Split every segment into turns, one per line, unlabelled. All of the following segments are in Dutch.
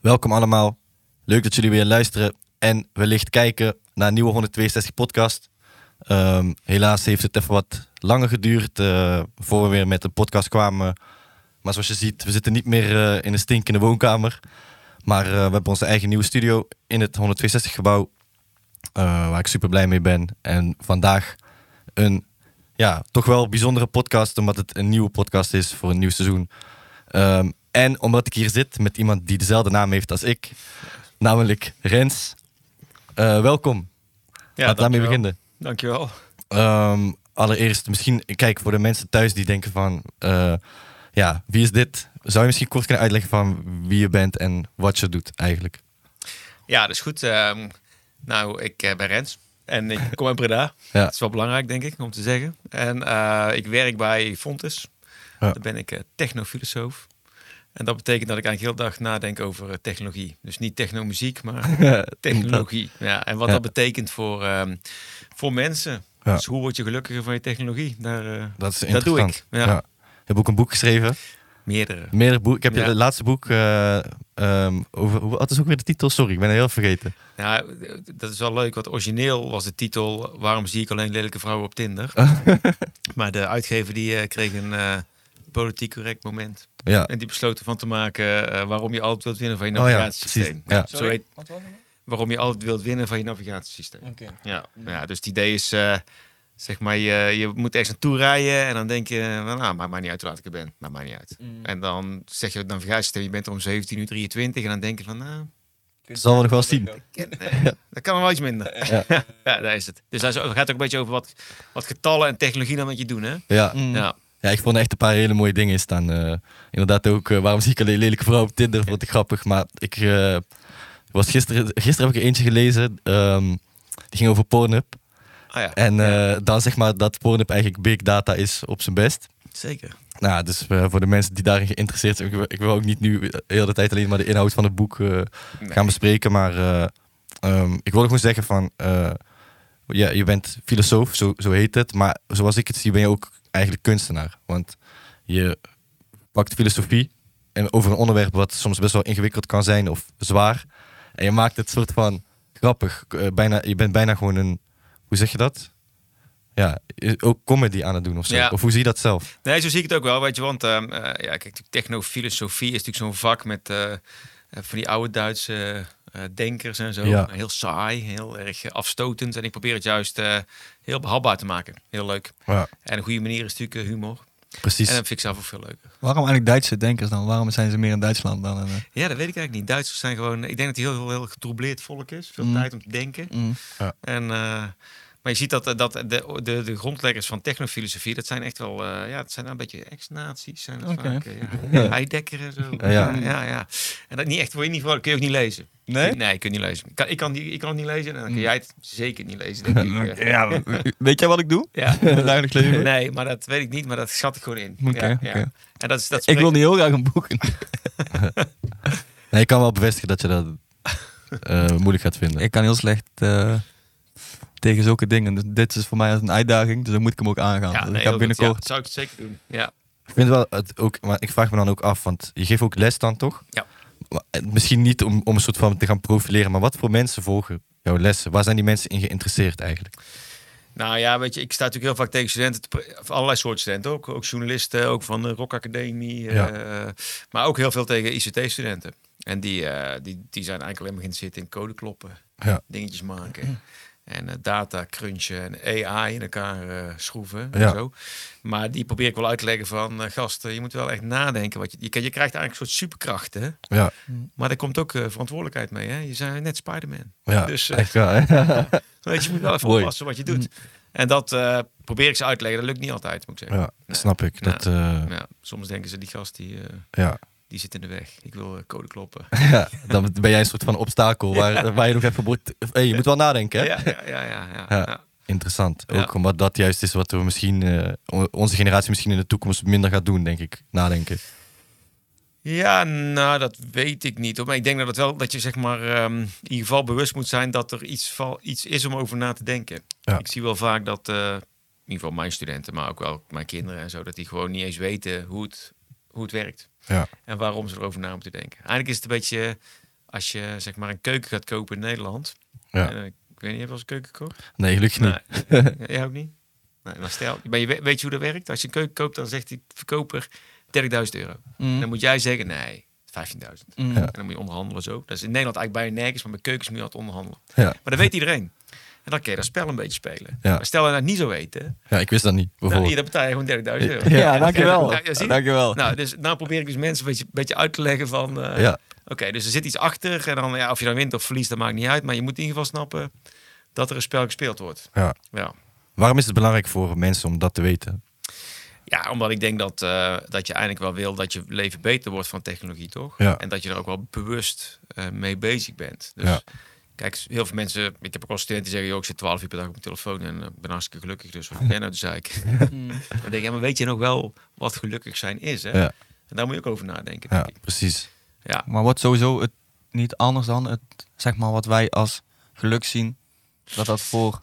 Welkom allemaal. Leuk dat jullie weer luisteren en wellicht kijken naar een nieuwe 162 podcast. Ehm, helaas heeft het even wat langer geduurd eh voor we weer met de podcast kwamen. Maar zoals je ziet, we zitten niet meer eh, in een stinkende woonkamer. Maar eh, we hebben onze eigen nieuwe studio in het 162 gebouw. eh, waar ik super blij mee ben. En vandaag een ja, toch wel bijzondere podcast. Omdat het een nieuwe podcast is voor een nieuw seizoen. Ehm, en omdat ik hier zit met iemand die dezelfde naam heeft als ik. Namelijk Rens. Eh, welkom. Laten we daarmee
dankjewel.
beginnen.
Dankjewel.
Ehm, allereerst, misschien, kijk, voor de mensen thuis die denken van, eh, ja, wie is dit? Zou je misschien kort kunnen uitleggen van wie je bent en wat je doet eigenlijk?
Ja, dat is goed. Ehm, nou, ik eh, ben Rens en ik kom uit Breda.
Ja.
Dat is wel belangrijk, denk ik, om te zeggen. En eh, ik werk bij Fontes.
Ja.
Daar ben ik eh, technofilosoof. En dat betekent dat ik eigenlijk heel de dag nadenk over eh, technologie. Dus niet technomuziek, maar technologie. Ja, en wat
Ja.
dat betekent voor, ehm, voor mensen.
Ja.
Dus hoe word je gelukkiger van je technologie? Daar, eh,
Dat is
dat doe
interessant.
ik. Ja,
Je hebt ook een boek geschreven.
Meerdere.
Meerdere boeken. Ik heb
Ja.
je laatste boek eh, ehm, over. hoe- Wat is ook weer de titel? Sorry, ik ben het heel vergeten.
Nou, dat is wel leuk, want origineel was de titel Waarom zie ik alleen lelijke vrouwen op Tinder? maar de uitgever die eh, kreeg een eh, politiek correct moment.
Ja.
En die besloot ervan te maken eh, waarom je altijd wilt winnen van je
Oh ja,
navigatiesysteem.
precies, ja.
Zo heet- waarom je altijd wilt winnen van je navigatiesysteem. Ja. ja, dus het idee is, eh, zeg maar, je, je moet ergens naartoe rijden en dan denk je, well, nou, maakt mij niet uit hoe laat ik er ben. Maakt mij niet uit.
Mm.
En dan zeg je het navigatiesysteem, je bent er om 17.23 uur en dan denk je van, nou,
Zal we nog wel zien.
dat kan wel iets minder. Ja, daar is het. Dus daar is- het gaat ook een beetje over wat, wat getallen en technologie dan met je doen, hè?
Ja.
Ja.
ja, ik vond er echt een paar hele mooie dingen in staan. Eh, inderdaad ook, eh, waarom zie ik alleen lelijke vrouwen op Tinder? Vond ik grappig. Maar ik eh, was gisteren, gisteren heb ik er eentje gelezen. ehm, die ging over Pornhub.
Ah ja,
En eh, dan zeg maar dat Pornhub eigenlijk big data is op zijn best.
zeker.
Nou, dus eh, voor de mensen die daarin geïnteresseerd zijn, ik, wil- ik wil ook niet nu eh, de hele tijd alleen maar de inhoud van het boek eh, gaan bespreken. Maar eh, ehm, ik wil gewoon zeggen van, eh, ja, je bent filosoof, zo, zo heet het. Maar zoals ik het zie ben je ook eigenlijk kunstenaar. Want je pakt filosofie en over een onderwerp wat soms best wel ingewikkeld kan zijn of zwaar. En je maakt het soort van grappig. eh, bijna, je bent bijna gewoon een, hoe zeg je dat? Ja, i- ook comedy aan het doen of zo.
Ja.
Of hoe zie je dat zelf?
Nee, zo zie ik het ook wel, weet je. Want ehm, eh, ja, kijk, natuurlijk, technofilosofie is natuurlijk zo'n vak met eh, eh, van die oude Duitse eh, denkers en zo.
Ja.
Heel saai, heel erg eh, afstotend. En ik probeer het juist eh, heel behapbaar te maken. Heel leuk.
Ja,
En een goede manier is natuurlijk eh, humor.
precies.
En eh, dat vind ik zelf ook veel leuker.
Waarom eigenlijk Duitse denkers dan? Waarom zijn ze meer in Duitsland dan in... eh,
Ja, dat weet ik eigenlijk niet. Duitsers zijn gewoon... Ik denk dat die heel, heel, heel getroubleerd volk is. Veel
Mm.
tijd om te denken.
mm.
En, eh, maar je ziet dat, eh, dat de, de, de grondleggers van technofilosofie, dat zijn echt wel, eh, ja, het zijn een beetje ex-nazi's. Zijn het
Oké.
vaak, eh, ja.
Ja.
Heidegger en zo.
Ja, ja.
ja, ja. En dat niet echt, word je niet, voor- kun je ook niet lezen.
Nee? Mm.
Nee, je kunt niet lezen. Ik kan, ik kan, die- ik kan het niet lezen en dan kun jij het zeker niet lezen. Denk ik. Ja.
Ja, weet jij wat ik doe?
Ja.
In het dagelijks leven?
Nee, maar dat weet ik niet, maar dat schat ik gewoon in.
Oké,
ja, ja.
oké.
En dat is, dat
Ik wil
spreekt-
niet heel graag een boek.
Nee, ik kan wel bevestigen dat je dat eh, moeilijk gaat vinden.
Ik kan heel slecht eh, tegen zulke dingen. Dus dit is voor mij als een uitdaging, dus dan moet ik hem ook aangaan.
Ja,
Dus
nee,
ik
heel goed. Ja,
ga binnenkort...
zou ik het zeker doen. Ja.
Ik vind wel het ook, maar ik vraag me dan ook af, want je geeft ook les dan toch?
Ja.
Maar, eh, Misschien niet om, om een soort van te gaan profileren, maar wat voor mensen volgen jouw lessen? Waar zijn die mensen in geïnteresseerd eigenlijk?
Nou ja, weet je, ik sta natuurlijk heel vaak tegen studenten, te pre- of allerlei soorten studenten ook. Ook journalisten, ook van de Rock Academie. eh, maar ook heel veel tegen ICT-studenten. En die, eh, die, die zijn eigenlijk alleen maar geïnteresseerd in code kloppen,
Ja.
dingetjes maken. En eh, data crunchen en AI in elkaar eh, schroeven en
Ja.
zo. Maar die probeer ik wel uit te leggen van, eh gast, eh, je moet wel echt nadenken. Wat je, je, je krijgt eigenlijk een soort superkrachten,
Ja,
maar daar komt ook eh, verantwoordelijkheid mee. Hè? Je bent net Spider-Man.
ja
Dus, eh,
echt wel. hè?
Weet je, je moet wel even
Mooi.
oppassen wat je doet. En dat eh, probeer ik ze uit te leggen. Dat lukt niet altijd, moet ik zeggen.
ja, snap ik. Dat, eh,
Ja, soms denken ze, die gast die, eh,
ja.
die zit in de weg. Ik wil eh, code kloppen.
ja, dan ben jij een soort van obstakel waar, waar je nog even moet... Hey, je moet wel nadenken, hè?
Ja, ja, ja. ja, ja,
Ja.
ja.
Interessant.
Ja.
Ook omdat dat juist is wat we misschien, eh, on- onze generatie misschien in de toekomst minder gaat doen, denk ik. Nadenken.
Ja, nou, dat weet ik niet. hoor. Maar ik denk dat, het wel, dat je zeg maar, ehm, in ieder geval bewust moet zijn dat er iets, val, iets is om over na te denken.
Ja.
Ik zie wel vaak dat, eh, in ieder geval mijn studenten, maar ook wel mijn kinderen en zo, dat die gewoon niet eens weten hoe het, hoe het werkt.
Ja.
En waarom ze erover na moeten denken. Eigenlijk is het een beetje als je zeg maar een keuken gaat kopen in Nederland.
Ja.
En, eh, ik weet niet, heb je wel eens een keuken gekocht?
Nee, gelukkig niet.
Nee. Jij ook niet? Nee, maar stel, maar je, we- weet je hoe dat werkt? Als je een keuken koopt, dan zegt die verkoper 30.000 euro.
Mm.
Dan moet jij zeggen, nee, 15.000.
Mm.
En dan moet je onderhandelen zo. Dat is in Nederland eigenlijk bijna nergens, maar bij keukens moet je altijd onderhandelen.
Ja.
Maar dat weet iedereen. En dan kun je dat spel een beetje spelen.
Ja.
Maar stel je dat niet zo weet, hè,
Ja, ik wist dat niet.
dan,
Bijvoorbeeld.
dan Nou, betaal je gewoon 30.000 euro.
Ja, dankjewel.
Ja, zie je?
dankjewel.
Nou, dus nou probeer ik dus mensen een beetje, beetje uit te leggen van... eh,
Ja,
Oké, dus er zit iets achter. En dan, ja, of je dan wint of verliest, dat maakt niet uit. Maar je moet in ieder geval snappen dat er een spel gespeeld wordt.
ja.
Ja.
Waarom is het belangrijk voor mensen om dat te weten?
Ja, omdat ik denk dat, eh, dat je eigenlijk wel wil dat je leven beter wordt van technologie, toch?
Ja.
En dat je er ook wel bewust eh, mee bezig bent. Dus
Ja.
kijk, heel veel mensen, ik heb ook al studenten die zeggen, joh, ik zit 12 uur per dag op mijn telefoon en eh, ben hartstikke gelukkig, dus wat ben jij nou de zeik? Dan denk ik, ja, maar weet je nog wel wat gelukkig zijn is, hè?
Ja.
En daar moet je ook over nadenken, denk
Ja,
ik.
precies.
Ja.
Maar wat sowieso het, niet anders dan het, zeg maar, wat wij als geluk zien, dat dat voor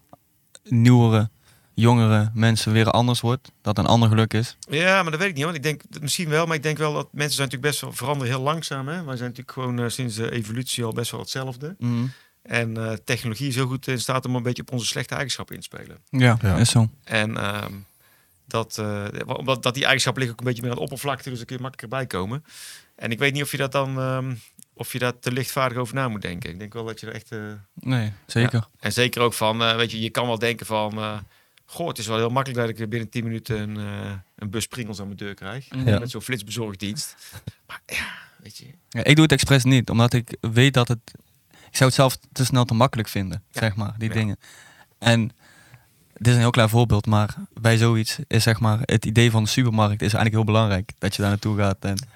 nieuwere, jongere mensen weer anders wordt. Dat een ander geluk is.
Ja, maar dat weet ik niet, want ik denk dat misschien wel, maar ik denk wel dat mensen zijn natuurlijk best wel veranderen heel langzaam, hè? Wij zijn natuurlijk gewoon eh, sinds de evolutie al best wel hetzelfde.
Mhm.
Mm.
En eh, technologie is heel goed in staat om een beetje op onze slechte eigenschappen in te spelen.
Ja,
Ja.
is zo.
En ehm, dat, eh, wa- omdat dat die eigenschap ligt ook een beetje meer aan de oppervlakte, dus dan kun je makkelijker bij komen. En ik weet niet of je dat dan ehm, of je daar te lichtvaardig over na moet denken. Ik denk wel dat je er echt. eh,
Nee, zeker.
En zeker ook van, eh, weet je, je kan wel denken van. eh, Goh, het is wel heel makkelijk dat ik weer binnen 10 minuten een, eh, een bus springels aan mijn deur krijg.
Ja.
Met zo'n flitsbezorgdienst. Maar ja, weet je.
Ja, ik doe het expres niet, omdat ik weet dat het... Ik zou het zelf te snel te makkelijk vinden,
Ja.
zeg maar, die
Ja.
dingen. En dit is een heel klein voorbeeld, maar bij zoiets is zeg maar... Het idee van de supermarkt is eigenlijk heel belangrijk, dat je daar naartoe gaat. En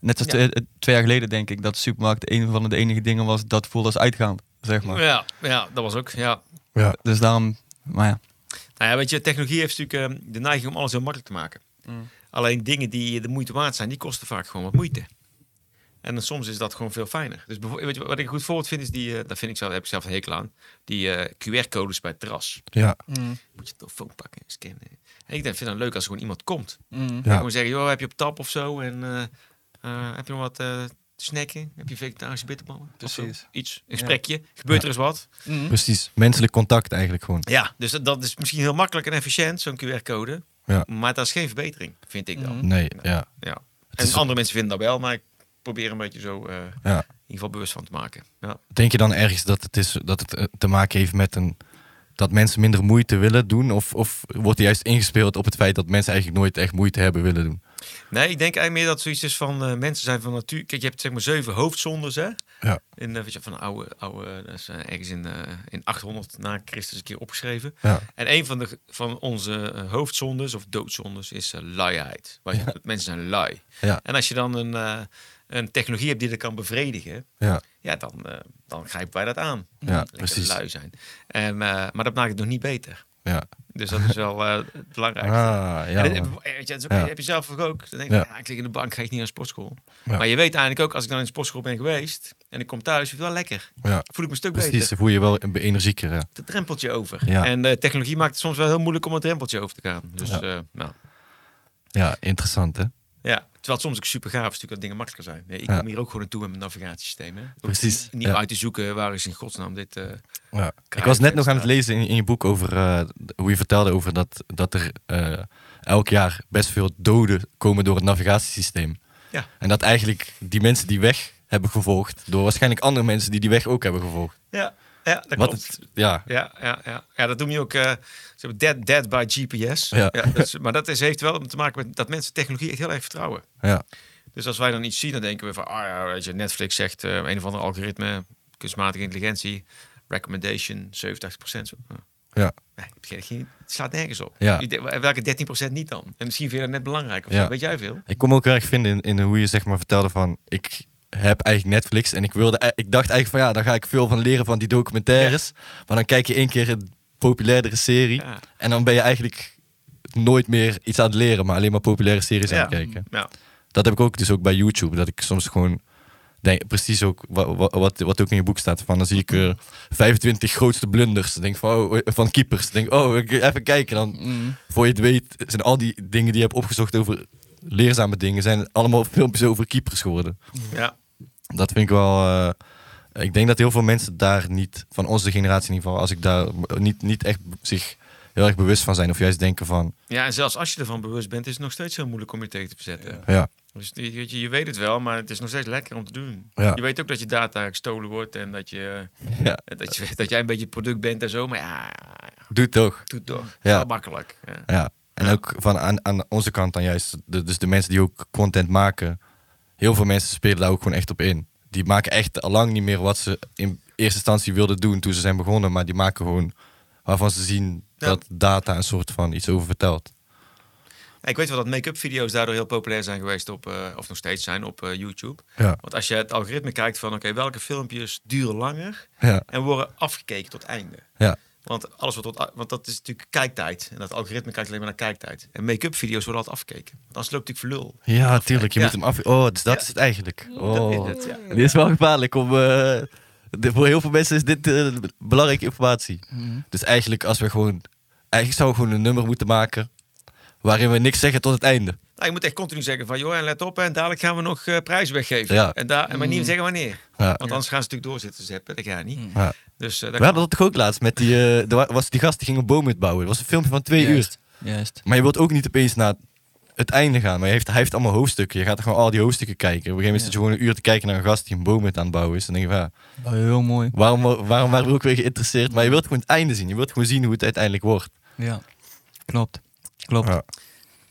net als
Ja.
twee, eh, twee jaar geleden denk ik dat de supermarkt een van de enige dingen was dat voelde als uitgaan, zeg maar.
Ja, ja, dat was ook. Ja.
Ja,
Dus daarom, maar ja.
Nou ja, weet je, technologie heeft natuurlijk eh, de neiging om alles heel makkelijk te maken.
Mm.
Alleen dingen die de moeite waard zijn, die kosten vaak gewoon wat moeite. En dan soms is dat gewoon veel fijner. Dus bijvo- weet je, wat ik een goed voorbeeld vind, is die, eh daar vind ik zelf, daar heb ik zelf een hekel aan, die eh, QR-codes bij het terras.
ja,
Moet je telefoon pakken, scannen. En ik denk, vind het leuk als er gewoon iemand komt.
Ja.
Ja. Gewoon zeggen, joh, heb je op tap of zo? En eh, eh, heb je nog wat eh, te snacken? Heb je vegetarische bitterballen? Of zo?
Precies.
Iets, een gesprekje. Gebeurt er eens wat?
precies. Menselijk contact eigenlijk gewoon.
Ja, dus dat, dat is misschien heel makkelijk en efficiënt, zo'n QR-code.
Ja.
Maar dat is geen verbetering, vind ik dan.
Mhm.
Nee,
Nee.
ja.
Ja.
Het
En
is-
andere mensen vinden dat wel, maar ik probeer een beetje zo eh, in
ja.
ieder geval bewust van te maken. Ja.
Denk je dan ergens dat het, is, dat het eh, te maken heeft met een... Dat mensen minder moeite willen doen? Of, of wordt er juist ingespeeld op het feit dat mensen eigenlijk nooit echt moeite hebben willen doen?
Nee, ik denk eigenlijk meer dat het zoiets is van eh, mensen zijn van natuur. Kijk, je hebt zeg maar zeven hoofdzondes, hè?
Ja.
In, eh, weet je, van oude, oude, dat is eh, ergens in, eh, in 800 na Christus een keer opgeschreven.
Ja,
En een van, de, van onze eh, hoofdzondes of doodzondes is eh, luiheid. Waar je- Mensen zijn lui.
Ja.
En als je dan een, eh, een technologie hebt die dat kan bevredigen,
ja,
ja, dan, eh, dan grijpen wij dat aan.
Ja,
Lekker
precies.
lui zijn. En, eh, maar dat maakt het nog niet beter.
ja.
Dus dat is wel eh, het belangrijkste.
Ah, ja.
En dit-
man.
eh, weet je, dat is ook-
Ja.
heb je zelf ook. Dan denk je,
Ja.
ja. ik lig in de bank, ga ik niet naar de sportschool.
Ja.
Maar je weet eigenlijk ook, als ik dan in de sportschool ben geweest... en ik kom thuis, vind ik wel lekker.
Ja,
Voel ik me een stuk
precies.
beter.
Dan voel je je wel een- energieker. ja.
Het drempeltje over.
Ja.
En de technologie maakt het soms wel heel moeilijk om het drempeltje over te gaan. Dus
Ja.
ja, nou,
Ja, interessant hè?
ja. Terwijl het soms ook super gaaf is natuurlijk dat dingen makkelijker zijn. Nee, ik
Ja.
kom hier ook gewoon naartoe met mijn navigatiesysteem. Hè. Hoef
Precies,
Niet
ja.
uit te zoeken waar is in godsnaam dit... eh,
Ja. Ik
Kijk, eh,
was net nog aan
extra.
het lezen in, in je boek over eh, d- hoe je vertelde over dat, dat er eh, elk jaar best veel doden komen door het navigatiesysteem.
Ja.
En dat eigenlijk die mensen die weg hebben gevolgd, door waarschijnlijk andere mensen die die weg ook hebben gevolgd.
Ja, ja dat
Wat
klopt.
het- ja,
Ja, ja, ja. ja, dat noem je ook eh, ze hebben dead, dead by GPS.
Ja.
dat is- maar dat is, heeft wel te maken met dat mensen technologie echt heel erg vertrouwen.
ja,
Dus als wij dan iets zien, dan denken we van... Ah ja, weet je, Netflix zegt eh, een of ander algoritme, kunstmatige intelligentie... Recommendation, 70%. Zo. nou,
ja,
Nee, het, ge- geen- het slaat nergens op.
Ja.
Je denkt, Welke 13% niet dan? En misschien vind je dat net belangrijk. Of
Ja.
zo. Weet jij veel?
Ik kon me ook erg vinden in, in hoe je zeg maar vertelde van ik heb eigenlijk Netflix en ik wilde, e- ik dacht eigenlijk van ja, daar ga ik veel van leren van die documentaires. Maar dan kijk je één keer een populairdere serie
Ja.
en dan ben je eigenlijk nooit meer iets aan het leren, maar alleen maar populaire series aan het
Ja.
kijken.
Ja.
Dat heb ik ook dus ook bij YouTube, dat ik soms gewoon denk, precies ook wa- wa- wat, wat ook in je boek staat, van dan zie ik eh, 25 grootste blunders, Dan denk ik van, oh, van keepers, Dan denk ik, oh, ik- even kijken, dan voor je het weet, zijn al die dingen die je hebt opgezocht over leerzame dingen, zijn allemaal filmpjes over keepers geworden.
ja.
Dat vind ik wel, eh, Ik denk dat heel veel mensen daar niet, van onze generatie in ieder geval, als ik daar niet, niet echt zich heel erg bewust van zijn. Of juist denken van,
Ja, en zelfs als je ervan bewust bent, is het nog steeds heel moeilijk om je tegen te verzetten.
ja,
Dus je, weet je, je weet het wel, maar het is nog steeds lekker om te doen.
Ja.
Je weet ook dat je data gestolen wordt en dat, je,
ja
eh, dat, je, dat jij een beetje het product bent en zo. Maar ja,
doe toch.
doe toch.
Ja.
Heel makkelijk. Ja.
Ja. En
Ja.
ook van aan, aan onze kant dan juist, de- dus de mensen die ook content maken, heel veel mensen spelen daar ook gewoon echt op in. Die maken echt al lang niet meer wat ze in eerste instantie wilden doen toen ze zijn begonnen, maar die maken gewoon waarvan ze zien
Ja.
dat data een soort van iets over vertelt.
Ik weet wel dat make-up video's daardoor heel populair zijn geweest op, eh, of nog steeds zijn op eh, YouTube.
Ja.
Want als je het algoritme kijkt van, oké, welke filmpjes duren langer
Ja,
en worden afgekeken tot einde.
ja,
Want alles wat tot, want dat is natuurlijk kijktijd. En dat algoritme kijkt alleen maar naar kijktijd. En make-up video's worden altijd afgekeken. Want anders loopt natuurlijk voor lul.
ja tuurlijk. Je
Ja.
moet hem af... Oh, dus dat
Ja.
is het eigenlijk.
is
Oh.
het, ja.
Dit is wel gevaarlijk om... eh, dit- voor heel veel mensen is dit eh, belangrijke informatie. Dus eigenlijk als we gewoon... Eigenlijk zouden we gewoon een nummer moeten maken waarin we niks zeggen tot het einde.
Nou, je moet echt continu zeggen van, joh, en let op, en dadelijk gaan we nog eh, prijs weggeven.
Ja.
En, daar, en maar niet zeggen wanneer.
Ja.
Want anders gaan ze natuurlijk doorzetten zeppen. Dat gaat niet.
Ja.
Dus eh, dat
We hadden dat toch ook laatst met die, eh, er wa- was die gast die ging een boom uitbouwen. Dat was een filmpje van twee uur.
Juist. Juist.
Maar je wilt ook niet opeens naar het einde gaan. Maar hij heeft, hij heeft allemaal hoofdstukken. Je gaat gewoon al die hoofdstukken kijken. Op een gegeven moment zit je gewoon een uur te kijken naar een gast die een boom uit aan het bouwen is. En dan denk je van, ja,
Wel Heel mooi.
waarom, waarom waren we ook weer geïnteresseerd? Maar je wilt gewoon het einde zien. Je wilt gewoon zien hoe het uiteindelijk wordt.
Ja. Klopt. Klopt.
Ja.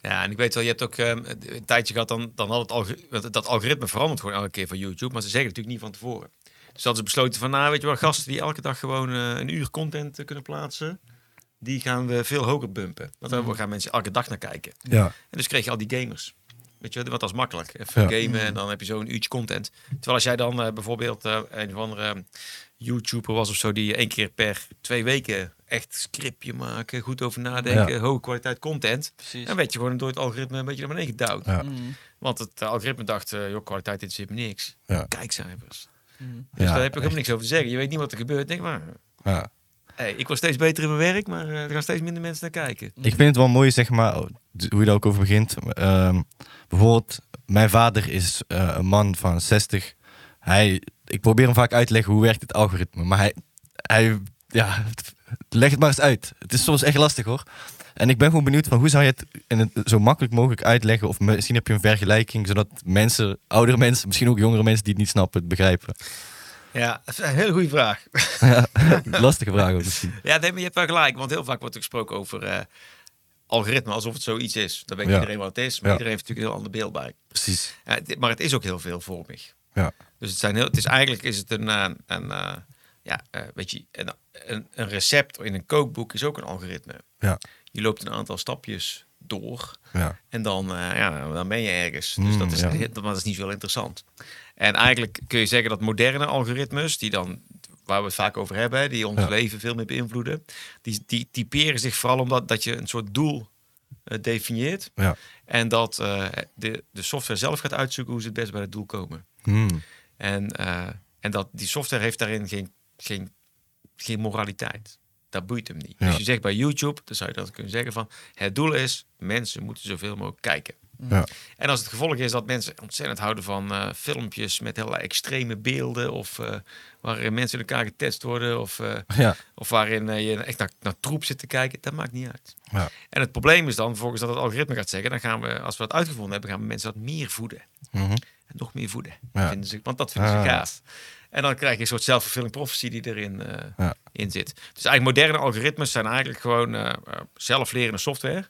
Ja, en ik weet wel, je hebt ook ehm, een tijdje gehad, dan, dan had het algoritme, want dat algoritme verandert gewoon elke keer van YouTube, maar ze zeggen het natuurlijk niet van tevoren. Dus hadden ze besloten van, nou weet je wel, gasten die elke dag gewoon eh, een uur content eh, kunnen plaatsen, die gaan we veel hoger bumpen. Want daar gaan mensen elke dag naar kijken.
Mhm. Ja.
En dus kreeg je al die gamers. Weet je, wel, want dat is makkelijk. Even
Ja. Mhm.
gamen en dan heb je zo'n uurtje content. Terwijl als jij dan eh, bijvoorbeeld eh, een of andere eh, YouTuber was of zo, die één keer per twee weken echt scriptje maken, goed over nadenken, hoge kwaliteit content.
Precies.
Dan werd je gewoon door het algoritme een beetje naar beneden gedouwd.
Ja.
Mhm.
Want het eh, algoritme dacht, eh, joh, kwaliteit dit zit me niks.
Ja.
Kijkcijfers.
Mhm.
Dus
Ja,
daar heb je ook helemaal niks over te zeggen. Je weet niet wat er gebeurt. Denk maar,
Ja.
hey, ik word steeds beter in mijn werk, maar eh, er gaan steeds minder mensen naar kijken.
Ik vind het wel mooi, zeg maar, hoe je daar ook over begint. Ehm, bijvoorbeeld, mijn vader is eh, een man van 60. Hij, ik probeer hem vaak uit te leggen hoe werkt het algoritme. Maar hij, hij ja, leg het maar eens uit. Het is soms echt lastig hoor. En ik ben gewoon benieuwd van hoe zou je het, in het zo makkelijk mogelijk uitleggen? Of misschien heb je een vergelijking, zodat mensen, oudere mensen, misschien ook jongere mensen die het niet snappen, het begrijpen.
Ja, dat is een hele goede vraag.
Lastige vraag ook misschien.
Ja, nee, maar je hebt wel gelijk. Want heel vaak wordt er gesproken over eh, algoritme, alsof het zoiets is. Dan weet
Ja.
iedereen wat het is, maar
Ja.
iedereen heeft natuurlijk een heel ander beeld bij.
Precies.
Eh, dit- maar het is ook heel veelvormig.
Ja.
Dus het zijn heel, het is eigenlijk is het een, eh, een eh, ja, eh, weet je, een, een, een recept in een kookboek is ook een algoritme.
Ja.
Je loopt een aantal stapjes door
Ja.
en dan, eh, ja, dan ben je ergens. Dus
Mm,
dat, is,
ja.
dat- maar dat is niet zo heel interessant. En eigenlijk kun je zeggen dat moderne algoritmes, die dan, waar we het vaak over hebben, die ons
Ja.
leven veel meer beïnvloeden, die, die typeren zich vooral omdat dat je een soort doel eh, definieert.
Ja.
En dat eh, de, de software zelf gaat uitzoeken hoe ze het best bij het doel komen.
Hmm.
En, eh, en dat die software heeft daarin geen, geen, geen moraliteit. Dat boeit hem niet.
Ja.
Dus je zegt bij YouTube, dan zou je dat kunnen zeggen van... het doel is, mensen moeten zoveel mogelijk kijken.
Ja.
En als het gevolg is dat mensen ontzettend houden van eh, filmpjes... met hele extreme beelden of eh, waarin mensen in elkaar getest worden... of, eh,
Ja.
of waarin eh, je echt naar, naar troep zit te kijken, dat maakt niet uit.
Ja.
En het probleem is dan volgens dat het algoritme gaat zeggen... dan gaan we, als we dat uitgevonden hebben, gaan we mensen dat meer voeden.
Mhm.
En nog meer voeden.
Ja.
Vinden ze, want dat vinden
Ah.
ze gaaf. En dan krijg je een soort zelfvervulling prophecy die erin eh,
Ja.
in zit. Dus eigenlijk moderne algoritmes zijn eigenlijk gewoon eh, eh, zelflerende software.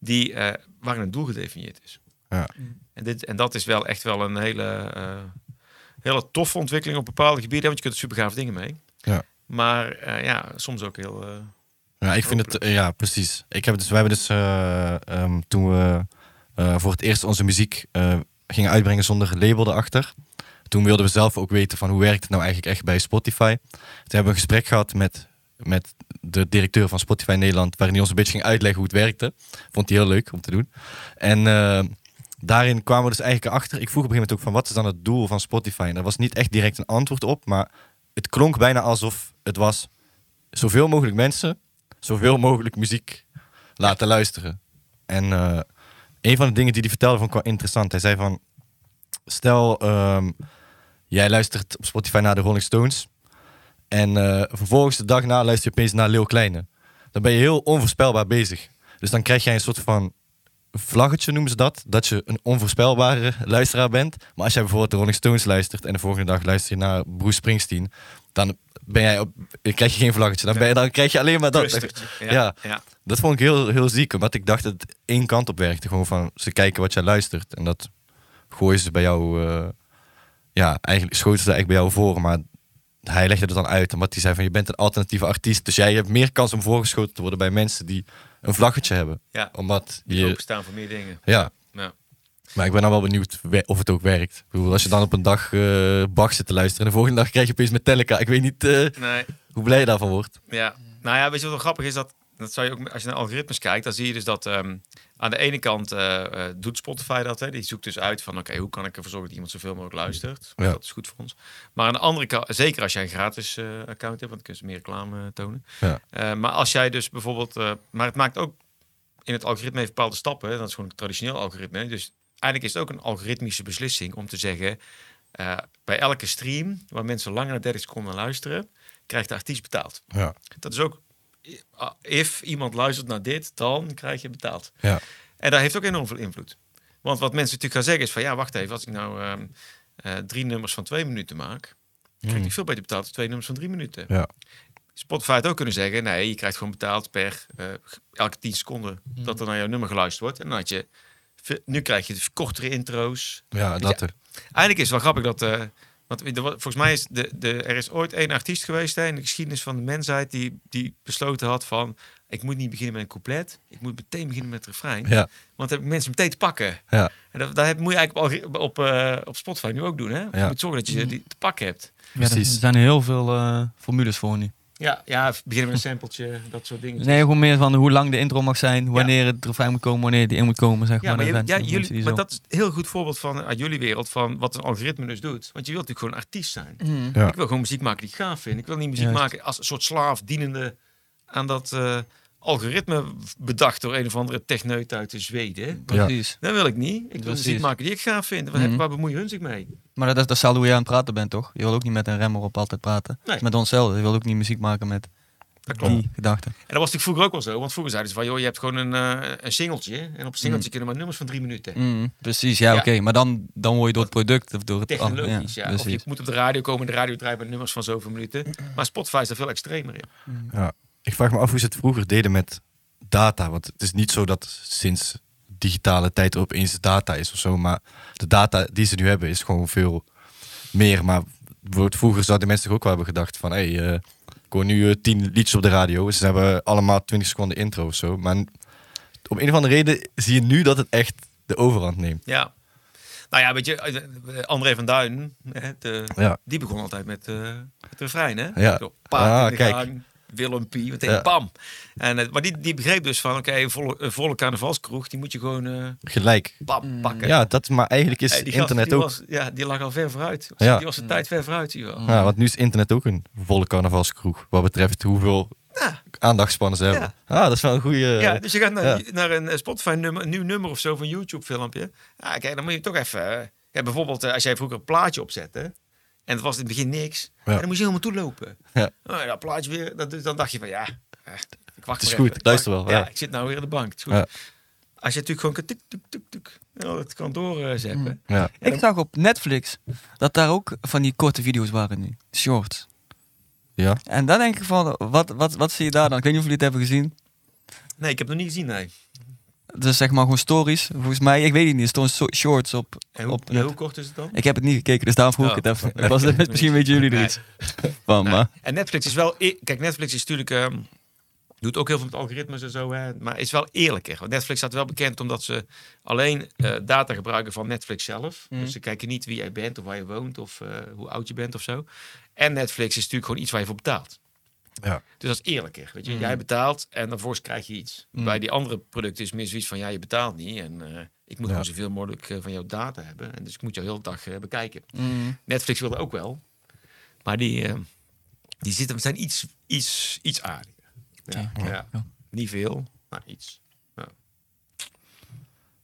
Die, eh, waarin een doel gedefinieerd is.
Ja.
En, dit, en dat is wel echt wel een hele, eh, hele toffe ontwikkeling op bepaalde gebieden. Want je kunt er super gaaf dingen mee.
Ja.
Maar eh, ja, soms ook heel... eh,
Ja, ik vind het, eh, ja, precies. Ik heb dus, we hebben dus eh, ehm, toen we eh, voor het eerst onze muziek eh, gingen uitbrengen zonder label erachter. Toen wilden we zelf ook weten van hoe werkt het nou eigenlijk echt bij Spotify. Toen hebben we een gesprek gehad met, met de directeur van Spotify Nederland, waarin hij ons een beetje ging uitleggen hoe het werkte. Vond hij heel leuk om te doen. En eh, daarin kwamen we dus eigenlijk achter. Ik vroeg op een gegeven moment ook van wat is dan het doel van Spotify? En daar was niet echt direct een antwoord op, maar het klonk bijna alsof het was zoveel mogelijk mensen zoveel mogelijk muziek laten luisteren. En eh, een van de dingen die hij vertelde vond ik wel interessant. Hij zei van, stel ehm, Jij luistert op Spotify naar de Rolling Stones. En eh, vervolgens de dag na luister je opeens naar Leeuw Kleine. Dan ben je heel onvoorspelbaar bezig. Dus dan krijg jij een soort van vlaggetje noemen ze dat. Dat je een onvoorspelbare luisteraar bent. Maar als jij bijvoorbeeld de Rolling Stones luistert en de volgende dag luister je naar Bruce Springsteen. Dan ben jij op, dan krijg je geen vlaggetje. Dan, ben je, dan krijg je alleen maar dat.
Clustertje.
ja.
ja.
Dat vond ik heel, heel ziek, omdat ik dacht dat het één kant op werkte. Gewoon van ze kijken wat jij luistert en dat gooien ze bij jou. eh, ja, eigenlijk schoten ze eigenlijk bij jou voor, maar hij legde het dan uit. Omdat hij zei van je bent een alternatieve artiest, dus jij hebt meer kans om voorgeschoten te worden bij mensen die een vlaggetje hebben.
Ja.
Omdat
Die
je.
openstaan voor meer dingen.
Ja,
Ja.
maar ik ben nou wel benieuwd we- of het ook werkt. Ik bedoel, als je dan op een dag eh Bach zit te luisteren en de volgende dag krijg je opeens Metallica. Ik weet niet eh,
Nee.
hoe blij je daarvan wordt.
Ja. Nou ja, weet je wat wel grappig is? Dat, dat zou je ook, als je naar algoritmes kijkt, dan zie je dus dat ehm, aan de ene kant eh, eh, doet Spotify dat. Hè? Die zoekt dus uit van, oké, hoe kan ik ervoor zorgen dat iemand zoveel mogelijk luistert?
Ja.
Dat is goed voor ons. Maar aan de andere kant, zeker als jij een gratis eh, account hebt, want dan kun je meer reclame eh, tonen.
Ja.
Eh, maar als jij dus bijvoorbeeld, eh, maar het maakt ook in het algoritme heeft bepaalde stappen. hè. Dat is gewoon een traditioneel algoritme. Dus eigenlijk is het ook een algoritmische beslissing om te zeggen, eh, bij elke stream waar mensen langer dan 30 seconden luisteren, krijgt de artiest betaald.
Ja,
Dat is ook, eh, if iemand luistert naar dit, dan krijg je betaald.
ja,
En dat heeft ook enorm veel invloed. Want wat mensen natuurlijk gaan zeggen is van, ja, wacht even, als ik nou ehm, eh, drie nummers van twee minuten maak, dan krijg ik veel beter betaald dan twee nummers van drie minuten.
ja.
Spotify had ook kunnen zeggen, nee, je krijgt gewoon betaald per eh, elke tien seconden dat er naar jouw nummer geluisterd wordt. En dan had je, ve- nu krijg je de kortere intro's.
ja dat er.
Eigenlijk is het wel grappig dat, eh, want er wa- volgens mij is de, de, er is ooit één artiest geweest hè, in de geschiedenis van de mensheid die, die besloten had van, ik moet niet beginnen met een couplet, ik moet meteen beginnen met het refrein.
Ja,
Want dan hebben mensen meteen te pakken.
ja.
En dat, dat heb- moet je eigenlijk op, op, eh, op Spotify nu ook doen. Hè? Je
Ja.
moet zorgen dat je die te pakken hebt.
er
Precies.
zijn heel veel eh, formules voor nu.
Ja, ja, beginnen met een sampletje, dat soort dingen.
Nee, gewoon meer van hoe lang de intro mag zijn, wanneer het refrein moet komen, wanneer die in moet komen. Zeg
Ja, maar,
dat
je-
zijn
ja,
mensen die
jullie, maar
zo-
dat is een heel goed voorbeeld van, uit jullie wereld van wat een algoritme dus doet. Want je wilt natuurlijk gewoon een artiest zijn.
Mm.
Ja.
Ik wil gewoon muziek maken die ik gaaf vind. Ik wil niet muziek
Juist.
maken als een soort slaaf dienende aan dat eh, algoritme bedacht door een of andere techneut uit de Zweden. hè.
Precies.
Dat wil ik niet. Ik wil
Precies.
muziek maken die ik gaaf vind. Waar,
Mhm.
waar bemoeien hun zich mee?
Maar dat is dat is hetzelfde hoe jij aan het praten bent, toch? Je wil ook niet met een remmer op altijd praten.
Nee.
Met onszelf. Je wil ook niet muziek maken met
Dat klopt.
die gedachten.
En dat was natuurlijk vroeger ook wel zo. Want vroeger zeiden ze van, joh, je hebt gewoon een, eh, een singeltje. En op een singeltje
Mhm.
kunnen maar nummers van drie minuten.
Mm, precies, ja,
Ja.
oké. Maar dan, dan word je door het product of door het...
Technologisch, ja. Of je
precies. Mhm.
moet op de radio komen en de radio draait met nummers van zoveel minuten. Maar Spotify is daar veel extremer in.
Ja. Ik vraag me af hoe ze het vroeger deden met data. Want het is niet zo dat sinds digitale tijd er opeens data is of zo. Maar de data die ze nu hebben is gewoon veel meer. Maar bijvoorbeeld vroeger zouden mensen toch ook wel hebben gedacht van... Hey, eh, ik hoor nu eh, tien liedjes op de radio. Ze hebben allemaal 20 seconden intro of zo. Maar om een of andere reden zie je nu dat het echt de overhand neemt.
Ja. Nou ja, weet je, eh, eh, André van Duin, hè, de,
Ja,
die begon altijd met eh het refrein, hè?
Ja.
Zo, Paard
Ah,
in de
kijk.
gang, Willem P, meteen
Ja.
pam. En, eh, maar die, die begreep dus van, oké, een volle, een volle carnavalskroeg, die moet je gewoon eh
gelijk.
pam pakken.
Ja, dat, maar eigenlijk is
Eh, die gast,
internet
die
ook...
was- ja, die lag al ver vooruit.
Ja.
Die was de tijd ver vooruit, zie je wel.
Ja, want nu is internet ook een volle carnavalskroeg. Wat betreft hoeveel
Ja.
aandachtspannen ze hebben. Ah, dat is wel een goede.
Ja, dus je gaat naar,
ja.
naar een eh, Spotify-nummer, een nieuw nummer of zo van YouTube-filmpje. Ah, kijk, dan moet je toch even... eh, ja, bijvoorbeeld, eh, als jij vroeger een plaatje opzette... en het was in het begin niks...
Ja.
dan moest je helemaal toelopen.
Ja.
Nou, dat plaatje weer, dat, dus dan dacht je van ja... eh, ik wacht
Het is
maar
goed,
even. Ik
luister
wacht-
wel, ja.
ik zit nou weer in de bank. Het is goed.
Ja.
Als je natuurlijk gewoon kan tuk, tuk, tuk, tuk, ja, dat kan doorzetten.
Ja.
Ik zag op Netflix dat daar ook van die korte video's waren nu. Shorts.
Ja.
En dan denk ik van, wat, wat, wat zie je daar dan? Ik weet niet of jullie het hebben gezien.
Nee, ik heb het nog niet gezien, nee.
Dus zeg maar gewoon stories. Volgens mij, ik weet het niet, er stonden so- shorts op.
En hoe,
op
en hoe kort is het dan?
Ik heb het niet gekeken, dus daarom vroeg
Oh.
ik het even. Ik was, misschien weten jullie er
Nee.
iets van, maar...
En Netflix is wel... e- Kijk, Netflix is natuurlijk... ehm, doet ook heel veel met algoritmes en zo. Hè, maar is wel eerlijker. Want Netflix staat wel bekend omdat ze alleen eh, data gebruiken van Netflix zelf.
Mhm.
Dus ze kijken niet wie jij bent of waar je woont of eh, hoe oud je bent of zo. En Netflix is natuurlijk gewoon iets waar je voor betaalt.
Ja.
Dus dat is eerlijker. Weet je?
Mhm.
Jij betaalt en dan vervolgens krijg je iets.
Mhm.
Bij die andere producten is meer zoiets van... ja, je betaalt niet en eh, ik
Ja.
moet gewoon zoveel mogelijk eh, van jouw data hebben. En dus ik moet jou heel de dag eh, bekijken.
Mm.
Netflix wilde ook wel. Maar die, eh, die zitten, zijn iets, iets, iets aardiger. Ja.
Ja.
Ja. Niet veel, maar iets.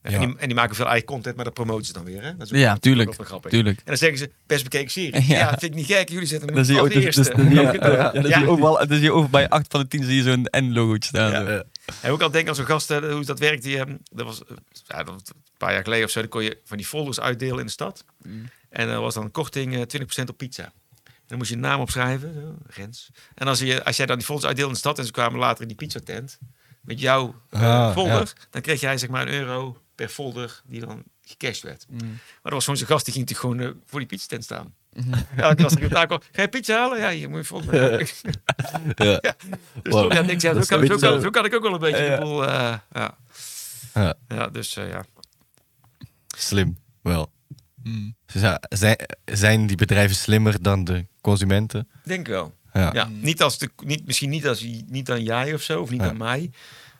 En,
Ja.
die, en die maken veel eigen content, maar dat promoten ze dan weer. Hè? Dat is ook-
Ja,
dat is
tuurlijk,
ook wel grappig.
tuurlijk.
En dan zeggen ze, best bekeken serie.
Ja.
Ja, vind ik niet gek. Jullie zitten
Dan zie je
als
ook dus,
eerste.
dus, dus- ja, ja, ja, dan
eh, Ja.
zie je overal, dan zie je over bij 8 van de 10 zie je zo'n N-logootje staan.
Ja.
zo.
Eh,
En ook al denk aan zo'n gast, eh, hoe dat werkt. Die, ehm, dat was eh, ja, dat was een paar jaar geleden of zo. Dan kon je van die folders uitdelen in de stad. En er was dan een korting eh, 20% op pizza. Dan moest je je naam opschrijven, zo, Rens. En als, je, als jij dan die folders uitdeelde in de stad en ze kwamen later in die pizzatent met jouw eh,
Ah,
folder, dan kreeg jij zeg maar een euro per folder die dan gecashed werd. Maar er was gewoon zo'n gast die ging natuurlijk gewoon eh, voor die pizzatent staan. Ja, die was er daar kwam, ga je pizza halen? Ja, hier moet je folder. dus
ja.
toen, ja, ik denk, ja,
Dat
zo,
is
kan,
een
zo,
beetje
kan,
zo.
zo kan ik ook wel een beetje
Ja, ja.
de boel... eh, ja.
Ja.
ja, dus eh, ja.
Slim, wel.
Mm.
Ze zei- Zijn, zijn die bedrijven slimmer dan de consumenten?
Denk wel.
Ja.
Ja. niet als de, niet, misschien niet, als, niet aan jij of zo, of niet
Ja.
aan mij.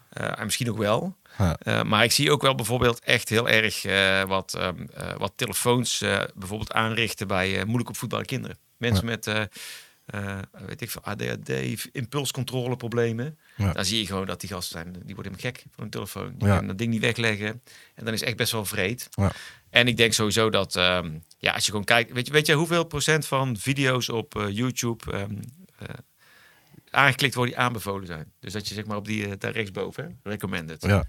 Eh, en misschien ook wel.
Ja.
Eh, maar ik zie ook wel bijvoorbeeld echt heel erg eh, wat, ehm, eh, wat telefoons eh, bijvoorbeeld aanrichten bij eh, moeilijk opvoedbare kinderen. Mensen met, eh, eh, weet ik veel, ADHD, impulscontroleproblemen.
Ja.
Dan zie je gewoon dat die gasten zijn, die worden helemaal gek van hun telefoon.
Ja.
Die kunnen dat ding niet wegleggen. En dan is echt best wel vreed.
Ja.
En ik denk sowieso dat, ehm, ja, als je gewoon kijkt, weet je, weet je hoeveel procent van video's op eh, YouTube ehm, eh, aangeklikt worden die aanbevolen zijn? Dus dat je zeg maar op die, eh, daar rechtsboven, hè, recommended.
ja.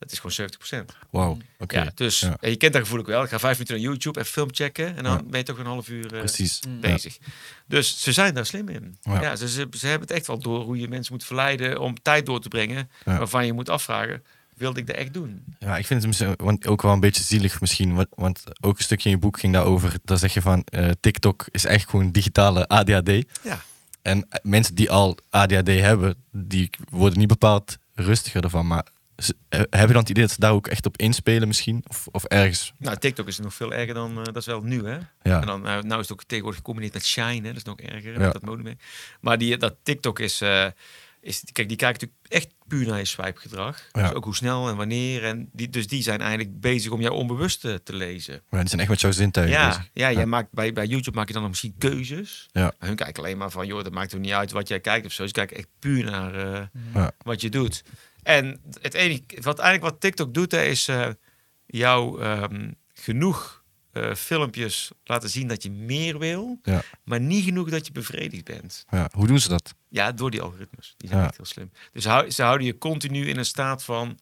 Dat is gewoon 70 procent.
Wauw. Oké.
Ja, dus
Ja.
en je kent dat gevoel ook wel. Ik ga vijf minuten naar YouTube en film checken en dan ben je toch een half uur eh,
Precies. Ja.
bezig. Dus ze zijn daar slim in.
Ja.
Ja. ze, ze, ze hebben het echt wel door hoe je mensen moet verleiden om tijd door te brengen
Ja.
waarvan je moet afvragen, wilde ik dat echt doen?
Ja, ik vind het misschien- want ook wel een beetje zielig misschien. Want, want ook een stukje in je boek ging daarover. Daar zeg je van eh, TikTok is echt gewoon digitale ADHD.
Ja.
En eh, mensen die al ADHD hebben, die worden niet bepaald rustiger ervan. Maar ze, eh, heb je dan het idee dat ze daar ook echt op inspelen misschien? Of, of ergens?
Nou, TikTok is nog veel erger dan, eh, dat is wel nu hè? En
Ja.
dan, nou, nou is het ook tegenwoordig gecombineerd met Shine, hè? dat is nog erger, hè,
Ja.
met dat modemerk. Maar die, dat TikTok is, eh, is, kijk, die kijkt natuurlijk echt puur naar je swipegedrag.
Ja.
Dus ook hoe snel en wanneer. En die, dus die zijn eigenlijk bezig om jou onbewust eh, te lezen.
ja, die zijn echt met jouw zintuigen
Ja,
bezig.
ja, jij Maakt, bij, bij YouTube maak je dan nog misschien keuzes.
Ja.
Maar hun kijken alleen maar van, joh, dat maakt er niet uit wat jij kijkt of zo. Ze kijken echt puur naar eh,
Ja.
wat je doet. En het enige, wat eigenlijk wat TikTok doet, hè, is eh, jou ehm, genoeg eh, filmpjes laten zien dat je meer wil,
Ja.
maar niet genoeg dat je bevredigd bent.
Ja. Hoe doen ze dat?
Ja, door die algoritmes. Die zijn
Ja.
echt heel slim. Dus hou, ze houden je continu in een staat van,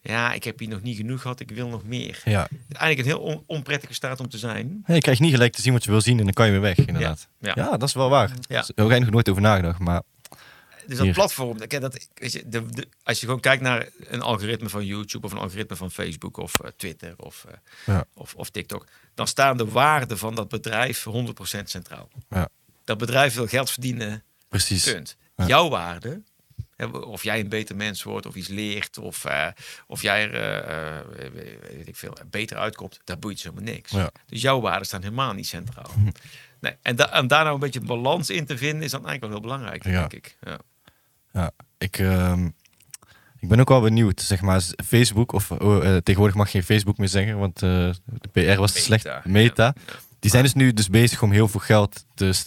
ja, ik heb hier nog niet genoeg gehad, ik wil nog meer.
Ja.
Eigenlijk een heel on- onprettige staat om te zijn.
Hey, je krijgt niet gelijk te zien wat je wil zien en dan kan je weer weg, inderdaad. Ja,
Ja,
dat is wel waar.
Ja.
Daar heb ik eigenlijk nooit over nagedacht, maar
Dus dat
Hier.
platform, dat- kijk, dat, weet je, de, de- als je gewoon kijkt naar een algoritme van YouTube of een algoritme van Facebook of eh, Twitter of, eh,
Ja.
of, of TikTok, dan staan de waarden van dat bedrijf 100% centraal.
Ja.
Dat bedrijf wil geld verdienen,
precies.
punt.
Ja.
Jouw waarde, hè, of jij een beter mens wordt of iets leert of, eh, of jij er eh, eh, weet ik veel, beter uitkomt, daar boeit ze helemaal niks.
Ja.
Dus jouw waarden staan helemaal niet centraal. Nee, en, da en daar nou een beetje een balans in te vinden is dan eigenlijk wel heel belangrijk,
Ja.
denk ik. Ja.
Ja, ik, ehm, ik ben ook wel benieuwd, zeg maar, z- Facebook, of oh, eh, tegenwoordig mag je geen Facebook meer zeggen, want eh, de PR was te slecht,
Meta,
Meta.
ja.
Die zijn dus nu dus bezig om heel veel geld, dus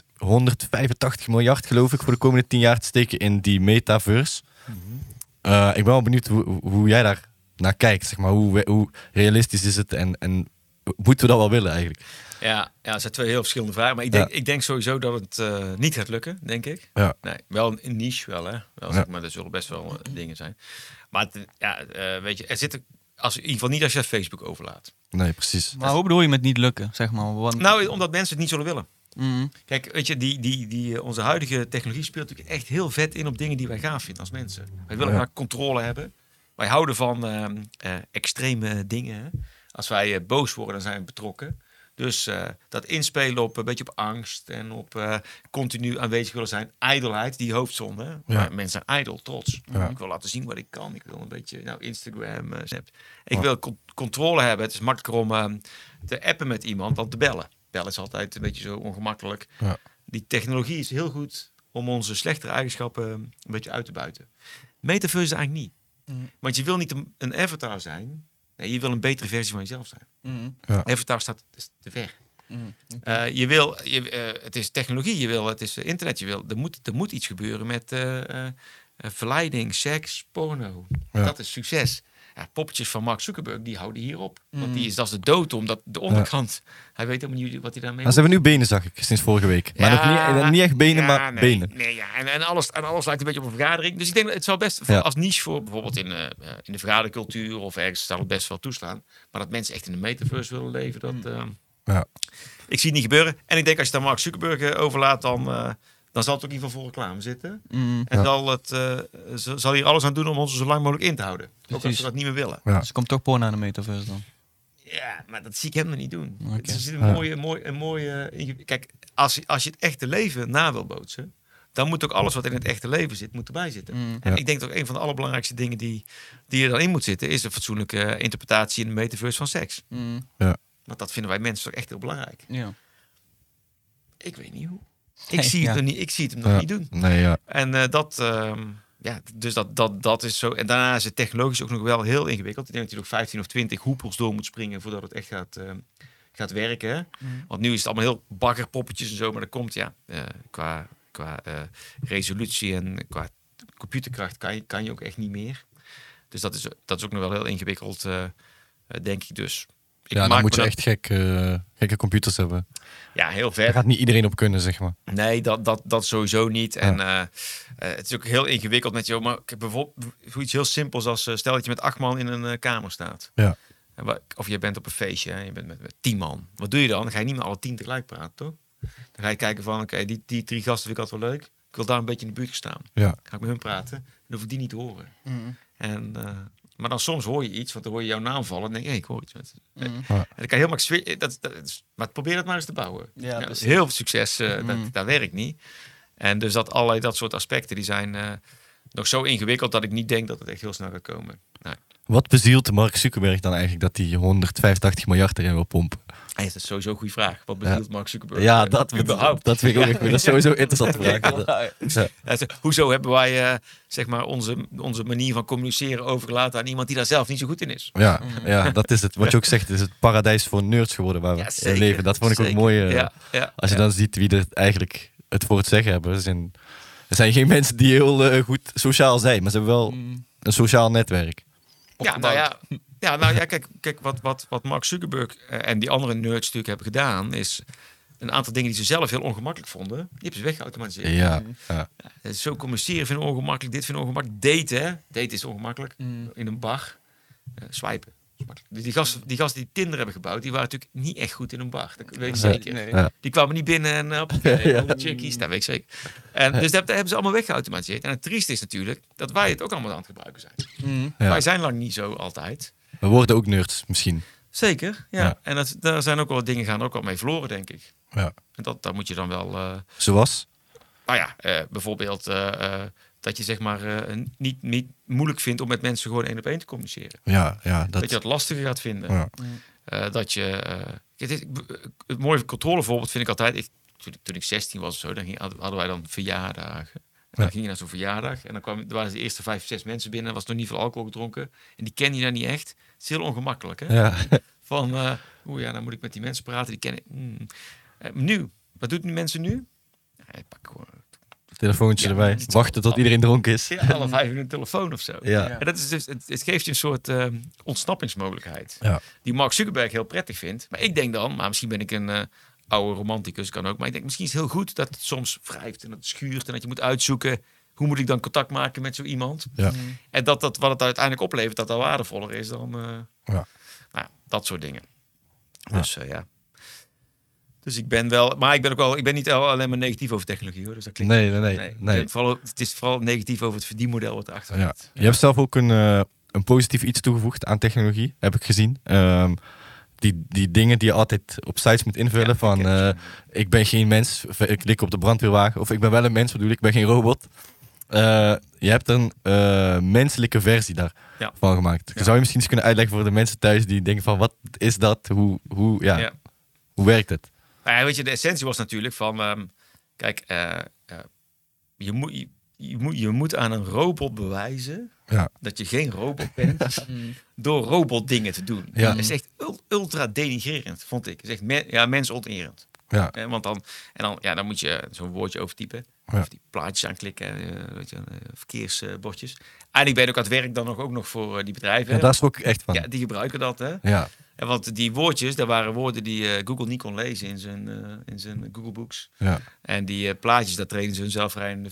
185 miljard geloof ik, voor de komende 10 jaar te steken in die metaverse.
Mhm.
Eh, ik ben wel benieuwd hoe, hoe- hoe jij daar naar kijkt, zeg maar, hoe, we- hoe realistisch is het en, en moeten we dat wel willen eigenlijk?
Ja, ja, dat zijn twee heel verschillende vragen. Maar ik denk,
Ja.
ik denk sowieso dat het eh, niet gaat lukken, denk ik.
Ja.
Nee, wel een- een niche wel, hè. Wel,
Ja.
zeg maar, er zullen best wel eh, dingen zijn. Maar het, ja, eh, weet je, er zit... Als, in ieder geval niet als je Facebook overlaat.
Nee, precies.
Maar hoe bedoel je met niet lukken, zeg maar? Want,
Nou, omdat mensen het niet zullen willen.
Mm.
Kijk, weet je, die, die, die, eh, onze huidige technologie speelt natuurlijk echt heel vet in op dingen die wij gaaf vinden als mensen. Wij willen
Ja.
maar controle hebben. Wij houden van ehm, eh, extreme dingen. hè. Als wij eh, boos worden, dan zijn we betrokken. Dus eh, dat inspelen op eh, een beetje op angst en op eh, continu aanwezig willen zijn. Ijdelheid, die hoofdzonde. hè. Maar mensen zijn ijdel, trots.
Ja.
Ik wil laten zien wat ik kan. Ik wil een beetje, nou, Instagram, eh, Snap. Ik wil con- controle hebben. Het is makkelijker om ehm, te appen met iemand dan te bellen. Bellen is altijd een beetje zo ongemakkelijk die technologie is heel goed om onze slechtere eigenschappen een beetje uit te buiten. Metaverse is eigenlijk niet.
Mm.
Want je wil niet een, een avatar zijn. Nee, je wil een betere versie van jezelf zijn.
Mm.
Avatar staat is te ver.
Mm.
Eh, je wil, je, eh, het is technologie, je wil, het is eh, internet, je wil. Er moet, er moet iets gebeuren met eh, eh, eh, verleiding, seks, porno.
Ja.
Dat is succes. Ja, poppetjes van Mark Zuckerberg, die houden hierop.
Mm.
Want die is, dat is de dood om dat, de onderkant. Hij weet helemaal niet wat hij daarmee
Nou, ze hebben nu benen, zag ik, sinds vorige week. Maar
Ja,
nog niet, niet echt benen,
ja,
maar
nee,
benen.
Nee, ja. en, en, alles, en alles lijkt een beetje op een vergadering. Dus ik denk dat het zou best
Ja.
als niche voor bijvoorbeeld in, eh, eh, in de vergadercultuur of ergens zou het best wel toeslaan. Maar dat mensen echt in de metaverse willen leven, dat, ehm,
Ja.
ik zie het niet gebeuren. En ik denk als je het aan Mark Zuckerberg eh, overlaat, dan, eh, dan zal het ook in ieder geval voor reclame zitten.
Mm.
En
Ja.
zal, het, eh, z- zal hier alles aan doen om ons er zo lang mogelijk in te houden. Ook als
Precies.
ze dat niet meer willen.
Ja.
Dus er komt toch porno aan de metaverse dan.
Ja, maar dat zie ik helemaal niet doen.
Oké.
Het is een
Ja.
mooie, mooi, een mooie... inge- Kijk, als, je- als je het echte leven na wil bootsen... dan moet ook alles wat in het echte leven zit, moet erbij zitten.
Mm.
En
Ja.
ik denk dat ook een van de allerbelangrijkste dingen die, die er dan in moet zitten... is een fatsoenlijke eh, interpretatie in de metaverse van seks.
Mm.
Want dat vinden wij mensen toch echt heel belangrijk.
Ja.
Ik weet niet hoe. Ik,
Nee,
zie, het
ja.
nog niet, ik zie het hem nog
Ja.
niet doen.
Nee, ja.
En eh, dat... ehm, ja, dus dat, dat, dat is zo. En daarna is het technologisch ook nog wel heel ingewikkeld. Ik denk dat je nog 15 of 20 hoepels door moet springen voordat het echt gaat, ehm, gaat werken. Hè? Want nu is het allemaal heel baggerpoppetjes en zo, maar dat komt ja, eh, qua, qua eh, resolutie en qua computerkracht kan je, kan je ook echt niet meer. Dus dat is, dat is ook nog wel heel ingewikkeld, eh, eh, denk ik dus. Ik
ja, dan
maak
moet je
me
echt gek, eh, gekke computers hebben.
Ja, heel
Daar
ver.
gaat niet iedereen op kunnen, zeg maar.
Nee, dat, dat, dat sowieso niet. En eh, eh, het is ook heel ingewikkeld met je. Maar ik- bijvoorbeeld zoiets heel simpels als eh, stel dat je met acht man in een eh, kamer staat.
Ja.
En wa- Of je bent op een feestje en je bent met, met tien man. Wat doe je dan? Dan ga je niet met alle tien tegelijk praten, toch? Dan ga je kijken van, oké, die, die drie gasten vind ik altijd wel leuk. Ik wil daar een beetje in de buurt staan.
Ja.
Ga ik met hun praten? Dan hoef ik die niet te horen. En, eh, maar dan soms hoor je iets, want dan hoor je jouw naam vallen. En denk je, hey, ik hoor iets. Met...
Mhm.
En dan kan je heel makkelijk... swi- eh, Dat, dat, is- maar probeer dat maar eens te bouwen.
Ja,
dat is
precies.
heel veel succes, eh,
Mm.
dat, dat werkt niet. En dus dat allerlei dat soort aspecten, die zijn eh, nog zo ingewikkeld... dat ik niet denk dat het echt heel snel gaat komen. Nou, Nee.
Wat bezielt Mark Zuckerberg dan eigenlijk dat hij 185 miljard erin wil pompen?
Hey, dat is sowieso een goede vraag. Wat bezielt Mark Zuckerberg?
Ja,
eh,
dat,
überhaupt?
dat vind ik ook echt dat is sowieso een interessante
Ja.
vraag. Ja.
Ja, zeg, hoezo hebben wij eh, zeg maar onze, onze manier van communiceren overgelaten aan iemand die daar zelf niet zo goed in is?
Ja, ja, dat is het. Wat je ook zegt, het is het paradijs voor nerds geworden waar we
Ja,
in
zeker,
leven. Dat vond ik ook
zeker.
mooi. eh,
Ja, ja,
Als je
ja.
dan ziet wie er eigenlijk het voor het zeggen hebben. Er zijn, er zijn geen mensen die heel eh, goed sociaal zijn, maar ze hebben wel
Mm.
een sociaal netwerk.
Ja, nou ja, ja, nou ja, kijk, kijk wat, wat, wat Mark Zuckerberg eh, en die andere nerds natuurlijk hebben gedaan, is een aantal dingen die ze zelf heel ongemakkelijk vonden, die hebben ze weggeautomatiseerd.
Ja, ja.
Eh, Zo communiceren vinden we ongemakkelijk, dit vinden we ongemakkelijk. Daten, hè? Daten is ongemakkelijk.
Mm.
In een bar. Eh, swipen. is makkelijk. Dus die gasten, die gasten die Tinder hebben gebouwd, die waren natuurlijk niet echt goed in een bar. Dat weet ik
Nee.
zeker.
Nee.
Ja.
Die kwamen niet binnen en eh, op
Ja.
de chickies, dat weet ik zeker. En, dus dat, dat hebben ze allemaal weggeautomatiseerd. En het trieste is natuurlijk dat wij het ook allemaal aan het gebruiken zijn.
Mm.
Ja.
Wij zijn lang niet zo altijd.
We worden ook nerds, misschien.
Zeker, ja.
Ja.
En dat, daar zijn ook wel dingen gaan ook al mee verloren, denk ik.
Ja.
En dat, dat moet je dan wel... eh,
Zoals?
nou ja, eh, bijvoorbeeld eh, eh, dat je zeg maar eh, een- niet, niet moeilijk vindt om met mensen gewoon één op één te communiceren.
Ja, ja.
Dat,
Dat,
je dat lastiger gaat vinden.
Ja.
Eh, dat je... eh, het, is- het mooie controlevoorbeeld vind ik altijd... Ik, toen, ik- toen ik 16 was of zo, dan ging, hadden wij dan verjaardagen.
Ja.
En dan ging je naar zo'n verjaardag en dan kwamen, er waren de eerste vijf, zes mensen binnen. Er was nog niet veel alcohol gedronken. En die ken je dan niet echt. Het is heel ongemakkelijk, hè?
Ja.
Van, eh oeh ja, dan moet ik met die mensen praten, die ken ik. Mm. Eh, nu, wat doen die mensen nu? Ja, ik pak gewoon
Telefoontje
Ja,
erbij.
dat is-
Wachten tot iedereen dronken is.
zeer alle vijf in een telefoon of zo.
Ja.
En dat is dus, het, het geeft je een soort eh, ontsnappingsmogelijkheid.
Ja.
Die Mark Zuckerberg heel prettig vindt. Maar ik denk dan, maar misschien ben ik een eh, oude romanticus, kan ook. Maar ik denk misschien is het heel goed dat het soms wrijft en dat het schuurt. En dat je moet uitzoeken, hoe moet ik dan contact maken met zo iemand?
Ja.
En dat, dat wat het uiteindelijk oplevert, dat dat waardevoller is dan eh,
Ja.
nou, ja, dat soort dingen.
Ja.
Dus eh, ja. Dus ik ben wel, maar ik ben ook wel, ik ben niet al- alleen maar negatief over technologie hoor. Dus dat klinkt.
Nee, nee, nee.
ik
nee.
ben vooral, het is vooral negatief over het verdienmodel wat erachter
Ja.
zit.
Je hebt zelf ook een, eh, een positief iets toegevoegd aan technologie, heb ik gezien. Ehm, die, die dingen die je altijd op sites moet invullen
Ja,
van
ik ken het,
eh, ik ben geen mens, v- ik klik op de brandweerwagen. Of ik ben wel een mens, bedoel ik, ik ben geen robot. Eh, je hebt een eh, menselijke versie daarvan
Ja.
gemaakt.
Ja.
Zou je misschien eens kunnen uitleggen voor de mensen thuis die denken van wat is dat? Hoe, hoe, ja,
Ja.
hoe werkt het?
Nou ja, weet je, de essentie was natuurlijk van, ehm, kijk, eh, eh, je, moet, je, je moet, je moet aan een robot bewijzen
Ja.
dat je geen robot bent door robotdingen te doen.
Ja.
Dat is echt ul- ultra denigrerend, vond ik. Dat is echt men, ja, mensonterend.
Ja.
Eh, want dan, en dan, ja, dan moet je zo'n woordje overtypen.
Ja.
Of die plaatjes aanklikken, eh, weet je, eh, verkeersbordjes. Eigenlijk ben je ook aan het werk dan nog ook nog voor eh, die bedrijven.
Ja,
hè?
daar schrok ik echt van.
ja,
Ja.
die gebruiken dat, hè?
Ja.
En want die woordjes, dat waren woorden die eh, Google niet kon lezen in zijn, eh, in zijn Google Books.
Ja.
En die eh, plaatjes, daar trainen ze hun zelfrijdende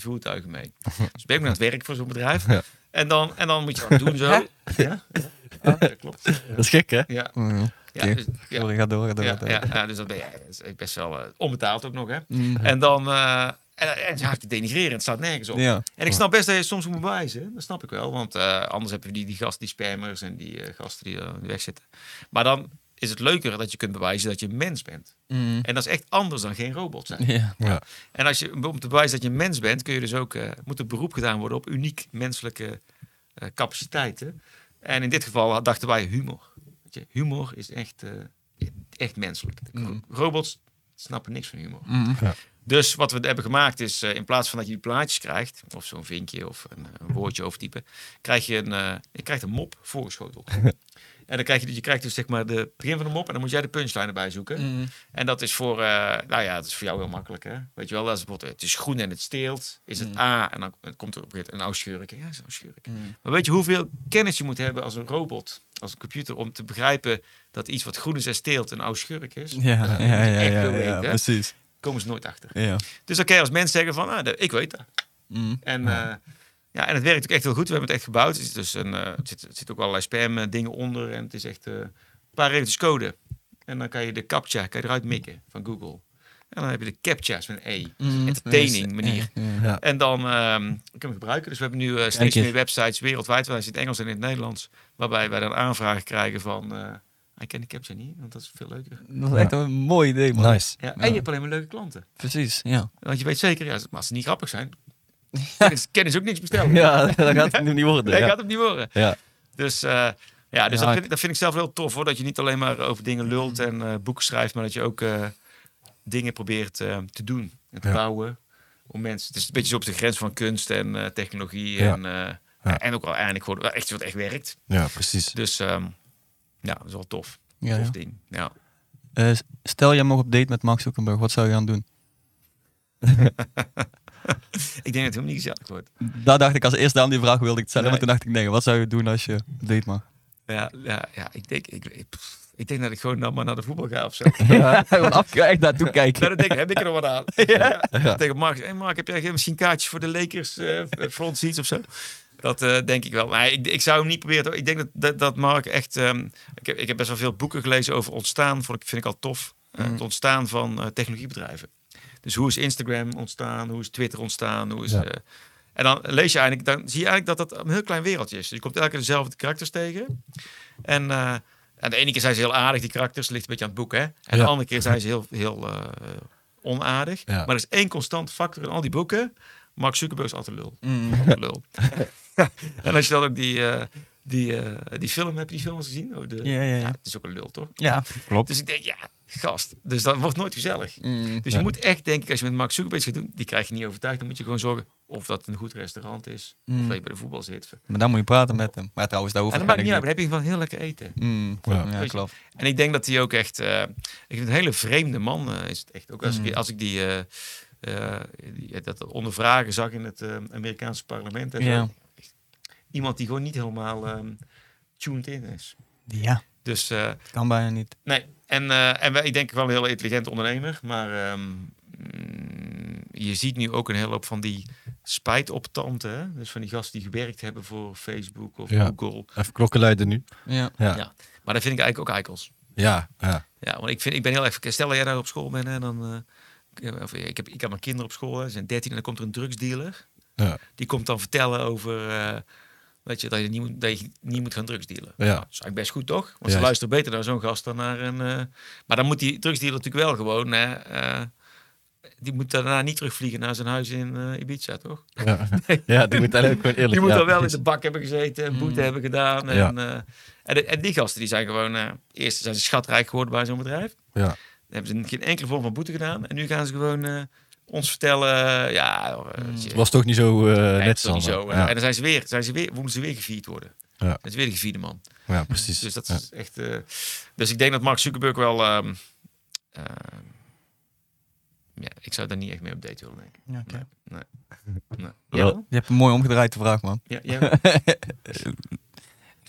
voertuigen mee. Dus ben ik aan het werk voor zo'n bedrijf.
Ja.
En, dan, en dan moet je dat doen zo. Ja, ja. dat klopt.
Dat is gek, hè?
Ja,
Mm,
ja, dus, ja,
Sorry, ga door, ga door.
ja,
ga door.
ja, ja, dus dat ben je dat is best wel eh, onbetaald ook nog, hè.
Mm.
En dan... eh en, en ja, het denigreren, het staat nergens op.
Ja.
En ik snap best dat je soms moet wijzen. hè. Dat snap ik wel. Want eh, anders heb je die, die gasten, die spammers en die eh, gasten die eh, in de weg zitten. Maar dan is het leuker dat je kunt bewijzen dat je een mens bent.
Mm.
En dat is echt anders dan geen robot zijn.
Ja.
Ja.
En als je, om te bewijzen dat je een mens bent, kun je dus ook, eh, moet er beroep gedaan worden op uniek menselijke eh, capaciteiten. En in dit geval dachten wij humor. Weet je, humor is echt, eh, echt menselijk.
Mm.
Robots snappen niks van humor.
Mm.
Dus wat we hebben gemaakt is, eh, in plaats van dat je die plaatjes krijgt, of zo'n vinkje of een, eh, een woordje overtypen, krijg je een, eh, je krijgt een mop voorgeschoteld. en dan krijg je, je krijgt dus zeg maar de begin van de mop en dan moet jij de punchline erbij zoeken.
Mm.
En dat is voor, eh, nou ja, dat is voor jou heel makkelijk, hè? Weet je wel, dat is bijvoorbeeld, het is groen en het steelt. Is het
Mm.
A en dan komt er op een gegeven moment een oudschurk. Ja, dat is een oudschurk.
Mm.
Maar weet je hoeveel kennis je moet hebben als een robot, als een computer, om te begrijpen dat iets wat groen is en steelt een oudschurk is?
Ja, ja, ja,
Echt
ja,
wel
ja,
leuk, hè?
precies.
Komen ze nooit achter.
Ja.
Dus dan kan je als mens zeggen van, ah, dat- ik weet dat.
Mm.
En, ja. ja, en het werkt ook echt heel goed. We hebben het echt gebouwd. Er zit, dus een, eh, het zit, het zit ook allerlei spam eh, dingen onder. En het is echt eh, een paar regeltjes code. En dan kan je de captcha kan je eruit mikken van Google. En dan heb je de captcha's met een E.
Mm.
Entertaining manier.
Ja.
Ja.
En dan ehm kun je hem gebruiken. Dus we hebben nu eh,
Kijk
steeds
eens.
meer websites wereldwijd. Wij zitten in het Engels en in het Nederlands. Waarbij wij dan aanvragen krijgen van... eh, ik ken de captcha niet, want dat is veel leuker.
Dat is echt een mooi idee, man.
Nice.
Ja,
Ja.
En je hebt alleen maar leuke klanten.
Precies, ja.
Want je weet zeker, ja, maar als ze niet grappig zijn... Kennen ze- kennen ze ook niks bestellen.
Ja, dat gaat het nu niet worden.
Nee,
Ja.
ik had hem niet horen.
Ja.
Dus, eh, ja, dus
Ja,
dat,
ik-
vind, ik- dat vind ik zelf heel tof hoor. Dat je niet alleen maar over dingen lult en eh, boeken schrijft, maar dat je ook eh, dingen probeert eh, te doen en te
Ja.
bouwen. Om mensen. Het is een beetje zo op de grens van kunst en eh, technologie.
Ja.
En, eh,
Ja.
en ook wel eigenlijk gewoon wel echt wat echt werkt.
Ja, precies.
Dus ehm, ja, dat is wel tof.
ja,
tof
ja.
ding. Ja.
Eh, s- stel, jij mag op date met Mark Zuckerberg. Wat zou je gaan doen?
Ik denk dat het helemaal niet gezellig wordt.
Daar dacht ik als eerste aan die vraag wilde ik het stellen.
Nee.
Maar toen dacht ik, nee, wat zou je doen als je op date mag?
Ja, ja, ja ik, denk, ik, ik, pff, ik denk dat ik gewoon dan maar naar de voetbal ga of zo.
Ja, gewoon af, echt naartoe kijken.
Ja, dan Nou, denk ik, heb ik er wat aan? Ja. Tegen Mark, hey Mark, heb jij geen- misschien kaartjes voor de Lakers eh, front seats of zo? Dat eh, denk ik wel. Maar ik, ik zou hem niet proberen. te- Ik denk dat, dat, dat Mark echt... ehm, ik, heb, ik heb best wel veel boeken gelezen over ontstaan. Vond ik, vind ik al tof. Eh,
Mm.
Het ontstaan van eh, technologiebedrijven. Dus hoe is Instagram ontstaan? Hoe is Twitter ontstaan? Hoe is,
Ja.
eh, en dan lees je eigenlijk... Dan zie je eigenlijk dat dat een heel klein wereldje is. Je komt elke keer dezelfde karakters tegen. En... eh, aan de ene keer zijn ze heel aardig, die karakters. Ligt een beetje aan het boek, hè? En
Ja.
de andere keer zijn ze heel, heel eh, onaardig.
Ja.
Maar er is één constant factor in al die boeken. Mark Zuckerberg is altijd lul.
Mm.
Altijd lul. en als je dan ook die, eh, die, eh, die film, heb je die film al eens gezien? Oh, de,
Ja, ja, ja.
Het is ook een lul, toch?
Ja.
Klopt.
Dus ik denk, ja, gast. Dus dat wordt nooit gezellig.
Mm.
Dus
Ja.
je moet echt, denk ik, als je met Mark Zuckerberg iets gaat doen, die krijg je niet overtuigd. Dan moet je gewoon zorgen of dat een goed restaurant is. Of
Mm.
dat je bij de voetbal zit. En
Maar dan moet je praten met hem. Maar trouwens, daar hoeft
dat maakt niet uit, maar
eigenlijk
dan heb je van heel lekker eten.
niet. Mm.
Ja.
Ja,
Weet je.
klopt.
En ik denk dat hij ook echt. eh, ik vind een hele vreemde man eh, is het echt. Ook als,
Mm.
ik, als ik die, eh, eh, die- dat ondervragen zag in het eh, Amerikaanse parlement. En zo.
Ja.
Iemand die gewoon niet helemaal ehm, tuned in is.
Ja,
Dus eh,
kan bijna niet.
nee. En, eh, en wij, ik denk wel een heel intelligent ondernemer. Maar ehm, mm, je ziet nu ook een hele hoop van die spijtoptanten. hè? Dus van die gasten die gewerkt hebben voor Facebook of
Ja.
Google.
Even klokken luiden nu.
Ja.
Ja.
Ja.
Ja.
Maar dat vind ik eigenlijk ook eikels.
Ja.
Ja, want ik, vind, ik ben heel erg... verkeerd. Stel dat jij daar op school bent en dan... eh, of, ik, heb, ik heb mijn kinderen op school, hè, ze zijn 13 en dan komt er een drugsdealer.
Ja.
Die komt dan vertellen over... eh, weet je, dat je niet moet, dat je niet moet gaan drugsdealen.
Ja.
Nou, dat is eigenlijk best goed, toch? Want ze
Juist.
luisteren beter naar zo'n gast dan naar een... eh, maar dan moet die drugsdealer natuurlijk wel gewoon... hè, eh, die moet daarna niet terugvliegen naar zijn huis in eh, Ibiza, toch?
Ja. die moet eigenlijk gewoon eerlijk
Die moet
ja,
dan wel in
precies.
de bak hebben gezeten, en boete
Mm.
hebben gedaan. En,
Ja.
eh, en, de- en die gasten die zijn gewoon... eh, eerst zijn ze schatrijk geworden bij zo'n bedrijf.
Ja.
Dan hebben ze geen enkele vorm van boete gedaan. En nu gaan ze gewoon eh, ons vertellen... eh, ja, hoor, eh,
Mm.
je-
Was toch niet zo eh,
nee,
net
dat is toch niet
Sander?
zo. eh,
Ja.
En dan zijn ze weer, zijn ze weer, moeten ze weer gevierd worden.
Ja.
Dat is weer de gevierde man.
ja, precies.
Dus dat
Ja.
is echt... eh, dus ik denk dat Mark Zuckerberg wel... ehm, ehm, ja, ik zou daar niet echt mee op date willen, denk ik.
Ja,
oké. Nee.
Wel-
Jij wel?
Je hebt hem mooi omgedraaid, de vraag, man.
Ja, jij wel?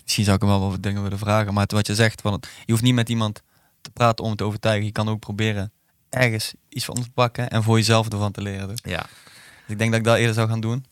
Misschien zou ik hem wel wat dingen willen vragen. Maar het- wat je zegt, van, het- je hoeft niet met iemand te praten om te overtuigen. Je kan ook proberen ergens iets van te pakken en voor jezelf ervan te leren. Dus
ja.
ik denk dat ik dat eerder zou gaan doen.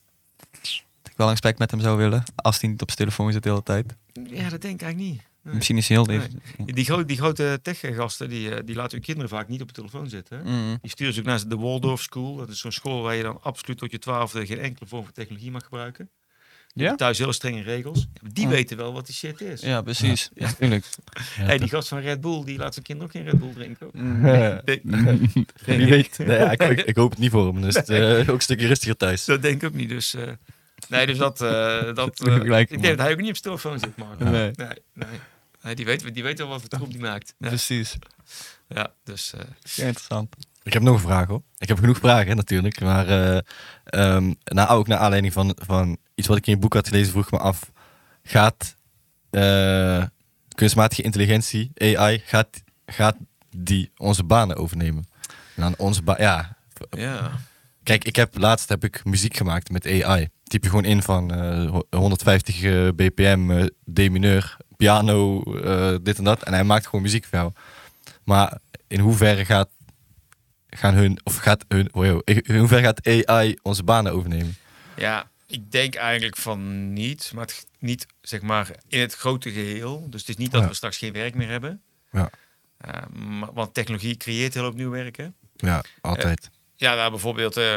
Dat ik wel een gesprek met hem zou willen. Als hij niet op zijn telefoon zit de hele tijd.
ja, dat denk ik eigenlijk niet. Nee.
Misschien is hij heel...
Nee.
even-
Die, gro die grote tech-gasten, die, eh, die laten hun kinderen vaak niet op de telefoon zitten. hè?
Mm.
Die sturen ze ook naar de Waldorf School. Dat is zo'n school waar je dan absoluut tot je twaalfde geen enkele vorm van technologie mag gebruiken. Die
Ja?
hebben Thuis heel strenge regels. Die
Oh.
weten wel wat die shit is.
Ja, precies. Ja, tuurlijk.
Hey, die gast van Red Bull, die laat zijn kinderen ook geen Red Bull drinken. hoor.
Mm.
Nee,
Wie weet. Nee, ja, ik, ik, ik hoop het niet voor hem. Dus het, eh, ook een stukje rustiger thuis.
dat denk ik ook niet. Dus, eh, nee, dus dat... eh, dat eh,
Gelijk,
ik
man.
denk dat hij ook niet op zijn telefoon zit, Mark.
Nee.
Nee, nee. Nee, die, weet, die weet wel wat voor troep die maakt. Ja,
Precies.
ja dus... eh,
Heel interessant.
Ik heb nog een vraag hoor. Ik heb genoeg vragen hè, natuurlijk. Maar eh, ehm, nou, ook naar aanleiding van, van iets wat ik in je boek had gelezen, vroeg ik me af. Gaat eh, kunstmatige intelligentie, AI, gaat, gaat die onze banen overnemen? En aan onze ba- ja.
ja.
Kijk, ik heb, laatst heb ik muziek gemaakt met AI. Typ je gewoon in van eh, ho- 150 eh, bpm, eh, D-mineur, piano, eh, dit en dat. En hij maakt gewoon muziek voor jou. Maar in hoeverre gaat, gaan hun, of gaat hun, oh, joh, in hoeverre gaat AI onze banen overnemen?
Ja, ik denk eigenlijk van niet, maar het, g- niet zeg maar in het grote geheel. Dus het is niet dat
Ja.
we straks geen werk meer hebben.
Ja.
Eh, maar- want technologie creëert heel opnieuw werken.
Ja, altijd.
Ja, nou, bijvoorbeeld, eh,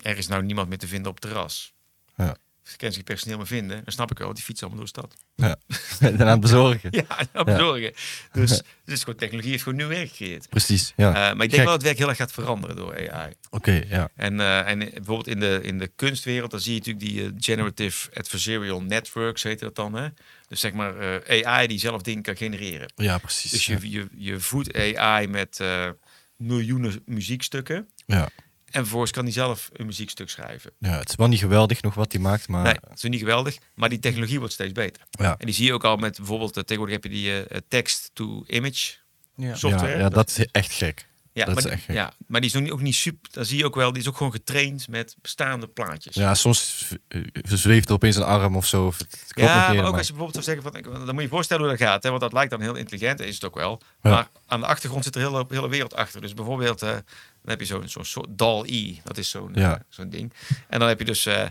er is nou niemand meer te vinden op het terras.
Ja.
Ze kan zich personeel meer vinden. Dan snap ik wel, die fietsen allemaal door de stad.
Eh, en aan het bezorgen.
Ja, dat bezorgen. Dus, dus gewoon, technologie heeft gewoon nieuw werk gecreëerd.
Precies, ja.
Eh, maar ik denk
Ah, Gek.
wel dat het werk heel erg gaat veranderen door AI.
Oké, ja.
En, eh, en bijvoorbeeld in de, in de kunstwereld, dan zie je natuurlijk die eh, Generative Adversarial Networks, heet dat dan. Hè? Dus zeg maar eh, AI die zelf dingen kan genereren.
Ja, precies.
Dus je, je, je voedt AI met eh, miljoenen muziekstukken.
ja.
En vervolgens kan die zelf een muziekstuk schrijven.
ja, het is wel niet geweldig nog wat hij maakt, maar
Nee, dat is niet geweldig, maar die technologie wordt steeds beter.
ja.
En die zie je ook al met bijvoorbeeld, eh, tegenwoordig heb je die eh, text-to-image
Ja.
software.
Ja, ja, dat is echt gek.
Ja,
dat
maar,
is
die-
echt gek.
ja, maar die is nog niet, ook niet super, dan zie je ook wel, die is ook gewoon getraind met bestaande plaatjes.
Ja, soms eh, zweeft er opeens een arm of zo. Of het klopt nog
Ja,
eerder,
maar ook als je bijvoorbeeld zou zeggen, van, dan moet je je voorstellen hoe dat gaat. Hè? Want dat lijkt dan heel intelligent, is het ook wel.
Ja.
Maar aan de achtergrond zit er heel, hele wereld achter. Dus bijvoorbeeld, eh, dan heb je zo'n zo'n soort DAL-E. Dat is zo'n
Ja.
eh, zo'n ding. En dan heb je dus, eh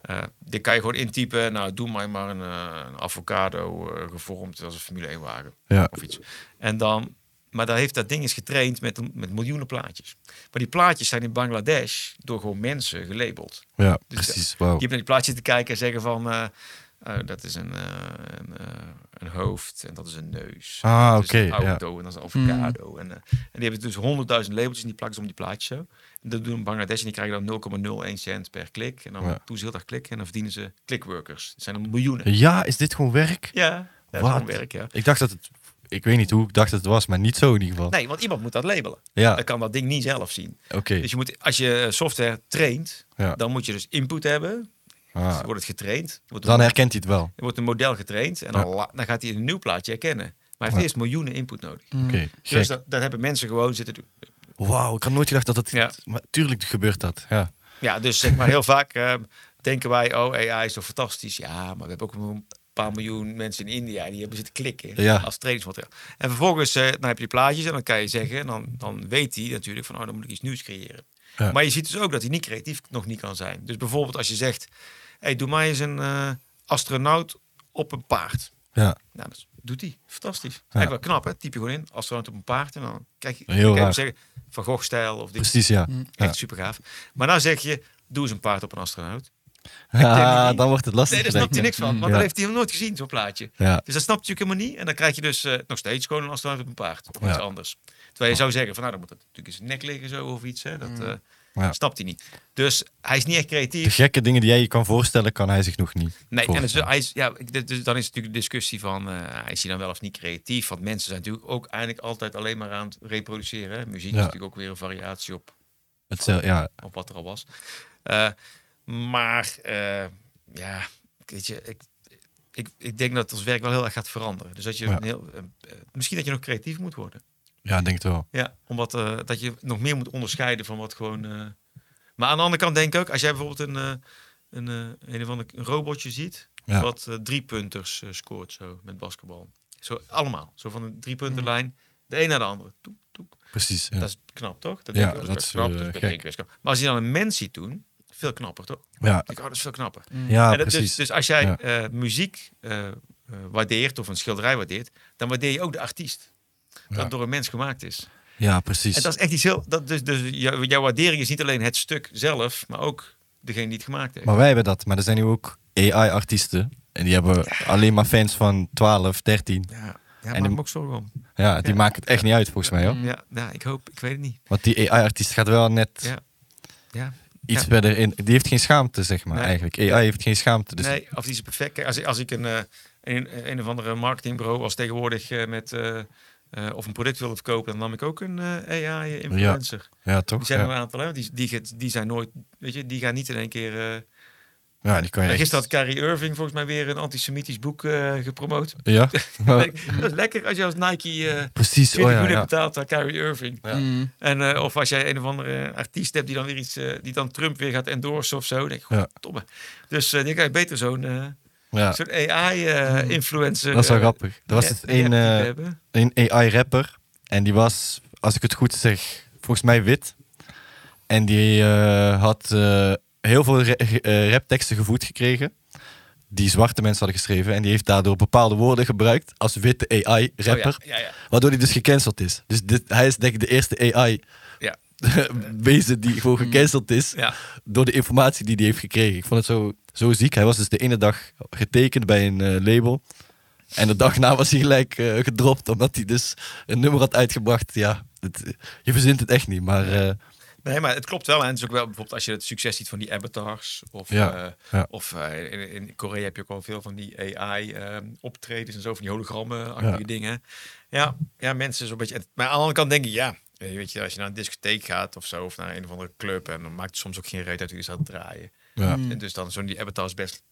eh, dit kan je gewoon intypen. Nou, doe mij maar een, eh, een avocado eh, gevormd als een Formule 1 wagen
Ja,
of iets. En dan, maar daar heeft dat ding eens getraind met, met miljoenen plaatjes. Maar die plaatjes zijn in Bangladesh door gewoon mensen gelabeld.
ja
Dus,
precies. Wauw.
Je hebt naar die plaatje te kijken en zeggen van... eh, eh, dat is een, eh, een, eh, een hoofd en dat is een neus.
Ah,
En dat is een
oké, ja.
auto en dat is een avocado. En, eh, en die hebben dus honderdduizend labeltjes en die plakken ze om die plaatjes zo. En dat doen Bangladesh en die krijgen dan 0,01 cent per klik. En dan
Ja.
doen ze heel erg klikken en dan verdienen ze clickworkers. Dat zijn er miljoenen.
Ja, is dit gewoon werk?
Ja, ja, dat is
Wat?
gewoon werk, ja.
Ik dacht dat het... Ik weet niet hoe ik dacht dat het was, maar niet zo in ieder geval.
Nee, want iemand moet dat labelen.
ja,
Dat kan dat ding niet zelf zien.
oké.
Dus je moet, als je software traint,
Ja.
dan moet je dus input hebben.
Ah,
Dus wordt het getraind. Wordt
dan herkent hij het wel.
Er wordt een model getraind en dan, la- dan gaat hij een nieuw plaatje herkennen. Maar hij heeft
Ja. Mm.
eerst miljoenen input nodig.
Oké,
Dus
gek.
dat, dat hebben mensen gewoon zitten doen.
Wauw, ik had nooit gedacht dat dat...
Ja.
Maar tuurlijk gebeurt dat, ja.
Ja, dus zeg maar heel vaak eh, denken wij, oh AI is zo fantastisch. Ja, maar we hebben ook een paar miljoen mensen in India die hebben zitten klikken
Ja.
als trainingsmateriaal. En vervolgens eh, dan heb je die plaatjes en dan kan je zeggen, en dan, dan weet hij natuurlijk van, oh dan moet ik iets nieuws creëren.
Ja.
Maar je ziet dus ook dat hij niet creatief nog niet kan zijn. Dus bijvoorbeeld als je zegt, hey, doe mij eens een eh, astronaut op een paard.
Ja,
Nou, dat doet hij. Fantastisch.
Ja.
Eigenlijk wel knap, hè? Typ je gewoon in, astronaut op een paard. En dan kijk je,
Heel
kan je hem
raar.
zeggen, Van Gogh-stijl of dit.
precies, ja.
Echt
ja.
super gaaf. Maar nou zeg je, doe eens een paard op een astronaut.
Ah, dan wordt het lastig.
Nee, daar
denk
snapt hij
ik.
niks van, want
Ja.
dat heeft hij nog nooit gezien, zo'n plaatje.
Ja,
Dus dat snapt hij natuurlijk helemaal niet. En dan krijg je dus eh, nog steeds gewoon een astronaut op een paard. Of
Ja.
iets anders. Terwijl je zou zeggen, van nou, dan moet het natuurlijk in zijn nek liggen zo of iets. Hè? Dat
Mm.
eh,
Ja.
snapt hij niet. Dus hij is niet echt creatief.
de gekke dingen die jij je kan voorstellen, kan hij zich nog niet
Nee, en het is,
voorstellen.
hij is, ja, ik- dit- dus dan is het natuurlijk de discussie van, eh, is hij dan wel of niet creatief? Want mensen zijn natuurlijk ook eigenlijk altijd alleen maar aan het reproduceren. hè. Muziek
Ja.
is natuurlijk ook weer een variatie op,
Het is, eh, ja,
op wat er al was. Eh, maar eh, ja, weet je, ik, ik, ik denk dat ons werk wel heel erg gaat veranderen. Dus dat je
Ja.
een heel, eh, eh, misschien dat je nog creatief moet worden.
Ja, ik denk het wel.
Ja, omdat eh, dat je nog meer moet onderscheiden van wat gewoon. eh, Maar aan de andere kant denk ik ook, als jij bijvoorbeeld een, eh, een, eh, een of ander een robotje ziet,
Ja.
wat eh, drie punters scoort zo met basketbal. Zo allemaal, zo van een drie puntenlijn, de een naar de andere. Toek, toek.
Precies. Ja.
Dat is knap toch? Dat
Ja,
denk ik,
dat
best
is,
knap,
eh,
best
gek.
denk ik best knap. Maar als je dan een mens ziet doen, veel knapper toch? Ik
ja.
denk, oh, dat is veel knapper.
Ja,
En dat-
Ah, precies.
Dus, dus als jij
Ja.
eh, muziek eh, eh, waardeert of een schilderij waardeert, dan waardeer je ook de artiest. Dat
Ja.
door een mens gemaakt is.
ja, precies.
En dat is echt iets heel. Dat dus, dus jou- jouw waardering is niet alleen het stuk zelf, maar ook degene die het gemaakt heeft.
Maar wij hebben dat. Maar er zijn nu ook AI-artiesten. En die hebben alleen maar fans van 12, 13.
ja, ja, maak
die-
me ook zorgen om.
Ja, die
Ja.
maken het echt niet uit volgens mij hoor.
Mm.
Ja, nou, ik hoop, ik weet het niet.
Want die AI-artiest gaat wel net
Ja. Ja.
iets
Ja.
verder in. Die heeft geen schaamte, zeg maar,
Nee.
eigenlijk. AI heeft geen schaamte. Dus
nee, of die is perfect. Kijk, als, ik- als ik een, eh, een, een of andere marketingbureau als tegenwoordig eh, met. eh, eh, of een product wilde verkopen, dan nam ik ook een eh, AI-influencer.
ja,
Die
toch?
zijn er
Ja.
een aantal, hè? Die, die, ge- die zijn nooit, weet je, die gaan niet in één keer... eh,
ja, die kan je echt...
Gisteren had Carrie Irving volgens mij weer een antisemitisch boek eh, gepromoot.
Ja,
Kijk, dat is lekker als je als Nike eh
precies.
20
Oh ja,
miljoen
ja.
hebt betaald aan Carrie Irving.
Ja.
Mm.
En, eh, of als jij een of andere artiest hebt die dan weer iets, eh, die dan Trump weer gaat endorsen of zo. Dan denk ik,
Ja.
goddomme. Dus eh die kan je beter zo'n eh,
Ja, Hmm.
zo'n eh, AI-influencer.
Dat is wel grappig. Er was het een, eh,
eh, hebben. Oh,
een AI-rapper. En die was, als ik het goed zeg, volgens mij wit. En die eh, had eh, heel veel ra- ge- eh, rapteksten gevoed gekregen. Die zwarte mensen hadden geschreven. En die heeft daardoor bepaalde woorden gebruikt als witte AI-rapper.
Oh, ja, ja, ja.
Waardoor hij dus gecanceld is. Dus dit, hij is denk ik de eerste AI...
Ja.
wezen die gewoon gecanceld is
Ja.
door de informatie die hij heeft gekregen. Ik vond het zo, zo ziek. Hij was dus de ene dag getekend bij een eh, label. En de dag na was hij gelijk eh, gedropt, omdat hij dus een nummer had uitgebracht. Ja, het- eh, je verzint het echt niet, maar... eh,
Nee, maar het klopt wel. En het is ook wel bijvoorbeeld als je het succes ziet van die avatars. Of,
Ja,
eh,
ja.
of eh, in, in Korea heb je ook al veel van die AI-optredens en zo, van die hologrammen-achtige
Ja.
dingen. Ja, ja, mensen zo'n beetje. Maar aan de andere kant denk ik, ja. eh, Weet je, als je naar een discotheek gaat of zo, of naar een of andere club, en dan maakt het soms ook geen reet uit wie is aan het draaien.
ja,
En dus dan zo'n die avatar is best,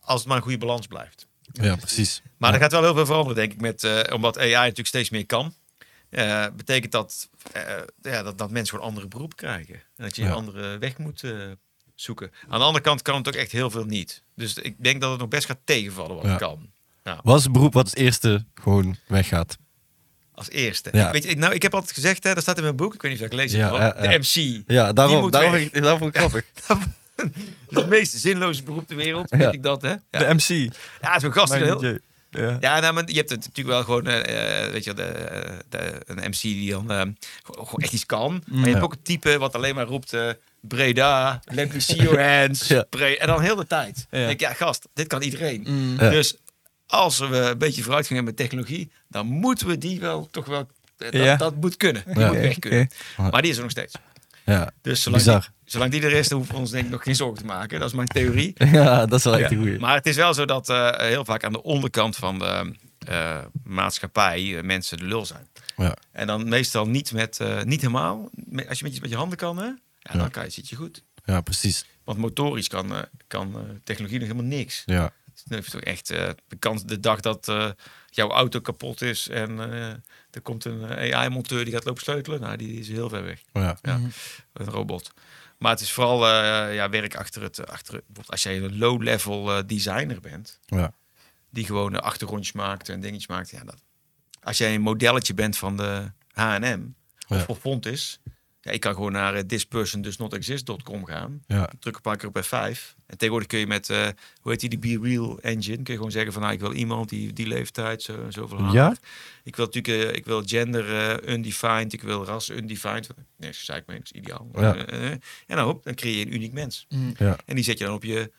als het maar een goede balans blijft.
ja, precies.
Maar
Ja.
er gaat wel heel veel veranderen, denk ik, met, eh, omdat AI natuurlijk steeds meer kan. Eh, betekent dat, eh, ja, dat, dat mensen gewoon andere beroep krijgen. En dat je
Ja.
een andere weg moet eh, zoeken. Aan de andere kant kan het ook echt heel veel niet. Dus ik denk dat het nog best gaat tegenvallen wat
Ja.
het kan.
Wat is het beroep wat als eerste gewoon weggaat?
Als eerste.
Ja.
Weet je, ik, nou, ik heb altijd gezegd, hè, dat staat in mijn boek, ik weet niet of ik lees,
Ja,
het wel,
ja, ja.
de MC.
Ja,
Die
daarom,
moet
daarom,
weg.
vind ik- daarom vond ik het grappig.
Het meest zinloze beroep ter wereld,
Ja.
weet ik dat, hè? Ja,
De MC.
ja zo'n gast. die
mijn
heel-
DJ. Ja.
Ja, nou, maar je hebt het natuurlijk wel gewoon, eh, eh, weet je, wel, de, eh, de, een MC die dan eh, gewoon gewoon echt iets kan. Maar je
Mm. Ja.
hebt ook een type wat alleen maar roept eh, Breda, let me see your hands.
Ja.
Bre- en dan heel de tijd.
Ja.
Dan denk ik, ja gast, dit kan iedereen.
Mm.
Ja.
Dus als we een beetje vooruit gaan met technologie, dan moeten we die wel toch wel, eh, dat,
Ja.
dat moet kunnen. Die
Ja.
moet weg kunnen.
Oké.
Maar die is er nog steeds.
Ja,
Dus zolang die,
bizar.
zolang die er is, dan hoeven we ons denk ik nog geen zorgen te maken. Dat is mijn theorie.
Ja, dat is wel echt
Ja,
een goeie.
Maar het is wel zo dat eh, heel vaak aan de onderkant van de eh, maatschappij eh, mensen de lul zijn.
Ja.
En dan meestal niet met, eh, niet helemaal. Me- Als je met je, met je handen kan, hè, ja,
Ja.
dan kan je, zit je goed.
ja, precies.
Want motorisch kan, eh, kan eh, technologie nog helemaal niks.
Ja.
Dus dan heb je toch echt eh, de kans, de dag dat eh, jouw auto kapot is en eh, er komt een AI-monteur die gaat lopen sleutelen. Nou, die is heel ver weg
Ja.
ja. een robot. Maar het is vooral eh, ja, werk achter het, eh, achter, het- bijvoorbeeld als jij een low-level eh, designer bent,
Ja.
die gewoon eh, achtergrondjes maakt en dingetjes maakt. Ja, dat, als jij een modelletje bent van de H&M
Ja.
of van Fontis, ja, ik kan gewoon naar eh, thispersondoesnotexist.com gaan,
Ja.
druk een paar keer op F5. En tegenwoordig kun je met, eh, hoe heet die, de Be Real Engine, kun je gewoon zeggen van, nou, ik wil iemand die die leeftijd, zo, en zoveel
Ja?
haar. Ik wil natuurlijk, eh, ik wil gender eh, undefined, ik wil ras undefined. Nee, ze zei ik mee, dat is ideaal.
Ja.
Eh, eh, en dan, hop, dan creëer je een uniek mens.
Ja.
En die zet je dan op je,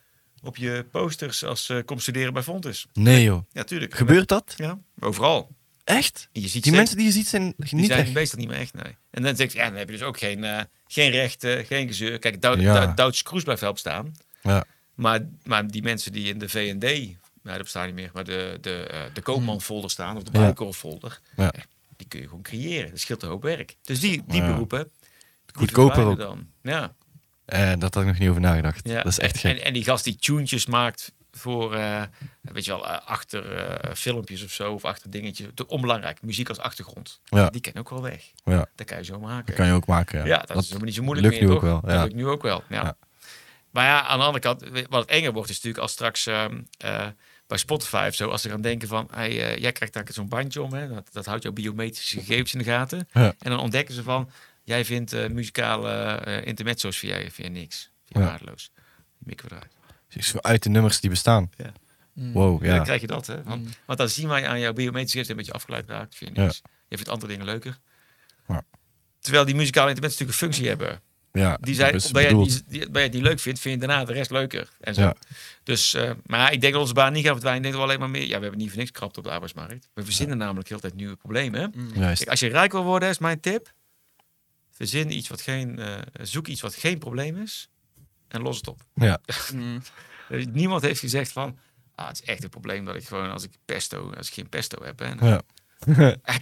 op je posters als eh, kom studeren bij Fontes.
Nee joh.
Ja, tuurlijk.
Gebeurt dat?
Ja, overal.
Echt?
En je ziet
Die
ze-
mensen die je ziet zijn
die
niet
zijn
echt.
meestal niet meer echt, nee. En dan denk ik, ja, dan heb je dus ook geen, eh, geen rechten, geen gezeur. Kijk, Doud,
Ja.
Doud, Doud's Kroes blijft wel bestaan.
Ja.
Maar, maar die mensen die in de VND, nou, dat bestaat niet meer, maar de, de, eh, de koopmanfolder staan of de
Hmm. Ja.
buikorffolder,
Ja.
die kun je gewoon creëren. Dat scheelt een hoop werk. Dus die, die
Ja.
beroepen. die
Goedkoper
verdwijnen
ook.
dan. Ja,
Eh, dat had ik nog niet over nagedacht.
ja.
Dat is echt
En,
gek.
en die gast die tunetjes maakt voor, eh, weet je wel, eh, achter eh, filmpjes of zo, of achter dingetjes. Te- Onbelangrijk, muziek als achtergrond.
Ja.
Die ken ik ook wel weg.
Ja.
Dat kan je zo
Dat
maken.
kan je ook maken.
ja.
Ja,
dat, is helemaal niet zo moeilijk
lukt
meer,
nu
toch?
ook wel, ja.
Dat lukt nu ook wel, ja.
Ja.
Maar ja, aan de andere kant, we- wat het enger wordt, is natuurlijk als straks ehm, eh, bij Spotify of zo, als ze gaan denken van, hey, eh, jij krijgt daar zo'n bandje om, hè? Dat, dat houdt jouw biometrische gegevens in de gaten.
Ja.
En dan ontdekken ze van, jij vindt eh, muzikale eh, intermezzo's via, via niks. Via
Ja.
waardeloos. Die mikken we eruit.
Dus zo uit de nummers die bestaan.
Ja.
Wow,
Ja. Dan
ja.
krijg je dat, hè? Want,
Mm.
want dan zien wij aan jouw biometrische gegevens een beetje afgeleid raakt. Vind je
Ja.
niks. Je vindt andere dingen leuker.
Ja.
Terwijl die muzikale intermezzo's natuurlijk een functie hebben.
ja.
Die zijn,
dat is
omdat jij,
bedoeld.
die, die, omdat jij het niet leuk vindt, vind je daarna de rest leuker. En zo.
Ja.
Dus, eh, maar ik denk dat onze baan niet gaat verdwijnen. Ik denk dat we alleen maar meer... Ja, we hebben niet voor niks krapt op de arbeidsmarkt. We verzinnen namelijk heel de tijd nieuwe problemen. hè?
Juist.
Kijk, als je rijk wil worden, is mijn tip. Verzin iets wat geen... eh, zoek iets wat geen probleem is. En los het op.
Ja.
Mm.
Eh, Niemand heeft gezegd van... Ah, het is echt een probleem dat ik gewoon als ik pesto, als ik geen pesto heb, hè, dan
Ja.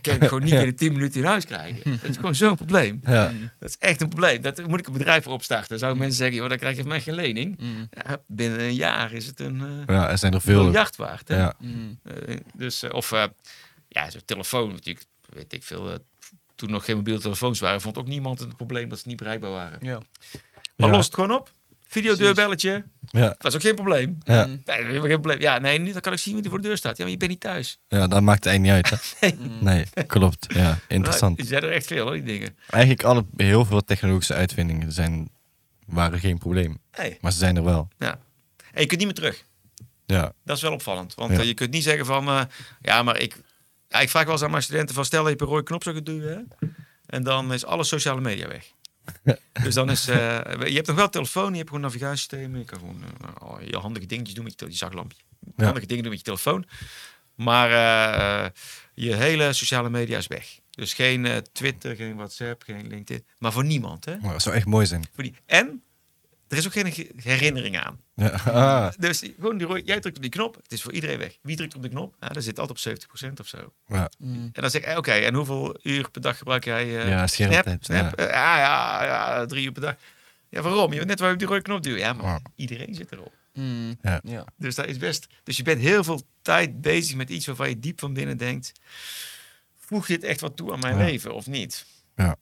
kan ik gewoon niet in de 10 minuten in huis krijgen. Dat is gewoon zo'n probleem.
Ja.
Dat is echt een probleem. Dat moet ik een bedrijf voor opstarten. Dan zouden mensen zeggen, joh, dan krijg je van mij geen lening.
Mm.
Ja, binnen een jaar is het een eh,
ja, er zijn er veel.
miljard waard. hè?
Ja.
Mm.
Eh, dus, eh, of eh, ja, zo'n telefoon natuurlijk, weet ik veel. eh, toen nog geen mobiele telefoons waren, vond ook niemand het probleem dat ze niet bereikbaar waren.
Ja.
Maar
Ja.
los het gewoon op. Videodeurbelletje,
Ja.
dat is ook geen probleem.
Ja.
Mm.
Nee, dat is helemaal geen probleem. Ja, nee, nu dan kan ik zien wie er voor de deur staat. Ja, maar je bent niet thuis.
ja, dat maakt het eind niet uit. Hè? Nee, klopt. Ja, interessant.
Nou, er zijn er echt veel, hoor, die dingen.
Eigenlijk alle, heel veel technologische uitvindingen zijn, waren geen probleem.
Hey.
Maar ze zijn er wel.
Ja. En je kunt niet meer terug.
Ja,
Dat is wel opvallend. Want
Ja.
eh, je kunt niet zeggen van... eh, ja, maar ik, ja, ik vraag wel eens aan mijn studenten van... Stel dat je op een rode knop zou gaan duwen... Hè? En dan is alle sociale media weg. dus dan is... eh, je hebt nog wel telefoon, je hebt gewoon navigatiesysteem. Je kan gewoon eh, nou, heel handige dingetjes doen met je, tele- je zaklampje.
Ja.
Handige dingen doen met je telefoon. Maar eh, eh, je hele sociale media is weg. Dus geen eh, Twitter, geen WhatsApp, geen LinkedIn. Maar voor niemand, hè?
maar dat zou echt mooi zijn.
Voor die, en er is ook geen ge- herinnering aan.
Ja, ah,
Dus die- gewoon die rode- jij drukt op die knop, het is voor iedereen weg. Wie drukt op de knop? Nou, dat zit altijd op 70% of zo.
ja,
Mm.
En dan zeg ik, eh, oké, en hoeveel uur per dag gebruik jij eh,
ja
Snap?
schermtijd. Ja.
Snap? Eh, Ja. ja, ja, drie uur per dag. Ja, waarom? Je bent net waar je op die rode knop duwt. Ja, maar
Ja.
iedereen zit erop.
Mm.
Ja.
Ja.
Dus dat is best. Dus je bent heel veel tijd bezig met iets waarvan je diep van binnen denkt, voegt dit echt wat toe aan mijn
Ja.
leven of niet?
Ja.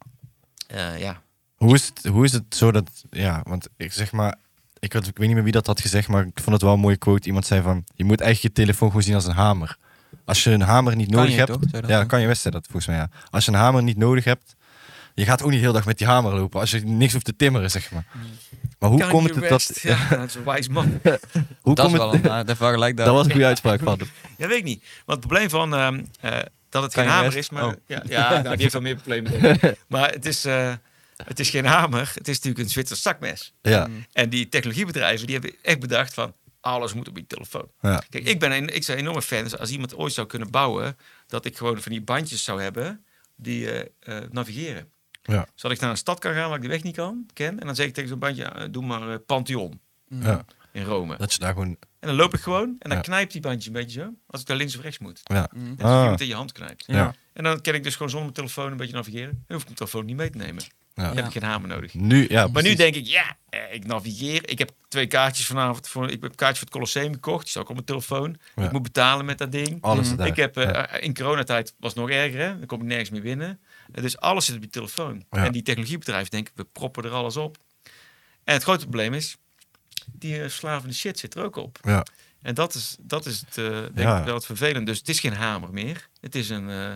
Eh, ja.
Hoe, is het, hoe is het zo dat, ja, want ik zeg maar, ik, had, ik weet niet meer wie dat had gezegd, maar ik vond het wel een mooie quote. Iemand zei van, je moet eigenlijk je telefoon gewoon zien als een hamer. Als je een hamer niet
Kan
nodig
je
hebt,
toch, zei dat
ja,
dan?
kan je best zeggen dat volgens mij. Ja. Als je een hamer niet nodig hebt, je gaat ook niet heel dag met die hamer lopen als je niks hoeft te timmeren, zeg maar. Maar hoe
Kan
komt
je
het
best-
dat,
Ja, dat is een wijs man.
hoe
Dat
komt
is wel
het,
een, ah, dat vergelijk daar.
dat was een goede uitspraak van hem.
Ja, weet ik niet. Want het probleem van ehm, eh, dat het
Kanye
geen hamer
West?
is, maar...
Oh.
Ja, ja nou, die heeft wel meer problemen. denk ik. maar het is, eh, het is geen hamer, het is natuurlijk een Zwitsers zakmes.
Ja,
En die technologiebedrijven, die hebben echt bedacht van... alles moet op je telefoon.
ja,
Kijk, ik ben een, ik zijn enorme fan. Dus als iemand ooit zou kunnen bouwen... dat ik gewoon van die bandjes zou hebben die eh, eh, navigeren.
ja,
Zodat ik naar een stad kan gaan waar ik de weg niet kan, ken. En dan zeg ik tegen zo'n bandje, eh, doe maar eh, Pantheon
ja.
in Rome.
Dat je daar gewoon,
En dan loop ik gewoon en dan
Ja.
knijpt die bandje een beetje zo... als ik naar links of rechts moet.
ja.
En dat je
Ah,
iemand in je hand knijpt.
ja.
En dan kan ik dus gewoon zonder mijn telefoon een beetje navigeren. En hoef ik mijn telefoon niet mee te nemen.
Ja.
Dan heb ik geen hamer nodig.
Nu, ja,
Maar nu
precies.
denk ik, ja, eh, ik navigeer. Ik heb twee kaartjes vanavond. Voor, ik heb een kaartje voor het Colosseum gekocht. Die staat ook op mijn telefoon.
Ja.
Ik moet betalen met dat ding.
alles is daar.
Ik heb, eh,
Ja.
eh, In coronatijd was het nog erger. Hè? Dan kom ik nergens meer binnen. Eh, Dus alles zit op je telefoon.
Ja.
En die technologiebedrijven denken, we proppen er alles op. En het grote probleem is, die eh, verslavende shit zit er ook op.
Ja.
En dat is, dat is het, eh, denk
Ja.
ik wel het vervelend. Dus het is geen hamer meer. Het is een, eh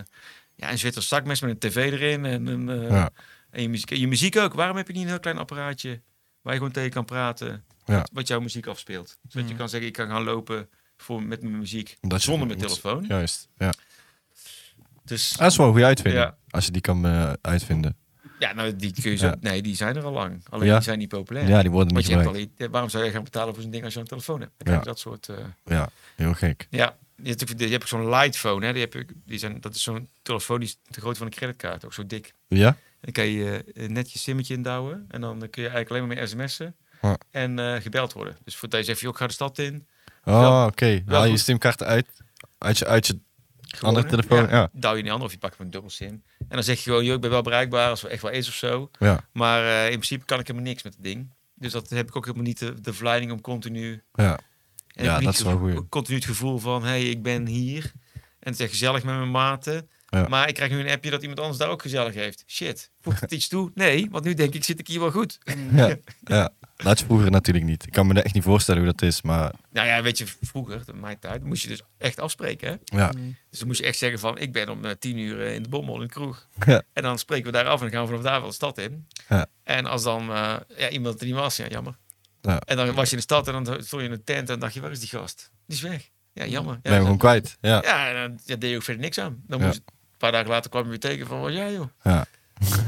ja, een Zwitsers zakmes met een tv erin. En, een, eh,
Ja.
en je, muziek, je muziek ook. Waarom heb je niet een heel klein apparaatje waar je gewoon tegen kan praten?
Ja.
Wat, wat jouw muziek afspeelt. Zodat je
Mm.
kan zeggen, ik kan gaan lopen voor, met mijn muziek
Omdat je
zonder
het
mijn
moet-
telefoon.
Juist, ja. Ah.
Dus
Dat is wel een goede uitvinding,
Ja.
als je die kan eh, uitvinden.
ja, nou, die kun je zo...
Ja.
Nee, die zijn er al lang. Alleen
Ja.
die zijn niet populair.
Ja, die worden niet
Want je hebt
gebruikt.
al, die- waarom zou jij gaan betalen voor zo'n ding als je een telefoon hebt? Dan
Ja.
krijg je dat soort... eh,
Ja, heel gek.
Ja, je hebt, ook- je hebt ook zo'n lightphone. Hè? Die heb ik, die zijn, dat is zo'n telefoon die is de grootte van een creditkaart. Ook zo dik.
Ja?
En dan kan je eh, net je simmetje indouwen. En dan eh, kun je eigenlijk alleen maar mee sms'en.
Ja.
En eh, gebeld worden. Dus voordat je zegt, joh, ik ga de stad in.
Oh, oké. Haal je
goed.
simkaart uit, uit je, uit je
Gewoon,
andere
hè?
telefoon. Ja.
Douw je in die andere of je pakt hem een dubbel sim. En dan zeg je gewoon, joh, ik ben wel bereikbaar als er echt wel is of zo.
Ja,
Maar eh, in principe kan ik helemaal niks met het ding. Dus dat heb ik ook helemaal niet de, de verleiding om continu
ja. Ja,
En heb je
dat
niet
is wel
het
goed.
continu het gevoel van, hé, hey, ik ben hier. En het is echt gezellig met mijn maten.
Ja.
Maar ik krijg nu een appje dat iemand anders daar ook gezellig heeft. Shit, voegt het iets toe? Nee, want nu denk ik, zit ik hier wel goed.
Ja, ja. Dat had je vroeger natuurlijk niet. Ik kan me dat echt niet voorstellen hoe dat is, maar
Nou ja, weet je, vroeger, in mijn tijd, moest je dus echt afspreken. Hè?
ja.
Dus dan moest je echt zeggen van, ik ben om eh, tien uur eh, in de bommel in de kroeg.
Ja.
En dan spreken we daar af en dan gaan we vanaf daar wel de stad in.
Ja.
En als dan eh, ja, iemand er niet was, ja, jammer.
Ja.
En dan was je in de stad en dan stond je in een tent en dacht je, waar is die gast? Die is weg. Ja, jammer.
ben je
Ja,
gewoon kwijt. Ja.
ja, en dan ja, deed je ook verder niks aan. Dan
Ja.
moest, een paar dagen later kwam je weer tegen van, ja joh.
Ja.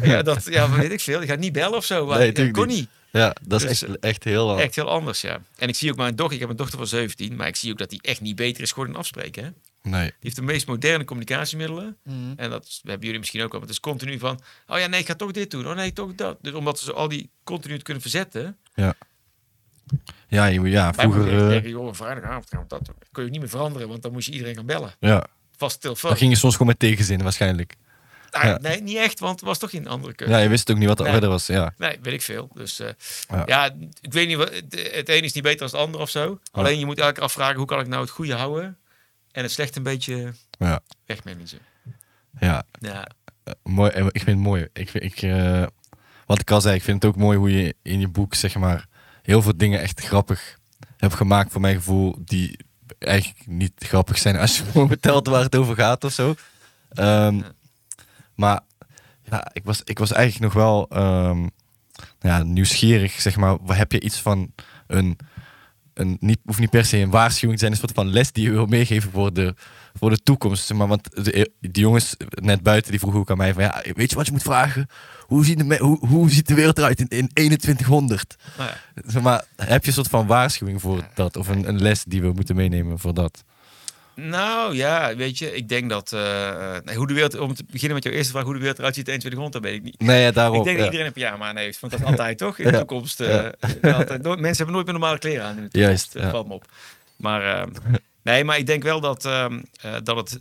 Ja, dat ja, weet ik veel. Je gaat niet bellen of zo. Maar
Nee,
dat
tuurlijk
kon
niet. Oh.
niet.
ja, dat is
Dus,
echt, echt heel lang.
Echt heel anders, ja. En ik zie ook mijn dochter, ik heb een dochter van 17, maar ik zie ook dat die echt niet beter is geworden in afspreken. Hè?
Nee.
Die heeft de meest moderne communicatiemiddelen. En dat is- hebben jullie misschien ook al. Maar het is continu van, oh ja, nee, ik ga toch dit doen. Oh nee, toch dat. Dus omdat ze al die continu het kunnen verzetten.
Ja, je- ja
Wij
vroeger.
moeten echt
eh,
zeggen, joh, vrijdagavond gaan we dat doen. Dat kun je niet meer veranderen, want dan moest je iedereen gaan bellen.
ja.
Vast
Dan
telefoon.
ging je soms gewoon met tegenzin waarschijnlijk.
Nou,
ja.
Nee, niet echt, want er was toch geen andere keuze.
Ja, je wist ook niet wat er
Nee.
verder was. Ja.
Nee, weet ik veel. Dus eh,
Ja.
ja. ik weet niet, wat, het, het een is niet beter dan het ander of zo. Alleen je moet elke keer afvragen, hoe kan ik nou het goede houden en het slechte een beetje
Ja.
wegmanagen.
ja.
Ja,
Mooi, eh, ik vind het mooi. Ik, vind- ik, eh, wat ik al zei, ik vind het ook mooi hoe je in je boek zeg maar, heel veel dingen echt grappig hebt gemaakt, voor mijn gevoel, die eigenlijk niet grappig zijn als je gewoon vertelt waar het over gaat of zo. Ehm,
Ja.
Maar ja, ik, was, ik was eigenlijk nog wel ehm, ja, nieuwsgierig, zeg maar. Wa- Heb je iets van een, een niet, hoeft niet per se een waarschuwing te zijn, een soort van les die je wil meegeven voor de, voor de toekomst. Zeg maar, want de, die jongens net buiten die vroegen ook aan mij van, ja, weet je wat je moet vragen? Hoe ziet de, me- hoe, hoe ziet de wereld eruit in, in 2100?
nou ja.
Zeg maar, heb je een soort van waarschuwing voor dat? Of een, een les die we moeten meenemen voor dat?
Nou ja, weet je, ik denk dat... eh, eh, nee, hoe de wereld, om te beginnen met jouw eerste vraag, hoe de wereld eruit ziet in 2100, dat weet ik niet.
Nee, ja, daarom.
ik denk
ja.
dat iedereen een pyjama aan heeft, want dat is altijd toch? In de
Ja.
toekomst. eh,
Ja.
altijd, nooit- mensen hebben nooit meer normale kleren aan in de toekomst.
Juist,
dat
ja.
valt me op. Maar eh, nee, maar ik denk wel dat, ehm, eh, dat het...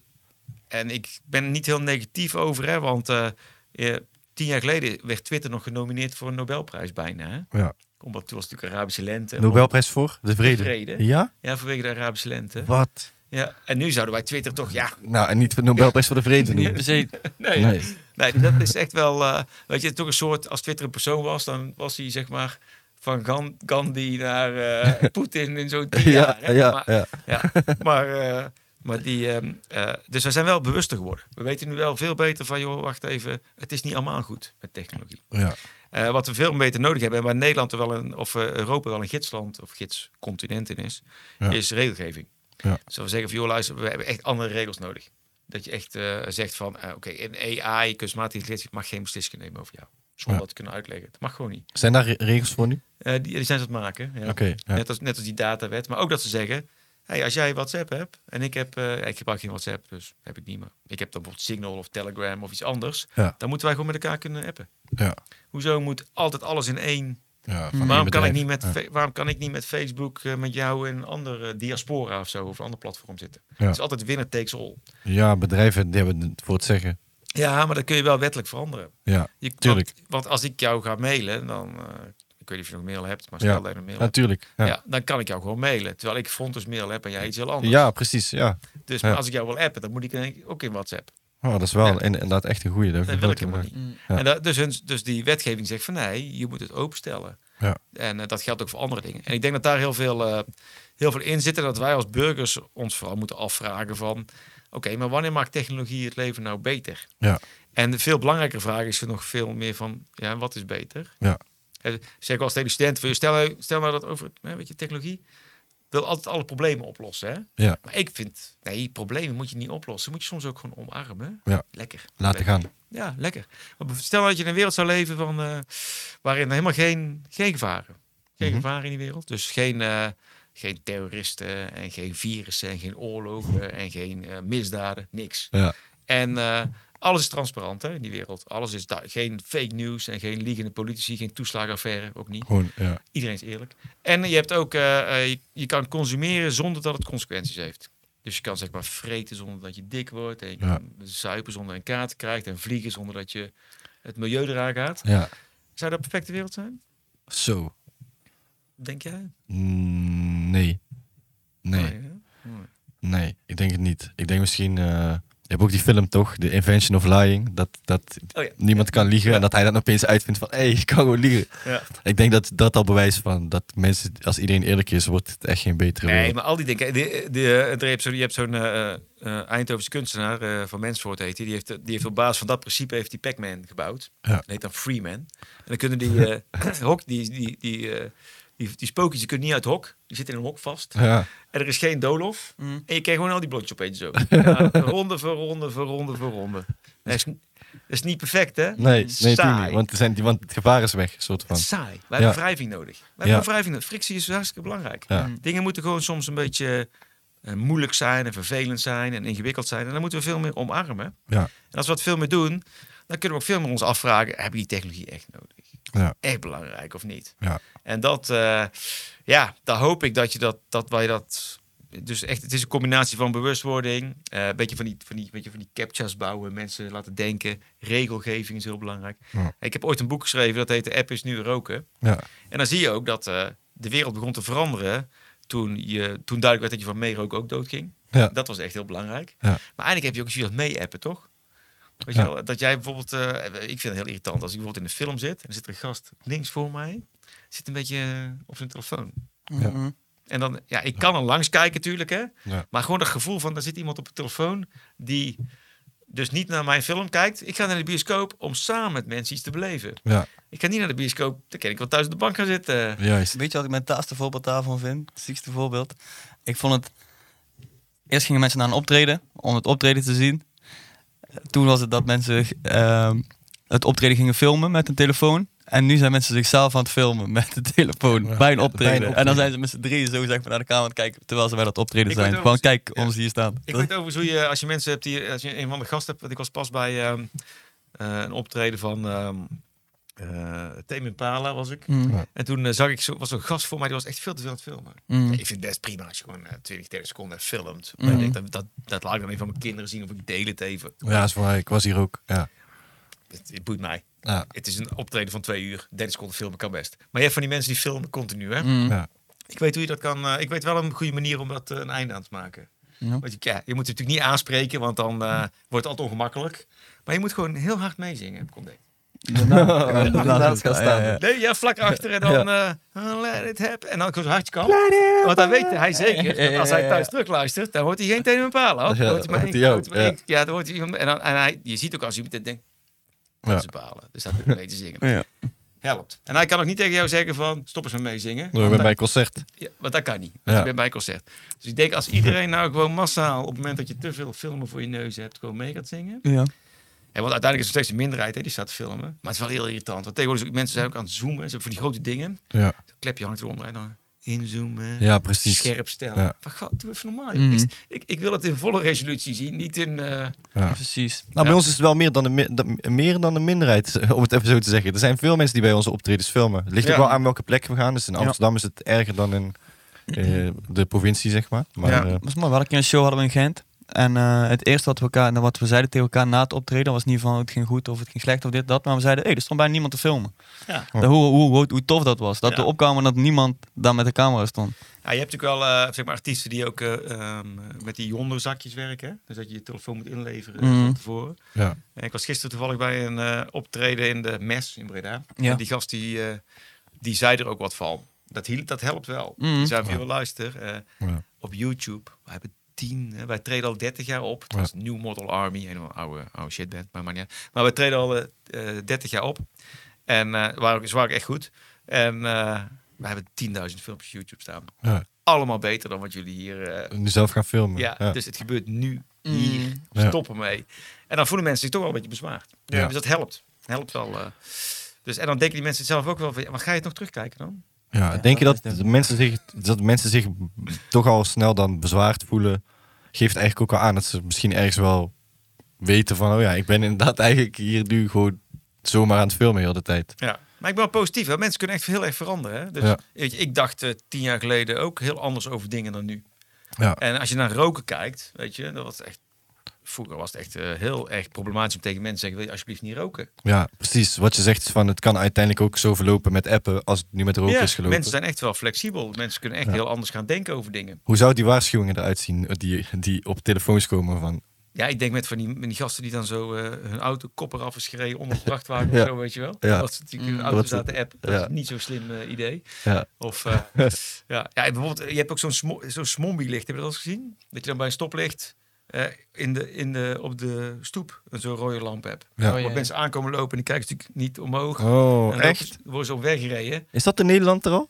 En ik ben er niet heel negatief over, hè, want eh, eh, tien jaar geleden werd Twitter nog genomineerd voor een Nobelprijs bijna. Hè?
Ja.
Omdat toen was natuurlijk Arabische lente.
Nobelprijs voor de vrede.
Vrede.
Ja?
Ja, vanwege de Arabische lente.
Wat?
Ja. En nu zouden wij Twitter toch, ja,
Nou, en niet de Nobelprijs voor de vrede
Niet
noemen.
per se.
nee,
Nee.
Nee, dat is echt wel. eh, weet je, toch een soort. Als Twitter een persoon was, dan was hij zeg maar. Van Gan- Gandhi naar eh, Poetin in zo'n tien
Ja,
jaar. hè.
ja,
Maar,
ja.
ja, maar, eh, maar die. ehm, eh, dus we zijn wel bewuster geworden. We weten nu wel veel beter van. joh, wacht even. Het is niet allemaal goed met technologie.
Ja,
Eh, wat we veel beter nodig hebben. en waar Nederland er wel een. of eh, Europa wel een gidsland. of gidscontinent in is.
Ja.
is regelgeving.
Ja.
Zo we zeggen van. joh, luister, we hebben echt andere regels nodig. Dat je echt eh, zegt van, eh, oké, een AI, kunstmatige intelligentie, mag geen beslissingen nemen over jou. Zonder
Ja.
dat te kunnen uitleggen. Het mag gewoon niet.
Zijn daar re- regels voor nu?
Eh, die, die zijn ze aan het maken. Ja.
Oké. ja.
Net, als, net als die datawet. Maar ook dat ze zeggen, hey, als jij WhatsApp hebt, en ik heb, eh, ik gebruik geen WhatsApp, dus heb ik niet meer. Ik heb dan bijvoorbeeld Signal of Telegram of iets anders.
Ja.
Dan moeten wij gewoon met elkaar kunnen appen.
Ja.
Hoezo moet altijd alles in één?
Ja, van
Waarom
je
kan, ik
bedrijf.
niet met,
Ja.
fe- waarom kan ik niet met Facebook, eh, met jou en een andere diaspora of zo, of een ander platform zitten?
Ja.
Het is altijd winner takes all.
Ja, bedrijven die hebben het voor het zeggen.
Ja, maar dat kun je wel wettelijk veranderen.
Ja,
Je, want-
Tuurlijk.
Want, als ik jou ga mailen, dan... eh, ik weet niet of je nog mail hebt, maar
Ja.
stel dat je nog mail hebt.
natuurlijk.
Ja.
Ja. Ja.
dan kan ik jou gewoon mailen. Terwijl ik Fontes mail heb en jij iets heel anders.
precies. Ja.
dus maar
ja.
als ik jou wil appen, dan moet ik denk ik ook in WhatsApp.
Oh, dat is wel
Ja.
in- inderdaad echt een goede.
Dat wil ik helemaal niet.
Ja.
En dat, dus, hun, dus die wetgeving zegt van nee, je moet het openstellen.
Ja.
En eh, dat geldt ook voor andere dingen. En ik denk dat daar heel veel, eh, heel veel in zit. En dat wij als burgers ons vooral moeten afvragen van... Oké, maar wanneer maakt technologie het leven nou beter?
Ja.
En de veel belangrijker vraag is nog veel meer van... Ja, wat is beter?
Ja.
Eh, Zeg ik wel eens tegen de studenten... van, Stel, nou- stel nou dat over hè, weet je, technologie... wil altijd alle problemen oplossen. Hè?
Ja.
Maar ik vind... Nee, problemen moet je niet oplossen. Moet je soms ook gewoon omarmen.
Ja.
Lekker.
Laten gaan.
Ja, lekker. Maar stel dat je in een wereld zou leven van, eh, waarin helemaal geen, geen gevaren. Geen
Mhm.
gevaren in die wereld. Dus geen, eh, geen terroristen en geen virussen en geen oorlogen en geen eh, misdaden. Niks.
Ja.
En eh, alles is transparant hè, in die wereld. Alles is du- geen fake news en geen liegende politici, geen toeslagenaffaire, ook niet.
Gewoon, ja.
Iedereen is eerlijk. En je hebt ook, eh, eh, je, je kan consumeren zonder dat het consequenties heeft. Dus je kan zeg maar vreten zonder dat je dik wordt. En je
Ja.
kan zuipen zonder een kaart krijgt. En vliegen zonder dat je het milieu eraan gaat.
ja.
Zou dat een perfecte wereld zijn?
Zo.
Denk jij? Nou,
Mm, Nee. Nee,
hè? Mooi.
nee, ik denk het niet. Ik denk misschien... eh je hebt ook die film toch, The Invention of Lying, dat, dat
Oh ja.
niemand kan liegen en dat hij dan opeens uitvindt van, hé, hey, ik kan gewoon liegen.
Ja.
Ik denk dat dat al bewijst van dat mensen, als iedereen eerlijk is, wordt het echt geen betere
Nee,
wereld.
maar al die dingen. De, de, eh, er heb zo- je hebt zo'n eh eh, Eindhovense kunstenaar eh, van Mensvoort heet hij. Die heeft, die heeft op basis van dat principe heeft die Pac-Man gebouwd.
Ja.
Dat heet dan Freeman. En dan kunnen die eh, hok, die, die, die, eh, die, die spookjes, die kunnen niet uit het hok. Die zitten in een hok vast.
Ja.
En er is geen doolhof.
Mm.
En je krijgt gewoon al die blotjes opeens zo. Ja, ronde voor ronde voor ronde voor ronde. Dat is, dat is niet perfect, hè?
Nee, nee,
Saai.
tuurlijk niet, want, er zijn, die- want het gevaar is weg, soort van.
Het is saai. We hebben
Ja.
wrijving nodig. We hebben
Ja.
wrijving nodig. Frictie is hartstikke belangrijk.
Ja.
Hm. Dingen moeten gewoon soms een beetje eh, moeilijk zijn en vervelend zijn en ingewikkeld zijn. En daar moeten we veel meer omarmen.
Ja.
En als we dat veel meer doen, dan kunnen we ook veel meer ons afvragen: hebben we die technologie echt nodig?
Ja.
Echt belangrijk of niet?
Ja.
En dat, eh, ja, daar hoop ik dat je dat, dat wij dat. Dus echt, het is een combinatie van bewustwording, eh, een beetje van die, van, die, beetje van die captchas bouwen, mensen laten denken. Regelgeving is heel belangrijk.
Ja.
Ik heb ooit een boek geschreven, dat heet De App is nu roken.
Ja.
En dan zie je ook dat eh, de wereld begon te veranderen toen, je, toen duidelijk werd dat je van meeroken ook doodging.
Ja.
Dat was echt heel belangrijk.
Ja.
Maar eigenlijk heb je ook zoiets dat mee-appen, toch? Weet
Ja.
je wel, dat jij bijvoorbeeld, eh, ik vind het heel irritant als ik bijvoorbeeld in een film zit en er zit er een gast links voor mij, zit een beetje eh, op zijn telefoon.
Ja.
Mhm.
En dan, ja, ik kan er langs kijken natuurlijk, hè.
Ja.
Maar gewoon dat gevoel van, er zit iemand op de telefoon die dus niet naar mijn film kijkt. Ik ga naar de bioscoop om samen met mensen iets te beleven.
Ja,
Ik ga niet naar de bioscoop, dan kan ik wel thuis op de bank gaan zitten.
juist.
Weet je wat ik mijn taaste voorbeeld daarvan vind? Het ziekste voorbeeld. Ik vond het... Eerst gingen mensen naar een optreden, om het optreden te zien. Toen was het dat mensen ehm, het optreden gingen filmen met een telefoon. En nu zijn mensen zichzelf aan het filmen met de telefoon
Ja,
bij, een
bij een
optreden. En
optreden.
dan zijn ze met z'n drieën zo zeg maar, naar de camera aan het kijken terwijl ze bij dat optreden
Ik
zijn.
weet ook-
Gewoon kijk,
ja.
ons hier staan.
Ik
Dat-
weet overigens hoe je, als je mensen hebt die, als je een van de gasten hebt, want ik was pas bij ehm, eh, een optreden van ehm eh Tame Impala was ik.
Mm,
Ja.
En toen eh, zag ik, zo, was zo'n gast voor mij, die was echt veel te veel aan het filmen.
mm.
Ik vind het best prima als je gewoon eh, 20, 30 seconden filmt.
Mhm.
Ik denk, dat, dat, dat laat ik dan even aan mijn kinderen zien of ik deel het even.
Ja, is waar. Ik was hier ook. Ja.
Het, het boeit mij.
Ja.
Het is een optreden van twee uur, 30 seconden filmen kan best. Maar je hebt van die mensen die filmen continu, hè?
Mm.
Ja.
Ik weet hoe je dat kan. eh, ik weet wel een goede manier om dat eh, een einde aan te maken.
Ja.
Want je, ja, je moet het natuurlijk niet aanspreken, want dan eh, wordt het altijd ongemakkelijk. Maar je moet gewoon heel hard meezingen, heb ik ontdekt.
Daarnaast gaan staan.
Ja, ja, ja.
Nee, ja, vlak achter en dan eh, let it happen. En dan zo hard je kan. Want dan weet hij zeker, dat als hij thuis terugluistert, dan wordt hij geen tegen bepalen. hoor.
Ja,
Dan wordt hij maar
wordt
één-
hij ook,
wordt hij maar één- Ja, dan wordt hij iemand- en, dan, en hij, je ziet ook als iemand dit denkt,
Ja.
dat is bepalen. Dus dat moet je mee te zingen.
Ja.
Helpt. En hij kan ook niet tegen jou zeggen van, stop eens met meezingen.
Doen we bij mijn concert.
Ja, want dat kan niet.
Ja.
Ik ben bij een concert. Dus ik denk, als iedereen nou gewoon massaal, op het moment dat je te veel filmen voor je neus hebt, gewoon mee gaat zingen.
Ja.
En want uiteindelijk is het nog steeds een minderheid hè, die staat te filmen. Maar het is wel heel irritant. Want tegenwoordig zijn ook- mensen zijn ook aan het zoomen. Ze hebben van die grote dingen.
Ja,
Klepje hangt eronder en dan inzoomen.
ja precies.
Scherp stellen.
Ja.
Maar ga, doe even normaal. joh.
Mhm.
Ik, ik, ik wil het in volle resolutie zien. Niet in... eh,
Ja.
Precies.
Nou, bij
Ja.
ons is het wel meer dan, een, mi- dat- meer dan een minderheid, om het even zo te zeggen. Er zijn veel mensen die bij onze optredens filmen. Het ligt
Ja.
ook wel aan welke plek we gaan. Dus in
Ja.
Amsterdam is het erger dan in eh, de provincie, zeg maar. Maar
Ja.
eh,
Dat was mooi. We hadden een keer een show hadden we in Gent. En eh, het eerste wat we, elkaar, nou, wat we zeiden tegen elkaar na het optreden was niet van het ging goed of het ging slecht of dit, dat. Maar we zeiden, hé, er stond bijna niemand te filmen.
Ja.
Dat- hoe, hoe, hoe, hoe tof dat was. Dat
Ja.
we opkwamen dat niemand daar met de camera stond.
ja, je hebt natuurlijk wel eh, zeg maar artiesten die ook eh, ehm, met die Yonder-zakjes werken. hè. Dus dat je je telefoon moet inleveren eh,
Mhm.
van tevoren.
ja.
En Eh, ik was gisteren toevallig bij een eh, optreden in de MES in Breda.
Ja.
En die gast die, eh, die zei er ook wat van. Dat, hiel- dat helpt wel.
Mhm.
Die zei van, joh, luister, eh,
Ja.
op YouTube, we hebben tien, hè, wij treden al 30 jaar op. Het
Ja.
was New Model Army, helemaal oude, oude shitband, maar maar niet uit. Maar we treden al eh, eh, 30 jaar op. En eh waren, ook- ze waren ook echt goed. En eh, we hebben 10.000 filmpjes op YouTube staan.
Ja.
Allemaal beter dan wat jullie hier... eh,
Nu zelf gaan filmen.
ja, dus het gebeurt nu, hier,
Ja.
stoppen mee. En dan voelen mensen zich toch wel een beetje bezwaard.
Ja.
Dus dat helpt. Helpt wel. eh. Dus, en dan denken die mensen zelf ook wel van, ja, maar ga je het nog terugkijken dan?
Ja,
Ja,
denk je
dat
dat,
is
de mensen zich, dat mensen zich toch al snel dan bezwaard voelen? Geeft eigenlijk ook al aan dat ze misschien ergens wel weten van... oh ja, ik ben inderdaad eigenlijk hier nu gewoon zomaar aan het filmen heel de tijd.
Ja. Maar ik ben wel positief. Hè? Mensen kunnen echt heel erg veranderen. Hè? Dus
Ja.
weet je, ik dacht eh, tien jaar geleden ook heel anders over dingen dan nu.
Ja.
En als je naar roken kijkt, weet je, dat was echt vroeger was het echt eh, heel erg problematisch om tegen mensen te zeggen, wil je alsjeblieft niet roken?
Ja, precies. Wat je zegt is van het kan uiteindelijk ook zo verlopen met appen als het nu met roken is gelopen.
mensen zijn echt wel flexibel. Mensen kunnen echt heel anders gaan denken over dingen.
Hoe zou die waarschuwingen eruit zien eh, die, die op telefoons komen van...
Ja, ik denk met van die, met die gasten die dan zo eh, hun auto kopper af is gereden onder een vrachtwagen
Ja.
of zo, weet je wel.
Ja.
Dat ze natuurlijk in
Mm.
hun auto
Dat ze-
zaten app. Dat
ja.
is niet zo'n slim eh, idee.
Ja,
Of eh, ja. ja, en bijvoorbeeld, eh, je hebt ook zo'n smo- zo'n smombie licht, heb je dat al eens gezien? Dat je dan bij een stoplicht eh, in de, in de, op de stoep een zo'n rode lamp hebt.
Ja.
Oh,
Want mensen aankomen lopen en die kijken natuurlijk niet omhoog. En
Oh,
dan
echt?
lopen- Worden ze op weggereden.
Is dat in Nederland er al?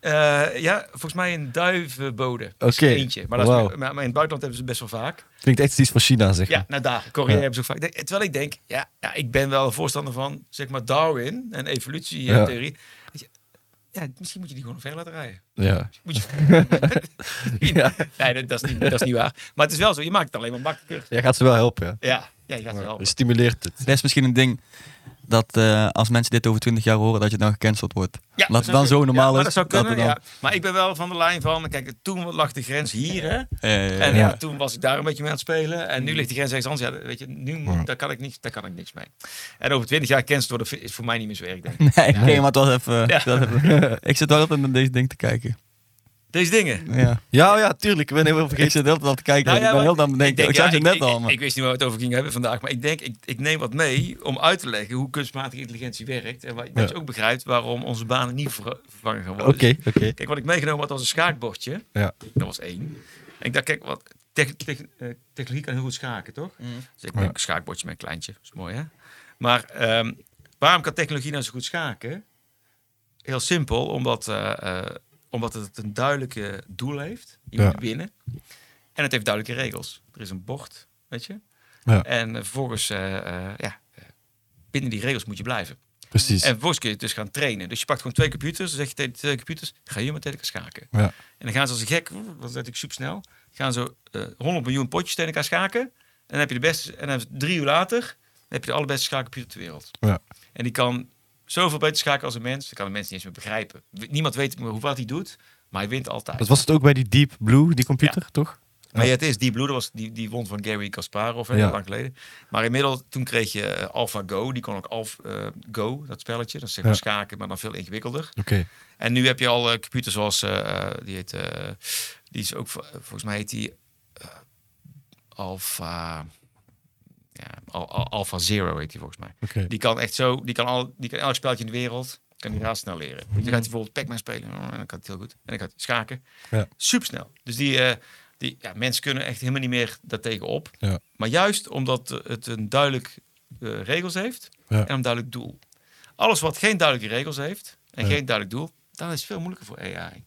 Eh, ja, volgens mij een duivenbode. Oké.
Oké.
Eentje. Maar, dat is-
Wauw.
maar, maar in het buitenland hebben ze het best wel vaak.
Klinkt echt iets van China, zeg
Ja,
maar.
nou daar. Korea
Ja.
hebben ze ook vaak. De- Terwijl ik denk, ja, ja, ik ben wel een voorstander van, zeg maar, Darwin en eh,
Ja.
evolutietheorie. Ja. Ja, misschien moet je die gewoon ver laten rijden.
Ja.
Moet je... Nee, dat, dat is niet, dat is niet waar. Maar het is wel zo, je maakt het alleen maar makkelijker.
Jij gaat ze wel helpen, ja.
Ja, ja je gaat het wel.
Je stimuleert het.
Dat is misschien een ding dat eh, als mensen dit over 20 jaar horen, dat je dan gecanceld wordt.
Ja,
Laat het
zou
dan zo
kunnen.
normaal
Ja, maar
is,
dat zou
dat
kunnen,
we
ja. Maar ik ben wel van de lijn van, kijk, toen lag de grens hier, hè.
Eh,
En
Ja.
ja, toen was ik daar een beetje mee aan het spelen. En nu ligt die grens ergens anders. Ja, weet je, nu, moet- daar, kan ik niks, daar kan ik niks mee. En over 20 jaar cancel worden vi- is voor mij niet meer zo erg, denk ik.
nee, oké, maar het was even.
Ja.
dat even- ik zit wel altijd naar deze ding te kijken.
Deze dingen.
Ja.
Ja, oh ja, tuurlijk. Ik ben heel
Ik
vergeten.
zit heel veel te kijken.
Nou
ik
ja,
ben
maar
heel dan
ik
denken. Ik,
denk, ja,
zag je net
ik-
al.
ik-
maar-
Ik wist niet waar we het over gingen hebben vandaag, maar ik denk, ik, ik neem wat mee om uit te leggen hoe kunstmatige intelligentie werkt. En wat,
Ja.
dat je ook begrijpt waarom onze banen niet ver- vervangen gaan
Oké,
worden.
oké.
Kijk, wat ik meegenomen had was een schaakbordje.
Ja.
Dat was één. En ik dacht, kijk, wat, tech- tech- eh, technologie kan heel goed schaken, toch? Dus ik
Ja.
heb een schaakbordje met een kleintje. Dat is mooi, hè? Maar ehm, waarom kan technologie nou zo goed schaken? Heel simpel, omdat, eh, eh, omdat het een duidelijke doel heeft. Je
Ja.
moet winnen. En het heeft duidelijke regels. Er is een bord, weet je?
Ja.
En eh, vervolgens, eh, eh, ja, eh, binnen die regels moet je blijven.
Precies.
En vervolgens kun je het dus gaan trainen. Dus je pakt gewoon twee computers, dan zeg je tegen die twee computers, ga hier maar tegen elkaar schaken.
Ja.
En dan gaan ze als een gek, oeh, dat is natuurlijk supersnel, gaan zo eh 100 miljoen potjes tegen elkaar schaken. En dan heb je de beste, en dan drie uur later, dan heb je de allerbeste schaakcomputer ter wereld.
Ja.
En die kan zoveel beter schaken als een mens, dat kan een mens niet eens meer begrijpen. W- Niemand weet meer hoe wat hij doet, maar hij wint altijd.
Dat was het ook bij die Deep Blue, die computer, toch?
Maar ja, het is Deep Blue, dat was die, die won van Gary Kasparov, hè,
Ja.
lang geleden. Maar inmiddels, toen kreeg je eh, AlphaGo, die kon ook AlphaGo, dat spelletje. Dat is zeg maar
Ja.
schaken, maar dan veel ingewikkelder.
Oké.
En nu heb je al eh, computers zoals, eh, die heet, eh, die is ook, vo- volgens mij heet die eh, Alpha, ja, Al- Al- Alpha Zero heet die volgens mij.
oké.
Die kan echt zo, die kan, al, die kan elk spelletje in de wereld, kan die razendsnel leren. Je gaat bijvoorbeeld Pac-Man spelen, en dan kan het heel goed. En dan gaat hij schaken,
Ja.
supersnel. Dus die, eh, die ja, mensen kunnen echt helemaal niet meer daartegen op.
Ja.
Maar juist omdat eh, het een duidelijk eh, regels heeft
Ja.
en een duidelijk doel. Alles wat geen duidelijke regels heeft en
Ja.
geen duidelijk doel, dan is het veel moeilijker voor AI.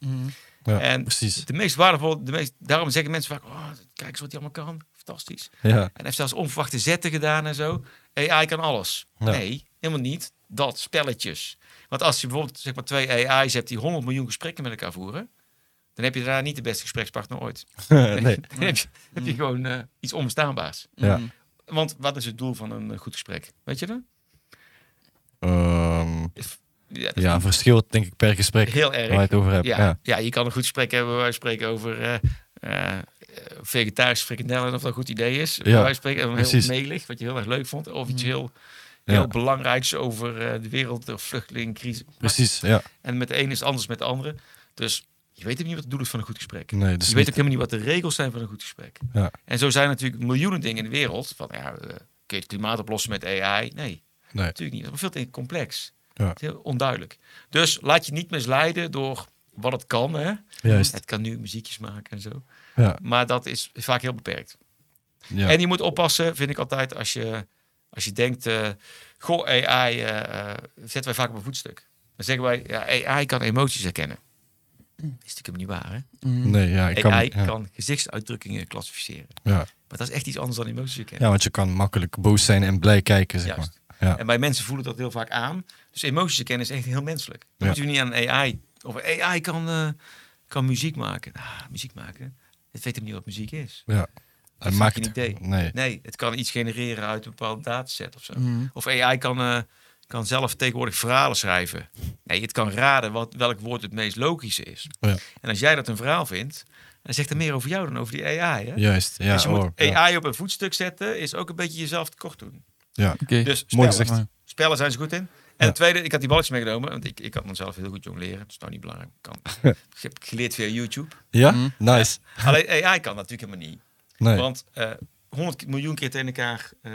Ja,
en-
precies.
De meest waardevolle, de meest, daarom zeggen mensen vaak, oh, kijk eens wat hij allemaal kan, fantastisch.
Ja.
En heeft zelfs onverwachte zetten gedaan en zo. AI kan alles.
Ja.
Nee, helemaal niet. Dat, spelletjes. Want als je bijvoorbeeld zeg maar, twee AI's hebt die 100 miljoen gesprekken met elkaar voeren, dan heb je daarna niet de beste gesprekspartner ooit.
nee.
dan heb je, heb je gewoon eh, iets onbestaanbaars.
Ja.
Mm.
Want wat is het doel van een eh, goed gesprek? Weet je dat?
Ehm,
Ja, dat is
ja, verschilt denk ik per gesprek
heel
waar je
erg.
het over hebt.
Ja,
Ja.
ja. je kan een goed gesprek hebben waar we spreken over eh eh, vegetarische frikandellen en of dat een goed idee is.
Ja,
Ja, wij spreken over heel
precies. Mm.
melig, wat je heel erg leuk vond, of iets heel,
Ja.
heel belangrijks over eh, de wereld, de vluchtelingcrisis.
Precies, ja.
En met de ene is het anders met de andere. Dus je weet ook niet wat het doel is van een goed gesprek.
Nee, dus
je weet ook helemaal niet wat de regels zijn van een goed gesprek.
Ja.
En zo zijn er natuurlijk miljoenen dingen in de wereld. Van, ja, eh, kun je het klimaat oplossen met AI? Nee.
nee.
Natuurlijk niet. Dat is veel te complex.
Ja.
Het is heel onduidelijk. Dus laat je niet misleiden door wat het kan. Hè?
Juist.
Het kan nu muziekjes maken en zo.
Ja,
Maar dat is vaak heel beperkt.
ja.
En je moet oppassen, vind ik altijd, als je, als je denkt... eh goh, AI eh, eh, zetten wij vaak op een voetstuk. Dan zeggen wij, ja, AI kan emoties herkennen. Dat is natuurlijk helemaal niet waar, hè?
nee, ja, ik kan,
AI
ja.
kan gezichtsuitdrukkingen klassificeren.
Ja.
Maar dat is echt iets anders dan emoties herkennen.
ja, want je kan makkelijk boos zijn en blij kijken, zeg
Juist.
maar. Ja.
En bij mensen voelen dat heel vaak aan. Dus emoties herkennen is echt heel menselijk.
Ja.
Dan moet je niet aan een AI. Of een AI kan, eh, kan muziek maken. Ah, muziek maken. Het weet hem niet wat muziek is.
Ja.
Dat
En
is
maakt
geen
het...
idee.
Nee. Mhm.
Nee, het kan iets genereren uit een bepaalde dataset of zo.
Mm.
Of AI kan eh, kan zelf tegenwoordig verhalen schrijven. Nee, het kan raden wat, welk woord het meest logische is.
Ja.
En als jij dat een verhaal vindt, dan zegt er meer over jou dan over die AI. Hè?
Juist, ja.
dus je
hoor,
moet
ja.
AI op een voetstuk zetten, is ook een beetje jezelf tekort doen.
Ja.
Oké.
Dus
Mooi
spellen,
gezegd.
spellen zijn ze goed in. En
Ja.
het tweede, ik had die balletjes meegenomen, want ik, ik kan mezelf heel goed jongleren. Dat is nou niet belangrijk. Ik Kan. ik heb geleerd via YouTube.
Ja?
Mhm.
Nice.
Alleen AI kan dat natuurlijk helemaal niet.
Nee.
Mm. Want eh 100 miljoen keer tegen elkaar eh,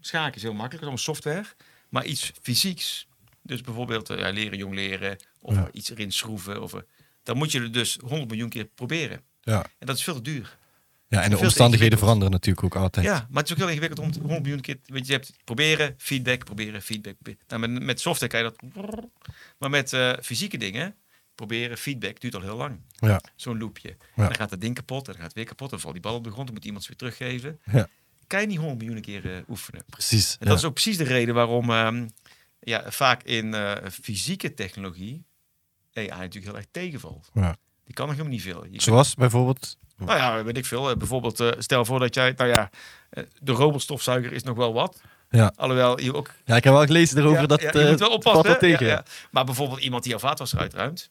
schaken is heel makkelijk, dat is allemaal software. Maar iets fysieks, dus bijvoorbeeld eh, ja, leren jong leren of
Ja.
iets erin schroeven, of, eh, dan moet je het dus 100 miljoen keer proberen.
Ja.
En dat is veel te duur.
ja, en
veel
de
te
omstandigheden
ingewikkeld.
veranderen natuurlijk ook altijd.
Ja, maar het is ook heel ingewikkeld om het 100 miljoen keer, want je hebt proberen, feedback, proberen, feedback. probe- Nou, met, met software kan je dat. Maar met eh, fysieke dingen, proberen, feedback duurt al heel lang.
Ja.
Zo'n loopje.
Ja.
Dan gaat dat ding kapot, en dan gaat het weer kapot, dan valt die bal op de grond, dan moet iemand ze weer teruggeven.
Ja.
Kan je niet 100 miljoen keer eh, oefenen.
Precies.
En dat is ook precies de reden waarom ehm, ja, vaak in eh, fysieke technologie AI natuurlijk heel erg tegenvalt.
Ja.
Die kan nog helemaal niet veel. Je
Zoals bijvoorbeeld...
kunt- nou ja, weet ik veel. Eh, bijvoorbeeld, eh, stel voor dat jij, nou ja, eh, de robotstofzuiger is nog wel wat.
Ja.
Alhoewel je ook...
Ja, ik heb wel gelezen erover
Ja,
dat...
ja,
Ja,
je moet wel oppassen.
valt wel
hè?
tegen.
Ja, ja. Maar bijvoorbeeld iemand die jouw vaatwasser uitruimt.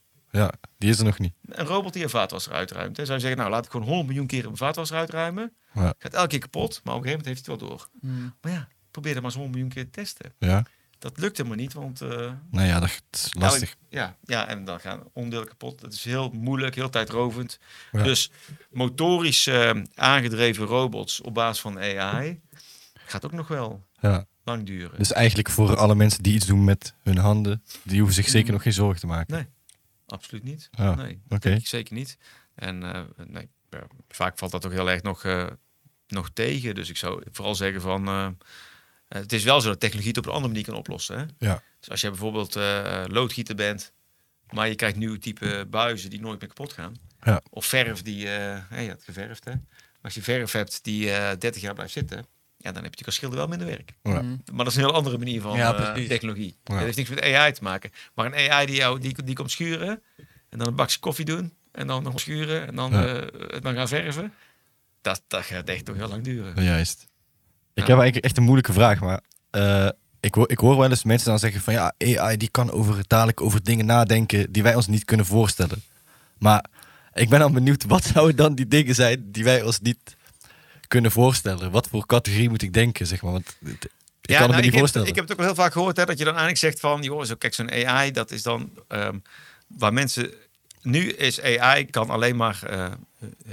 die is er nog niet.
Een robot die jouw vaatwasser uitruimt. Hè. Zou je zeggen, nou laat ik gewoon 100 miljoen keer een vaatwasser uitruimen.
Ja.
Gaat elke keer kapot, maar op een gegeven moment heeft hij het wel door.
Mhm.
Maar ja, probeer dat maar eens 100 miljoen keer te testen.
Ja.
Dat lukt helemaal niet, want eh,
Nou ja, dat is lastig.
Elk- ja, ja, en dan gaan onderdelen kapot. Dat is heel moeilijk, heel tijdrovend.
Ja.
Dus motorisch eh, aangedreven robots op basis van AI gaat ook nog wel
Ja.
lang duren.
Dus eigenlijk voor alle mensen die iets doen met hun handen, die hoeven zich zeker nog geen zorgen te maken.
Mhm. Nee. Absoluut niet.
Ja,
nee, dat
Oh, oké.
denk ik zeker niet. En eh, nee, ja, vaak valt dat ook heel erg nog, eh, nog tegen. Dus ik zou vooral zeggen van... eh, eh, het is wel zo dat technologie het op een andere manier kan oplossen. Hè?
Ja.
Dus als jij bijvoorbeeld eh, loodgieter bent... maar je krijgt nieuwe type buizen die nooit meer kapot gaan.
Ja.
Of verf die... eh hey, je had geverfd, hè? Maar als je verf hebt die eh 30 jaar blijft zitten... Ja, dan heb je natuurlijk als schilder wel minder werk.
Ja.
Mhm.
Maar dat is een heel andere manier van
Ja,
eh,
precies.
technologie.
Ja.
Dat heeft niks met AI te maken. Maar een AI die, jou, die, die komt schuren en dan een bakje koffie doen en dan nog schuren en dan,
Ja.
eh, het dan gaan verven. Dat, dat gaat echt nog heel lang duren.
Ja, Juist. Ik
Ja.
heb eigenlijk echt een moeilijke vraag, maar eh, ik, hoor, ik hoor wel eens mensen dan zeggen van ja, AI die kan over, dadelijk over dingen nadenken die wij ons niet kunnen voorstellen. Maar ik ben dan benieuwd, wat zouden dan die dingen zijn die wij ons niet kunnen voorstellen? Wat voor categorie moet ik denken, zeg maar? Want het- ik kan het
nou,
me niet
ik heb,
voorstellen.
ik heb het ook wel heel vaak gehoord hè, dat je dan eigenlijk zegt van, joh, zo, kijk, zo'n AI, dat is dan ehm, waar mensen. Nu is AI kan alleen maar, eh,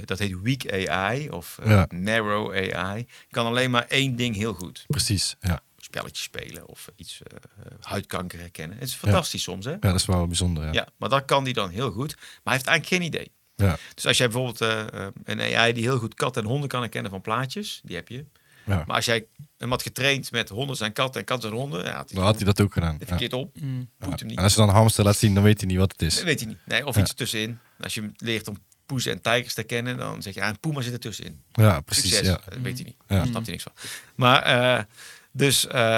dat heet weak AI of eh,
Ja.
narrow AI, kan alleen maar één ding heel goed.
Precies, ja.
spelletjes spelen of iets eh, eh, huidkanker herkennen. Het is fantastisch soms, hè? Ja.
ja, dat is wel bijzonder. Ja.
maar dat kan die dan heel goed. Maar hij heeft eigenlijk geen idee.
Ja.
Dus als jij bijvoorbeeld eh, eh, een AI die heel goed katten en honden kan herkennen van plaatjes, die heb je.
Ja.
Maar als jij hem had getraind met honden zijn katten en katten zijn honden, ja, had hij
Dan had hij dat ook gedaan.
het
Ja.
verkeerd op.
Mhm.
Voelt hem
En
niet.
als je dan een hamster laat zien, dan weet hij niet wat het is.
Dat weet hij niet. Nee, of
Ja.
iets tussenin. Als je hem leert om poezen en tijgers te kennen, dan zeg je, ah, een puma zit er tussenin.
Ja, precies.
Succes.
Ja.
Dat weet hij niet.
Ja.
Daar snapt hij niks van. Maar, eh, dus, eh,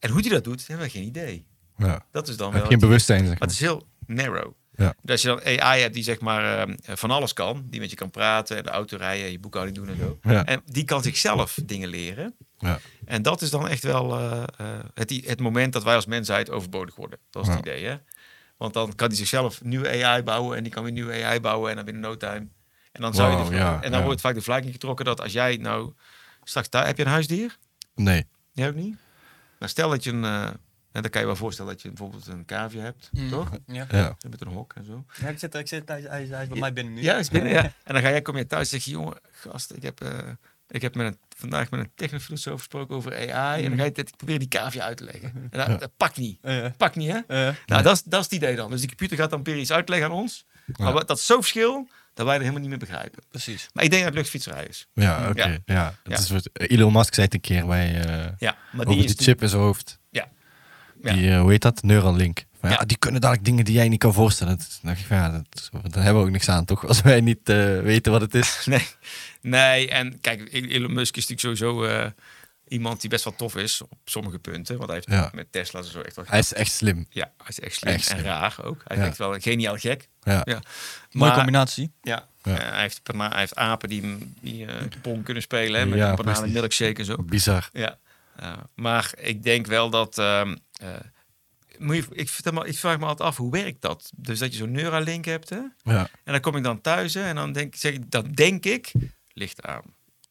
en hoe hij dat doet, hebben we geen idee.
Ja.
Dat is dan
Hij heeft
wel...
geen bewustzijn, zeg
Maar
maar.
het is heel narrow.
Ja.
Dus als je dan AI hebt die zeg maar ehm, van alles kan, die met je kan praten, en de auto rijden, en je boekhouding doen en zo.
Ja.
En die kan zichzelf dingen leren.
Ja.
En dat is dan echt wel eh, eh, het, i- het moment dat wij als mensheid overbodig worden. Dat is het idee, hè? Want dan kan die zichzelf nieuwe AI bouwen en die kan weer nieuwe AI bouwen en dan binnen no time. En dan, zou je
Wauw,
de-
ja,
en dan
ja.
wordt vaak de vlag getrokken dat als jij nou straks daar heb je een huisdier,
Nee.
jij ook niet. Nou, stel dat je een, eh, en dan kan je wel voorstellen dat je bijvoorbeeld een cavia hebt,
Mm.
toch?
Ja.
Ja.
Met een hok en zo.
Ja, ik zit, ik zit, hij, hij, hij is bij mij binnen nu.
Ja, is binnen, ja. En dan ga jij, kom je thuis en zeg je, jongen, gast, ik heb, eh, ik heb met een, vandaag met een technofilosoof gesproken over AI. En dan ga je dit, proberen die cavia uit te leggen. En dat, dat pakt niet.
Mm. Ja.
Pakt niet, hè?
Eh,
Nou, dat is, dat is het idee dan. Dus die computer gaat dan weer iets uitleggen aan ons. Maar wat- dat is zo'n verschil dat wij er helemaal niet meer begrijpen.
precies.
Maar ik denk dat het luchtfietserij is.
Ja, oké.
Ja.
Ja.
Ja.
Het is wat Elon Musk zei het een keer bij, eh,
Ja, maar
over
die
die,
is...
chip in zijn hoofd.
Ja. Ja.
Die, eh, hoe heet dat? Neuralink. Van, ja,
Ja.
die kunnen dadelijk dingen die jij niet kan voorstellen. Dat, dan dacht ik van, ja, dat, is- daar hebben we ook niks aan, toch? Als wij niet eh, weten wat het is.
Nee, nee, en kijk, Elon Musk is natuurlijk sowieso eh, iemand die best wel tof is op sommige punten. Want hij heeft
Ja.
met Tesla's en zo echt wel...
Hij is echt slim.
Ja, hij is echt slim
Echt
en
slim.
raar ook. Hij is
Ja.
echt wel een geniaal gek.
Ja.
Ja.
Mooie
Maar-
combinatie.
Ja.
Ja.
Eh, hij, heeft, bana- hij heeft apen die, m- die eh, pong kunnen spelen. Hè, met
Ja,
een bananen
precies.
milkshake en zo.
Bizar.
Ja. Eh, maar ik denk wel dat ehm, eh, moet je, ik, vertel me, ik vraag me altijd af, hoe werkt dat? Dus dat je zo'n Neuralink hebt, hè?
Ja,
En dan kom ik dan thuis hè, en dan denk, zeg ik, dat denk ik, licht aan.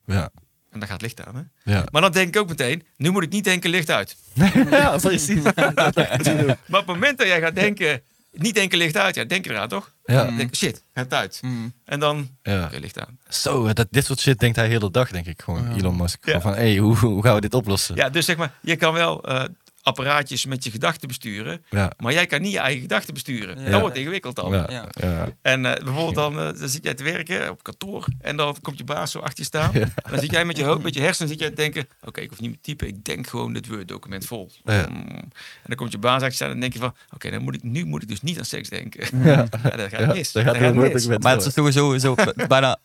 ja,
En dan gaat licht aan, hè?
ja.
Maar dan denk ik ook meteen, nu moet ik niet denken licht uit.
ja, precies.
Maar op het moment dat jij gaat denken, niet denken licht uit, ja, denk je eraan, toch?
ja.
Dan denk ik, shit, gaat uit.
Mm.
En dan, oké,
ja.
licht aan.
Zo, dat, dit soort shit denkt hij heel de dag, denk ik. Gewoon
Ja.
Elon Musk. Gewoon
Ja.
Van, hey, hoe, hoe gaan we dit oplossen?
Ja, dus zeg maar, je kan wel eh, apparaatjes met je gedachten besturen,
Ja.
maar jij kan niet je eigen gedachten besturen.
Ja.
Dat wordt ingewikkeld dan.
Ja.
Ja.
Ja.
En eh, bijvoorbeeld dan, eh, dan zit jij te werken op kantoor en dan komt je baas zo achter je staan.
Ja.
En dan zit jij met je hoofd, met je hersenen, zit jij te denken, oké, ik hoef niet meer te typen, ik denk gewoon dit Word-document vol.
Ja.
Mm. En dan komt je baas achter je staan en dan denk je van, oké, dan moet ik, nu moet ik dus niet aan seks denken.
Ja.
Ja, dat gaat
Ja,
mis.
dat gaat heel moeilijk met-
Maar het is toch sowieso, bijna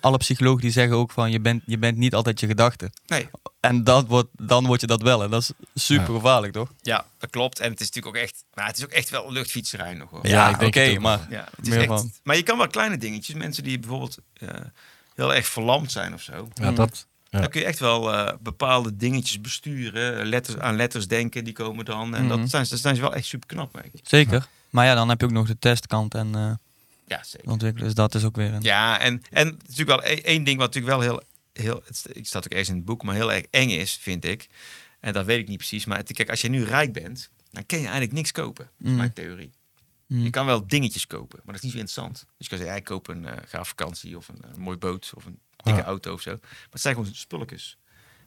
alle psychologen die zeggen ook van je bent, je bent niet altijd je gedachten.
Nee,
En dat wordt, dan word je dat wel. En dat is super gevaarlijk, toch?
ja, dat klopt. En het is natuurlijk ook echt, maar het is ook echt wel luchtfietserij nog hoor.
Ja, ik denk
oké,
het ook.
maar
Ja, het is
Meer
echt,
van.
Maar je kan wel kleine dingetjes. Mensen die bijvoorbeeld eh, heel erg verlamd zijn of zo.
Ja, dat. Ja.
Dan kun je echt wel eh, bepaalde dingetjes besturen. Letters, aan letters denken, die komen dan. En
Mhm.
dat, zijn, ze- daar zijn ze wel echt super knap mee.
zeker. Maar ja, dan heb je ook nog de testkant en eh
Ja, zeker.
ontwikkelen. Dus dat is ook weer een...
Ja, en, en het is natuurlijk wel e- één ding wat natuurlijk wel heel... heel het, st- ik staat ook ergens in het boek, maar heel erg eng is, vind ik. En dat weet ik niet precies. Maar het- kijk, als je nu rijk bent, dan kun je eigenlijk niks kopen. Dat is
Mhm.
mijn theorie.
Mm.
Je kan wel dingetjes kopen, maar dat is niet zo interessant. Dus je kan zeggen, ik koop een eh gaaf vakantie of een, eh, mooi boot of een dikke
Ja.
auto of zo. Maar het zijn gewoon spulletjes.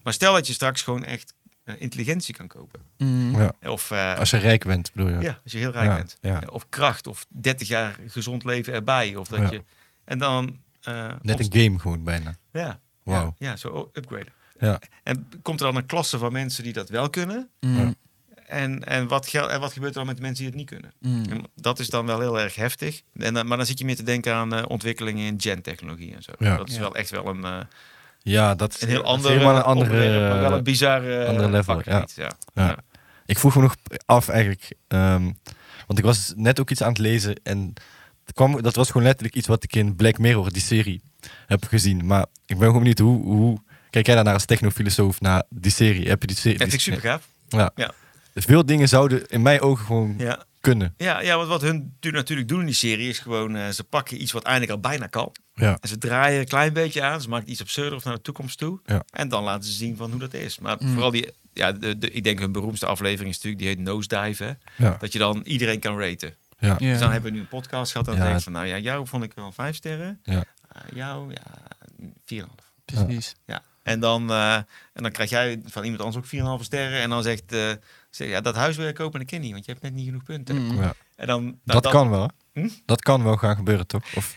Maar stel dat je straks gewoon echt eh, intelligentie kan kopen.
Mm.
Ja.
Of eh,
Als je rijk bent, bedoel je?
ja, als je heel rijk
Ja,
bent.
ja.
Of kracht, of 30 jaar gezond leven erbij. Of dat
Ja.
je, en dan... eh,
Net
op-
een game gewoon bijna.
ja,
Wauw.
ja, ja, zo upgraden.
Ja.
En komt er dan een klasse van mensen die dat wel kunnen?
Mm.
En, en, wat, gel- en wat gebeurt er dan met de mensen die het niet kunnen?
Mm.
En dat is dan wel heel erg heftig. En, dan- maar dan zit je meer te denken aan eh, ontwikkelingen in gentechnologie en zo.
Ja.
Dat is
Ja.
wel echt wel een, eh,
Ja, dat is,
een heel
dat is
ander eh,
helemaal een
onderwerp, maar wel
andere...
een bizar eh,
ander level,
vakgebied, Ja.
Ja.
Ja.
Ik vroeg me nog af eigenlijk, ehm, want ik was net ook iets aan het lezen en het kwam, dat was gewoon letterlijk iets wat ik in Black Mirror, die serie, heb gezien. Maar ik ben gewoon benieuwd, hoe, hoe kijk jij daarnaar als technofilosoof naar die serie? Heb je die serie?
Dat vind ik super gaaf.
Ja.
Ja.
Veel dingen zouden in mijn ogen gewoon
Ja.
kunnen.
Ja, ja, want wat hun tu- natuurlijk doen in die serie is gewoon... eh, ze pakken iets wat eigenlijk al bijna kan.
Ja.
En ze draaien een klein beetje aan. Ze maken het iets absurder of naar de toekomst toe.
Ja.
En dan laten ze zien van hoe dat is. Maar
Mm.
vooral die... Ja, de, de- ik denk hun beroemdste aflevering is natuurlijk... Die heet Nosedive, hè?
Ja.
Dat je dan iedereen kan raten.
Ja.
Ja.
Dus dan hebben we nu een podcast gehad. En
Ja.
dan denk ik van... Nou ja, jou vond ik wel vijf sterren.
Ja.
Eh, jou, ja, 4,5.
Precies.
Ja. En dan, eh, en dan krijg jij van iemand anders ook 4,5 sterren. En dan zegt... eh zeg, ja, dat huis wil ik kopen, maar dat kan niet. Want je hebt net niet genoeg punten.
Mm.
Ja.
En dan, nou,
Dat, kan wel. hè?
Hm?
Dat kan wel gaan gebeuren, toch? Of,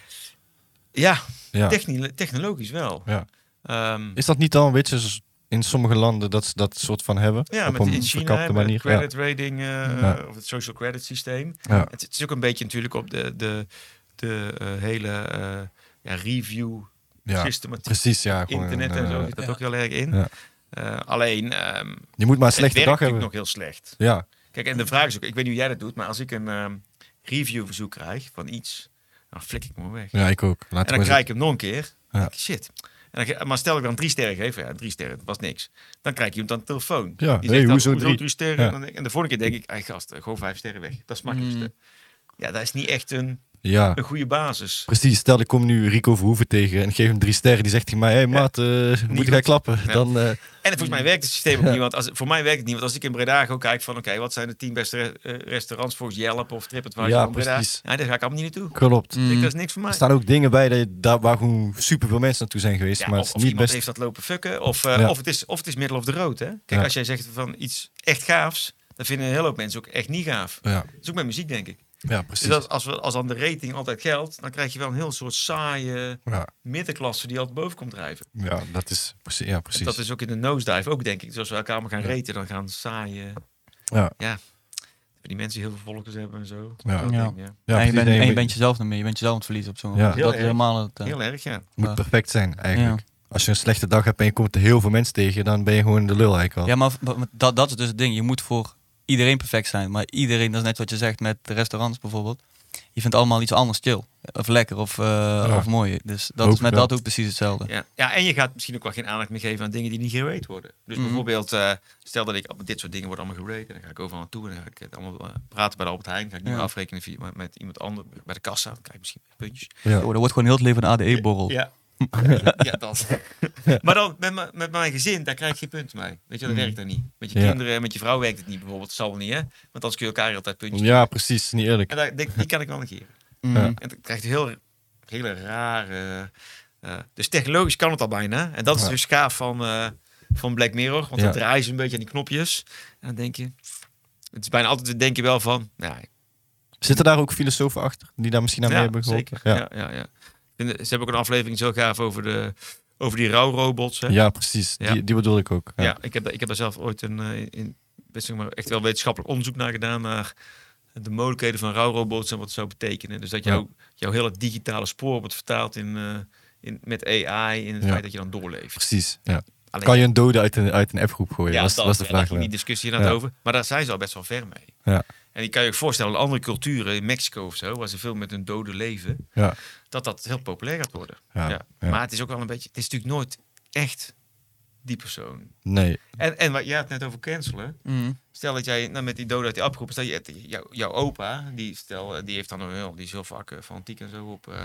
Ja,
ja.
techni- technologisch wel.
Ja.
Ehm,
Is dat niet dan, weet je, zoals in sommige landen dat ze dat soort van hebben?
ja,
op
met
een
in China
verkapte
hebben we
manier.
het credit rating eh,
Ja.
of het social credit systeem.
Ja.
Het, het is ook een beetje natuurlijk op de, de, de eh, hele eh, ja, review
Ja. ja,
systematiek
precies. Ja, gewoon,
internet en
eh,
zo zit dat
ja.
ook heel erg in.
Ja.
Eh, alleen ehm,
Je moet maar een
het
slechte dag
werkt natuurlijk
hebben.
nog heel slecht.
Ja,
Kijk, en de vraag is ook, ik weet niet hoe jij dat doet, maar als ik een ehm, reviewverzoek krijg van iets, dan flik ik me weg.
ja, ik ook. Laat
En dan krijg ik hem nog een keer.
Ja.
Denk ik, Shit. En dan, ge- maar stel ik dan drie sterren geef, ja, drie sterren, dat was niks. Dan krijg je hem aan de telefoon.
Ja,
Die
hey,
dan,
hoezo drie?
sterren?
Ja.
En dan denk- En de vorige keer denk ik, hey, gast, eh, gewoon vijf sterren weg. Dat is het makkelijkste. Ja, dat is niet echt een,
Ja,
een goede basis.
precies. Stel, ik kom nu Rico Verhoeven tegen en ik geef hem drie sterren. Die zegt tegen mij, hé hey, maat, eh, moet
goed.
jij klappen?
Ja.
Dan, eh,
En volgens mij werkt het systeem ook niet. Want als, voor mij werkt het niet. Want als ik in Breda gewoon kijk van, oké, wat zijn de tien beste re- eh, restaurants volgens Yelp of TripAdvisor
Ja,
van Breda?
precies.
Ja, daar ga ik allemaal niet naartoe.
klopt.
Ik denk,
Mm.
dat is niks voor mij.
Er staan ook dingen bij dat je- daar waar gewoon superveel mensen naartoe zijn geweest.
Ja,
maar
of,
het
of
is niet
iemand
best...
heeft dat lopen fucken. Of, eh,
Ja.
of, het is, of het is middel of de rood. Hè? Kijk,
Ja.
als jij zegt van iets echt gaafs, dan vinden een hele hoop mensen ook echt niet gaaf.
Ja,
Dat is ook met muziek, denk ik.
ja
Dus
precies.
dat, als, we, als dan de rating altijd geldt, dan krijg je wel een heel soort saaie
Ja,
middenklasse die altijd boven komt drijven.
ja, dat is precies. Ja,
En
precies.
dat is ook in de nosedive ook, denk ik. Dus als we elkaar allemaal gaan
Ja.
raten, dan gaan saaie...
Ja.
Die mensen die heel veel volgers hebben en zo.
Ja.
Dat
Ja.
ding, ja.
ja,
en, je
precies.
bent,
Nee,
en je
je
bent jezelf dan meer. Je bent jezelf aan het verliezen op zo'n
Ja.
moment.
Heel
Dat
erg.
is helemaal het... eh,
Heel erg, ja.
moet perfect zijn eigenlijk.
Ja.
Als je een slechte dag hebt en je komt er heel veel mensen tegen, dan ben je gewoon de lul eigenlijk al.
Ja, maar v- maar dat, dat is dus het ding. Je moet voor iedereen perfect zijn. Maar iedereen, dat is net wat je zegt met de restaurants bijvoorbeeld. je vindt allemaal iets anders chill. Of lekker of, eh,
Ja.
of mooi. Dus dat
Hoop
is met
ik wel.
dat ook precies hetzelfde.
Ja. ja, en je gaat misschien ook wel geen aandacht meer geven aan dingen die niet gerate worden. Dus
Mhm.
bijvoorbeeld, eh, stel dat ik op dit soort dingen worden allemaal gerate. En dan ga ik overal naartoe en dan ga ik het allemaal eh, praten bij de Albert Heijn. Ga ik niet
Ja.
meer afrekenen via, met, met iemand anders bij de kassa. Dan krijg ik misschien puntjes.
Ja.
Oh, dat wordt gewoon heel het leven een ADE-borrel.
Ja. ja, dat. maar dan met, mijn- met mijn gezin, daar krijg je geen punten mee. Weet je, dat
Mhm.
werkt dan niet. Met je
Ja.
kinderen en met je vrouw werkt het niet bijvoorbeeld. Dat zal wel niet, hè? Want anders kun je elkaar altijd puntjes.
ja, precies. Niet eerlijk.
En daar, die, die kan ik wel een keer.
Mm.
Ja.
En dan krijgt hij heel, hele rare... eh, dus technologisch kan het al bijna. En dat is
Ja.
dus gaaf van, eh, van Black Mirror. Want
Ja.
dan draaien ze een beetje aan die knopjes. En dan denk je... Het is bijna altijd, denk je wel van... Ja,
Zitten daar ook filosofen achter die daar misschien aan mee
ja,
hebben geholpen?
zeker. Ja. Ja, ja, En, eh, ze hebben ook een aflevering zo gaaf over, de, over die rouwrobots. Hè?
Ja. Ja, precies.
Ja.
Die, die bedoel ik ook. Ja.
Ja, ik, heb, daar- ik heb daar zelf ooit een eh, in, best zeg maar, echt wel wetenschappelijk onderzoek naar gedaan. Naar de mogelijkheden van rouwrobots en wat het zou betekenen. Dus dat
Ja.
jouw jouw hele digitale spoor wordt vertaald in, eh, in, met AI. In het
Ja.
feit dat je dan doorleeft.
Precies. Ja.
Alleen-
Kan je een dode uit een, uit een appgroep gooien? Ja, was,
dat
was de
ja, daar
vraag.
ging die
Ja,
discussie inderdaad
Ja.
over. Maar daar zijn ze al best wel ver mee.
Ja.
En ik kan je ook voorstellen, in andere culturen, in Mexico of zo, waar ze veel met hun dode leven,
ja.
dat dat heel populair gaat worden.
Ja, ja.
Maar het is ook wel een beetje, het is natuurlijk nooit echt die persoon.
Nee.
En, en wat jij had het net over cancelen.
Mm.
Stel dat jij nou, met die dode uit die appgroep, stel je, jou, jouw opa, die, stel, eh, die heeft dan een heel, die is heel vaak eh, fanatiek en zo op eh,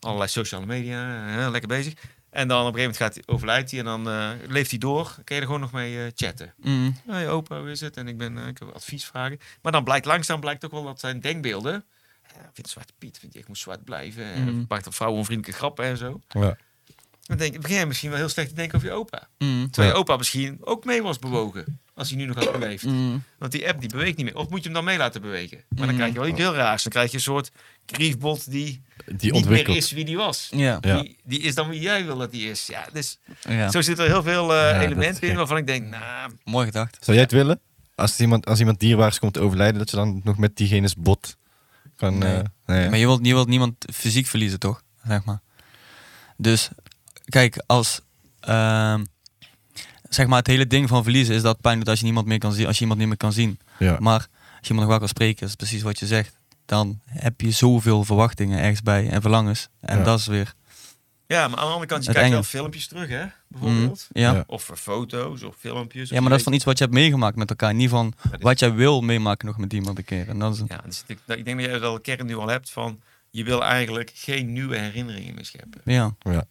allerlei sociale media, eh, lekker bezig. En dan op een gegeven moment gaat hij, overlijdt hij en dan eh, leeft hij door. Kun je er gewoon nog mee eh, chatten.
Mm.
Hey opa, hoe is het? En ik ben, eh, ik heb advies vragen. Maar dan blijkt langzaam blijkt ook wel dat zijn denkbeelden. eh, Ik vind Zwarte Piet, vind ik, ik moet zwart blijven. En
Mhm.
maakt dan vrouwen onvriendelijke grappen en zo.
Ja.
Dan denk, ik, begin je misschien wel heel slecht te denken over je opa.
Mm.
Terwijl
Ja.
je opa misschien ook mee was bewogen. Als hij nu nog had beleefd.
Mm.
Want die app die beweegt niet meer. Of moet je hem dan mee laten bewegen? Maar dan
Mhm.
krijg je wel iets heel raars. Dan krijg je een soort griefbot die,
Die
niet meer
ontwikkelt.
is wie die was.
Ja.
Ja.
Die, die is dan wie jij wil dat die is. Ja, dus
Ja.
zo zitten er heel veel eh,
Ja, dat is
elementen in
gek.
waarvan ik denk, nou,
Mooi gedacht.
Zou jij het willen? Als iemand, als iemand dierbaars komt te overlijden, dat je dan nog met diegene's bot kan...
Nee.
eh, nee.
Maar je wilt, je wilt niemand fysiek verliezen, toch? Zeg maar. Dus kijk, als. ehm, zeg maar, het hele ding van verliezen is dat pijn doet als je niemand meer kan zien. Als je iemand niet meer kan zien.
ja.
Maar als je iemand nog wel kan spreken, is precies wat je zegt. Dan heb je zoveel verwachtingen ergens bij en verlangens. En
Ja.
dat is weer.
Ja, maar aan de andere kant, je
Het
kijkt
enge.
wel filmpjes terug, hè?
Mm,
Bijvoorbeeld.
ja.
Ja.
ja.
Of eh, foto's of filmpjes. of
maar dat is van
je
iets wat je hebt meegemaakt met elkaar. Niet van
weet-
wat jij wil meemaken nog met iemand een keer. En dat is
Ja, dus ik, ik denk dat je wel de kern nu al hebt van... Je wil eigenlijk geen nieuwe herinneringen meer scheppen.
ja.
Ja,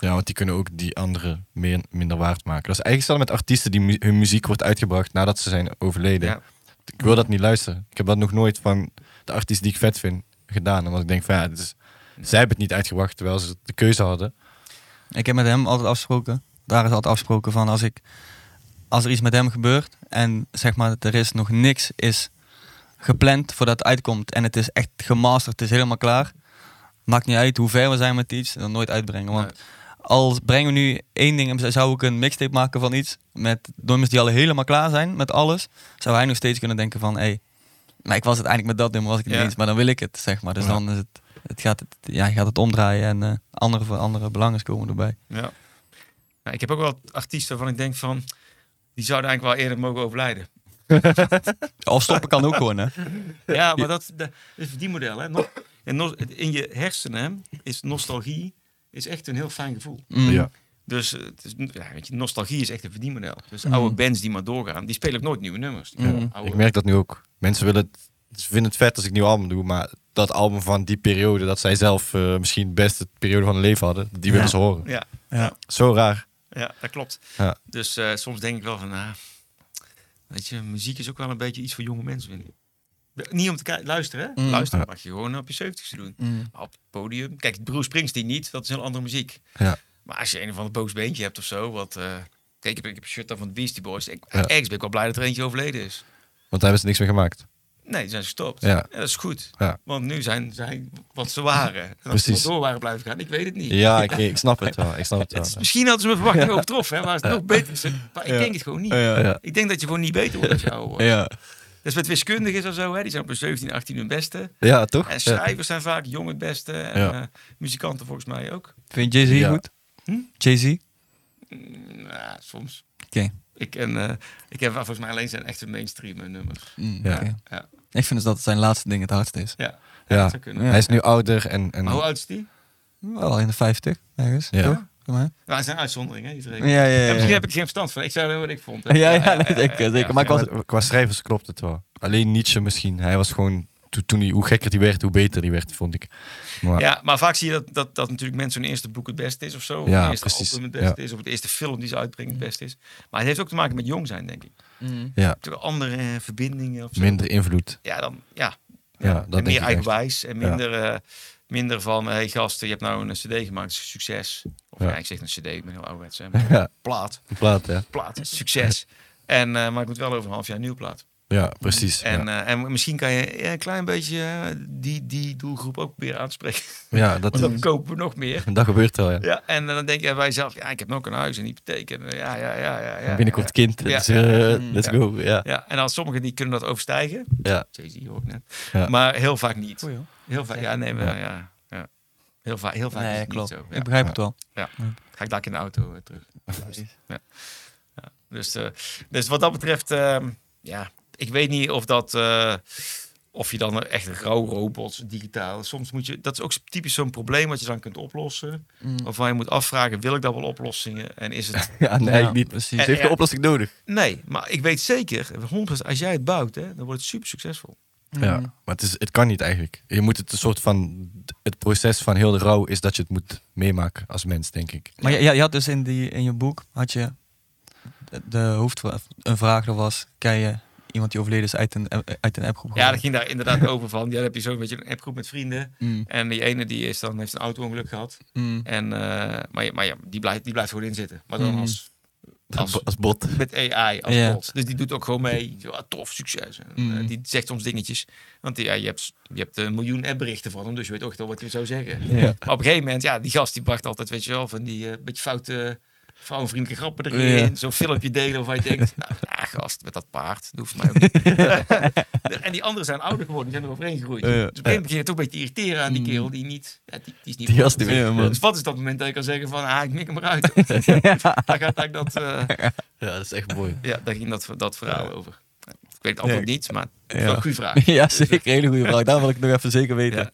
ja, want die kunnen ook die anderen meer, minder waard maken. Dat is eigenlijk hetzelfde met artiesten die mu- hun muziek wordt uitgebracht nadat ze zijn overleden.
Ja.
Ik wil dat niet luisteren. Ik heb dat nog nooit van de artiest die ik vet vind gedaan. Omdat ik denk van ja, het is- zij hebben het niet uitgebracht terwijl ze de keuze hadden.
Ik heb met hem altijd afgesproken. Daar is altijd afgesproken van als ik als er iets met hem gebeurt en zeg maar er is nog niks is gepland voordat het uitkomt en het is echt gemasterd, het is helemaal klaar. Maakt niet uit hoe ver we zijn met iets, dan nooit uitbrengen. Want al brengen we nu één ding, en zou ik een mixtape maken van iets met nummers die al helemaal klaar zijn met alles, zou hij nog steeds kunnen denken van hé, hey, maar ik was het eigenlijk met dat nummer was ik het
Ja.
niet eens, maar dan wil ik het zeg maar. Dus
Ja.
dan is het, het gaat het, ja, je gaat het omdraaien en eh, andere voor andere belangen komen erbij.
ja. Nou, ik heb ook wel artiesten waarvan ik denk van... Die zouden eigenlijk wel eerder mogen overlijden.
Of stoppen kan ook gewoon, hè?
Ja, maar dat, dat is die model, hè? Nog- en nog- in je hersenen hè, is nostalgie is echt een heel fijn gevoel.
Mm.
Ja.
Dus eh, het is, ja, weet je, nostalgie is echt een verdienmodel. Dus
Mhm.
oude bands die maar doorgaan, die spelen ook nooit nieuwe nummers. Die
Ja.
oude- oude-
Mm. Ik merk dat nu ook. Mensen willen het, ze vinden het vet als ik een nieuw album doe, maar dat album van die periode, dat zij zelf eh, misschien best de periode van hun leven hadden, die willen
Ja.
ze horen.
ja,
Zo raar.
Ja, dat klopt.
Ja.
Dus eh, soms denk ik wel van, nou, weet je, muziek is ook wel een beetje iets voor jonge mensen, vind ik. Niet om te ki- luisteren, hè?
Mm.
Luisteren
Ja.
mag je gewoon op je 70ste doen.
Mm.
Maar op het podium, kijk, Bruce Springsteen niet, dat is een heel andere muziek.
Ja.
Maar als je een of ander boos beentje hebt of zo, wat... eh, Kijk, ik heb, ik heb een shirt aan van de Beastie Boys. Ik,
Ja.
Ergens ben ik wel blij dat er eentje overleden is.
Want daar hebben ze niks mee gemaakt.
Nee, die zijn gestopt.
Ja.
dat is goed.
Ja.
Want nu zijn zij wat ze waren. En als ze
Precies.
maar door waren blijven gaan, ik weet het niet.
Ja, ik, ik snap het wel. Ik snap het
Het is-
wel.
misschien hadden ze mijn verwachtingen overtroffen, hè, maar het nog beter. is. Maar ik
Ja.
denk het gewoon niet.
Ja.
Ik denk dat je gewoon niet beter wordt als je ouder wordt.
Ja.
Dat is met wiskundigen of zo, hè? die zijn op hun 17, 18 hun beste.
Ja, toch?
En
Ja.
schrijvers zijn vaak jong het beste. En
Ja.
eh, muzikanten volgens mij ook.
Vind je Jay-Z
Ja.
goed?
Hm?
Jay-Z?
Mm, nou, soms.
Oké.
ah, Ik, en, eh, ik heb volgens mij alleen zijn echte mainstream eh, nummers.
Mm,
Ja.
oké.
Ja.
Ik vind dus dat het zijn laatste ding het hardste is.
Ja.
Ah. Ja.
Dat zou kunnen.
Hij is nu ouder en... en
Maar hoe oud is die?
Wel in de 50, ergens.
Ja.
toch? Kom maar.
Nou, het zijn uitzonderingen, hè, die
Ja,
regels.
ja,
Ja,
ja.
misschien
ja.
heb ik er geen verstand van. Ik zou dat wat ik vond.
Ja, ja, nee, zeker, zeker. Maar ik was-
qua, qua schrijvers klopt het wel. Alleen Nietzsche misschien. Hij was gewoon... to- Toen hij, hoe gekker die werd, hoe beter die werd, vond ik. Maar
Ja, maar vaak zie je dat, dat, dat natuurlijk mensen hun eerste boek het beste is of zo. Of
Ja,
hun eerste
precies.
album het beste is. Of de eerste film die ze uitbrengen het beste is. Maar het heeft ook te maken met jong zijn, denk ik.
ja,
Natuurlijk andere eh, verbindingen of zo.
minder invloed.
Ja, dan, ja.
Ja,
Ja,
dat
en
denk ik
meer
echt.
eigenwijs en
Ja.
minder, eh, minder van, eh, hey gasten, je hebt nou een cd gemaakt, succes. Of
Ja.
ja, ik zeg een cd, ik ben heel ouderwets. hè, maar
Ja,
Plaat,
een plaat, ja.
plaat, succes. En, eh, maar ik moet wel over een half jaar een nieuwe plaat.
Ja, precies.
En,
ja.
eh, en misschien kan je ja, een klein beetje eh, die, die doelgroep ook weer aanspreken.
Ja, dat,
Want dan kopen we nog meer.
dat gebeurt wel, ja.
Ja, en eh, dan denk je bij jezelf, ja, ik heb nog een huis en hypotheek. En, eh, ja, ja, ja, ja, ja.
Binnenkort kind,
Ja.
dus, eh, let's
Ja.
go. Ja,
Ja, en dan sommigen die kunnen dat overstijgen.
ja.
Jay-Z hoor ik net.
Ja.
Maar heel vaak niet.
Goeie, hoor.
Heel vaak, ja, nee, maar, ja. ja. Heel vaak, heel vaak is
Nee,
het
klopt.
niet zo. Ja.
Ik begrijp het wel.
Ga ik daar in de auto eh, terug. Dus, eh, dus wat dat betreft, ehm, ja, ik weet niet of dat... eh, of je dan echt rauw robots, digitaal. Soms moet je... Dat is ook typisch zo'n probleem wat je dan kunt oplossen.
Mm.
Waarvan je moet afvragen, wil ik dat wel oplossingen? En is het...
Ja, nee,
Ja,
niet.
precies.
Ze heeft
Ja.
de oplossing nodig.
Nee, maar ik weet zeker, 100%, als jij het bouwt, hè, dan wordt het super succesvol.
Ja,
Mm.
maar het, is, het kan niet eigenlijk. Je moet het een soort van. Het proces van heel de rouw is dat je het moet meemaken als mens, denk ik.
Maar je, je had dus in, die, in je boek, had je de, de hoofdvra- een vraag er was, kan je iemand die overleden is uit een, uit een
Ja,
appgroep
dat
gooien?
ging daar inderdaad over van. Ja, dan heb je zo'n beetje een appgroep met vrienden.
Mm,
En die ene die is dan, heeft een auto-ongeluk gehad.
mm.
En, eh, maar, ja- maar ja, die blijft, die blijft gewoon inzitten. Maar dan
Mhm.
als, als
Als bot.
met AI, als
Ja.
bot. Dus die doet ook gewoon mee. Ja, tof, succes. En, eh,
Mhm.
die zegt soms dingetjes. Want ja, je, hebt, je hebt een miljoen appberichten van hem. Dus je weet ook wel wat hij zou zeggen.
Ja.
Maar op een gegeven moment, ja, die gast die bracht altijd, weet je wel, van die eh, beetje foute vrouwenvriendelijke grappen erin.
Ja.
Zo'n filmpje delen waarvan je denkt, nou, ah, gast, met dat paard, dat hoeft mij ook niet. en die anderen zijn ouder geworden, die zijn er overheen gegroeid.
Ja.
Dus op een gegeven moment begin je toch een beetje te irriteren aan die
Mm.
kerel die niet, ja, die, die is niet
Die gast die
Dus-
weer, man.
Dus wat is dat moment dat je kan zeggen van, ah, ik mik hem eruit. Daar gaat eigenlijk dat, eh,
Ja, dat is echt mooi.
ja, daar ging dat, dat verhaal over. Ik weet het antwoord
Ja.
niet, maar het is
Ja.
wel een goede vraag.
ja, zeker. Hele goede vraag. Daar wil ik nog even zeker weten.
Ja.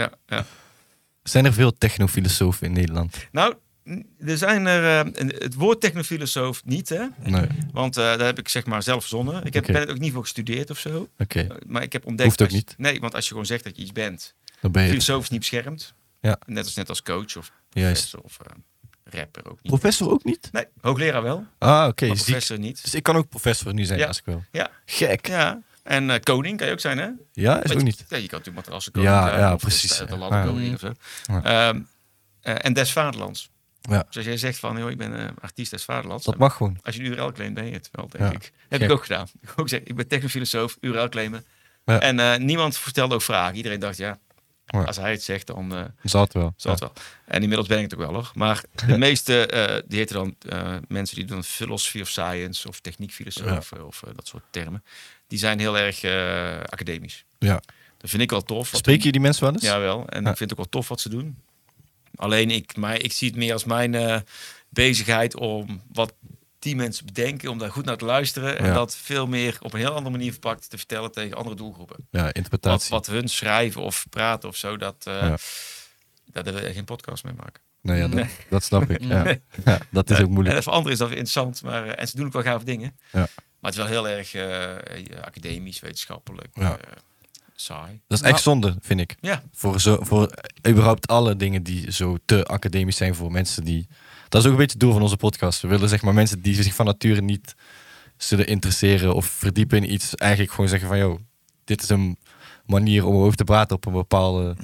Ja, ja.
Zijn er veel technofilosofen in Nederland?
Nou, n- er zijn er, eh, een- het woord technofilosoof niet, hè?
Nee. Oké.
Want eh daar heb ik zeg maar zelf verzonnen. Ik heb,
Oké.
ben het ook niet voor gestudeerd of zo. Eh, Maar ik heb ontdekt...
Hoeft ook
als je-
niet.
nee, want als je gewoon zegt dat je iets bent...
Dan ben je het.
Filosoof is niet beschermd.
Ja.
Net als, net als coach of
Juist.
professor of eh, rapper ook niet.
Professor ook niet?
Nee, hoogleraar wel,
Ah, oké.
maar
ziek.
professor niet.
Dus ik kan ook professor nu zijn
Ja.
als ik wil.
Ja.
Gek. Ja,
Ja, en eh, koning kan je ook zijn, hè?
is
Want
ook
je-
niet.
Ja, je kan natuurlijk materassenkoning
Ja,
zijn.
ja,
of de-
precies.
De,
Ja.
landkoning of zo. Ehm, eh, en des vaderlands.
Ja.
Dus als jij zegt van, joh, ik ben eh, artiest des vaderlands.
Dat mag gewoon.
Als je een URL claimt, ben je het wel, denk
Ja,
ik. Heb
gek.
ik ook gedaan. Ik, heb ook gezegd, ik ben technofilosoof, URL claimen.
Ja.
En eh, niemand stelde ook vragen. Iedereen dacht, ja,
Ja.
als hij het zegt, dan eh
Zal het wel.
zal het wel. En inmiddels ben ik het ook wel, hoor. Maar de meeste, eh, die heten dan eh, mensen die doen philosophy of science of techniekfilosoof eh, of eh, dat soort termen. Die zijn heel erg eh, academisch.
Ja.
Dat vind ik wel tof. wat
Spreek je die mensen wel eens?
Jawel, en
Ja.
ik vind het ook wel tof wat ze doen. Alleen ik, mij, ik zie het meer als mijn eh, bezigheid om wat die mensen bedenken, om daar goed naar te luisteren. En
Ja.
dat veel meer op een heel andere manier verpakt te vertellen tegen andere doelgroepen.
Ja,
Wat,
interpretatie.
wat hun schrijven of praten of zo, dat, eh
Ja.
daar willen we geen podcast mee maken.
Nou ja, dat,
Nee.
dat snap ik. Ja.
Nee.
Ja, dat is ook
En
moeilijk.
dat voor anderen is dat weer interessant, maar, eh, en ze doen ook wel gave dingen.
Ja.
Maar het is wel heel erg eh, academisch, wetenschappelijk,
Ja.
eh, saai.
Dat is
Nou-
echt zonde, vind ik.
Ja,
Voor, zo, voor überhaupt alle dingen die zo te academisch zijn voor mensen die... Dat is ook een beetje het doel van onze podcast. We willen zeg maar mensen die zich van nature niet zullen interesseren of verdiepen in iets. Eigenlijk gewoon zeggen van, joh, dit is een manier om over te praten op een bepaalde...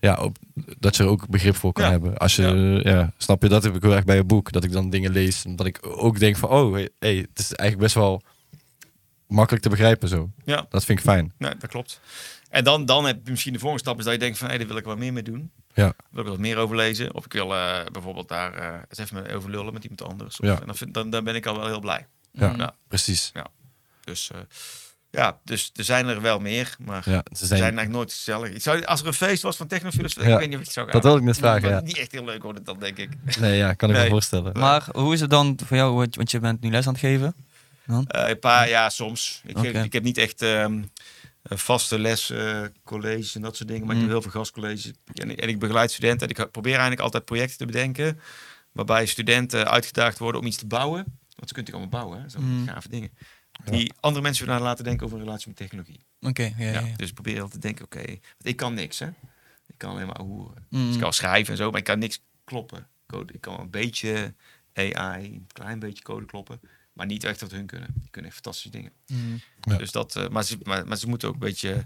Ja, op- dat je er ook begrip voor kan
Ja.
hebben. Als je, ja. snap je, dat heb ik heel erg bij een boek. Dat ik dan dingen lees. en Dat ik ook denk van, oh, hey, hey, het is eigenlijk best wel makkelijk te begrijpen zo.
ja.
Dat vind ik fijn.
Nee, nou, dat klopt. En dan, dan heb je misschien de volgende stap is dat je denkt van, hé, daar wil ik wat meer mee doen.
Ja.
Wil ik wat meer over lezen. Of ik wil eh, bijvoorbeeld daar eh, eens even mee over lullen met iemand anders. Of-
Ja.
En dan, vind- dan, dan ben ik al wel heel blij.
Ja,
Nou,
precies.
dus eh, ja, dus er zijn er wel meer, maar ze
Ja, ze
zijn
zijn,
eigenlijk nooit gezellig. Ik zou, als er een feest was van technofilus,
Ja.
ik weet niet of ik het zou gaan.
dat wil ik net vragen,
Maar
ja.
Niet echt heel leuk hoor, dat denk ik.
Nee, ja, kan ik me
Nee.
voorstellen.
Maar hoe is het dan voor jou, want- want je bent nu les aan het geven?
Eh, een paar, ja, soms. Ik, geef-
Oké.
ik heb niet echt ehm, eh, vaste les, eh, colleges en dat soort dingen. Maar ik
Mm.
doe heel veel gastcolleges. En, en ik begeleid studenten. En ik probeer eigenlijk altijd projecten te bedenken. Waarbij studenten uitgedaagd worden om iets te bouwen. Want ze kunnen natuurlijk allemaal bouwen. Hè? Dat zijn
Mm.
gave dingen. Die andere mensen willen laten denken over hun relatie met technologie.
Oké, ja, ja,
Ja,
ja.
Dus ik probeer altijd te denken, oké, want ik kan niks, hè. Ik kan alleen maar hoeren.
Mm.
Dus ik kan schrijven en zo, maar ik kan niks kloppen. Code, ik kan een beetje AI, een klein beetje code kloppen, maar niet echt wat hun kunnen. Die kunnen echt fantastische dingen.
Mm.
Ja.
Dus dat, eh, maar, ze, maar, maar ze moeten ook een beetje...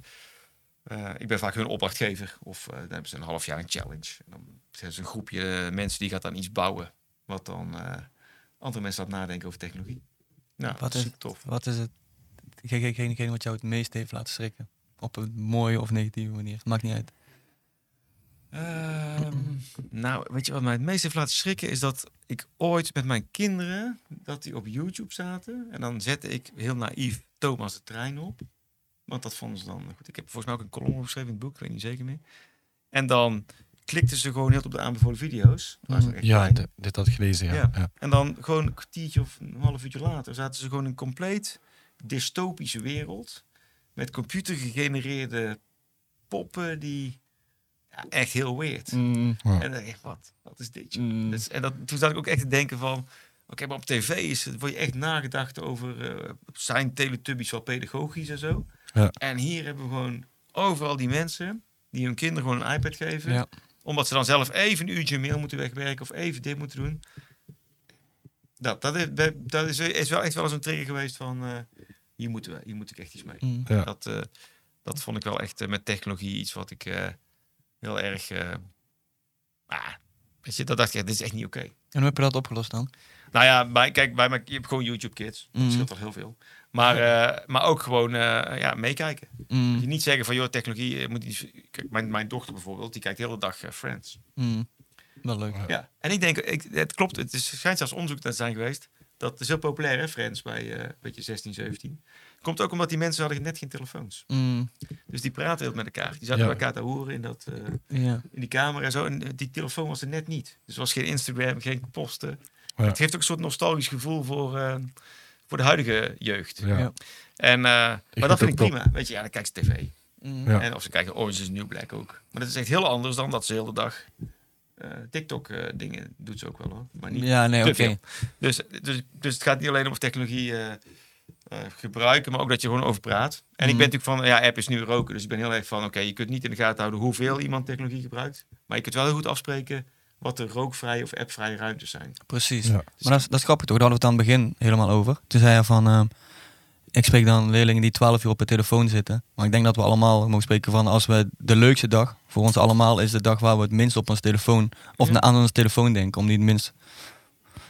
eh, ik ben vaak hun opdrachtgever. Of eh, dan hebben ze een half jaar een challenge. En dan zijn ze een groepje eh, mensen die gaat dan iets bouwen. Wat dan eh, andere mensen laat nadenken over technologie. Nou,
Wat
dat is
is-
super tof.
Wat is het? Geen wat jou het meest heeft laten schrikken. Op een mooie of negatieve manier. Maakt niet uit.
Ehm, nou, weet je wat mij het meest heeft laten schrikken? Is dat ik ooit met mijn kinderen, dat die op YouTube zaten. En dan zette ik heel naïef Thomas de trein op. Want dat vonden ze dan nou goed. Ik heb volgens mij ook een column opgeschreven in het boek, ik weet niet zeker meer. En dan klikten ze gewoon heel op de aanbevolen video's. Daar waren ze
Mm.
echt
Ja,
klein.
d- dit had ik gelezen, ja.
Ja.
ja.
En dan gewoon een kwartiertje of een half uurtje later zaten ze gewoon in een compleet dystopische wereld. Met computergegenereerde poppen die ja, echt heel weird.
Ja.
En dan dacht ik, wat, wat is dit? joh?
Mm.
Mm, Dus, en dat, toen zat ik ook echt te denken van, oké, maar op tv is, het- word je echt nagedacht over, eh, zijn teletubbies wel pedagogisch en zo?
Ja.
En hier hebben we gewoon overal die mensen die hun kinderen gewoon een iPad geven,
Ja.
omdat ze dan zelf even een uurtje een mail moeten wegwerken of even dit moeten doen. Dat, dat, is, dat is, is wel echt wel eens een trigger geweest van, eh, hier, moeten we, hier moet ik echt iets mee.
Mm.
Ja.
Dat, eh, dat vond ik wel echt eh, met technologie iets wat ik eh, heel erg. eh, ah, weet je, dat dacht ik, ja, dit is echt niet oké.
En hoe heb je dat opgelost dan?
Nou ja, bij, kijk, bij mijn, je hebt gewoon YouTube Kids.
Mhm.
Dat scheelt al heel veel. Maar, eh, maar ook gewoon eh, ja, meekijken.
Mm.
Je niet zeggen van, joh, technologie eh, moet niet... Kijk, mijn, mijn dochter bijvoorbeeld, die kijkt de hele dag eh, Friends.
Mm. Wel leuk.
Ja, en ik denk, ik, het klopt, het is, schijnt zelfs onderzoek naar te zijn geweest. Dat is heel populair, hè, Friends, bij eh weet je, 16, 17. Komt ook omdat die mensen hadden net geen telefoons.
Mm.
Dus die praten heel met elkaar. Die zaten
Ja.
bij elkaar te horen in, dat, eh,
Ja.
in die kamer en zo. En eh, die telefoon was er net niet. Dus er was geen Instagram, geen posten.
Ja.
Het geeft ook een soort nostalgisch gevoel voor, eh, voor de huidige jeugd.
Ja.
Ja.
En, eh, maar dat
vind
vind ik
ook
prima. Weet je, ja, dan kijken ze tv.
Mm.
Ja.
En of ze kijken Orange is the New Black ook. Maar dat is echt heel anders dan dat ze de hele dag eh, TikTok eh, dingen doet ze ook wel hoor. Maar niet
Ja, nee,
te
oké.
veel. Dus, dus, dus het gaat niet alleen om technologie eh, eh, gebruiken, maar ook dat je gewoon over praat. En ik
Mhm.
ben natuurlijk van, ja, app is nu roken. Dus ik ben heel erg van, oké, je kunt niet in de gaten houden hoeveel iemand technologie gebruikt. Maar je kunt wel heel goed afspreken wat de rookvrije of appvrije ruimtes zijn.
Precies.
Ja.
Maar dat is, dat is grappig toch, daar hadden we het aan het begin helemaal over. Toen zei hij van, ehm, ik spreek dan leerlingen die 12 uur op hun telefoon zitten. Maar ik denk dat we allemaal mogen spreken van, als we de leukste dag, voor ons allemaal is de dag waar we het minst op ons telefoon, of
Ja.
na- aan ons telefoon denken, om die het minst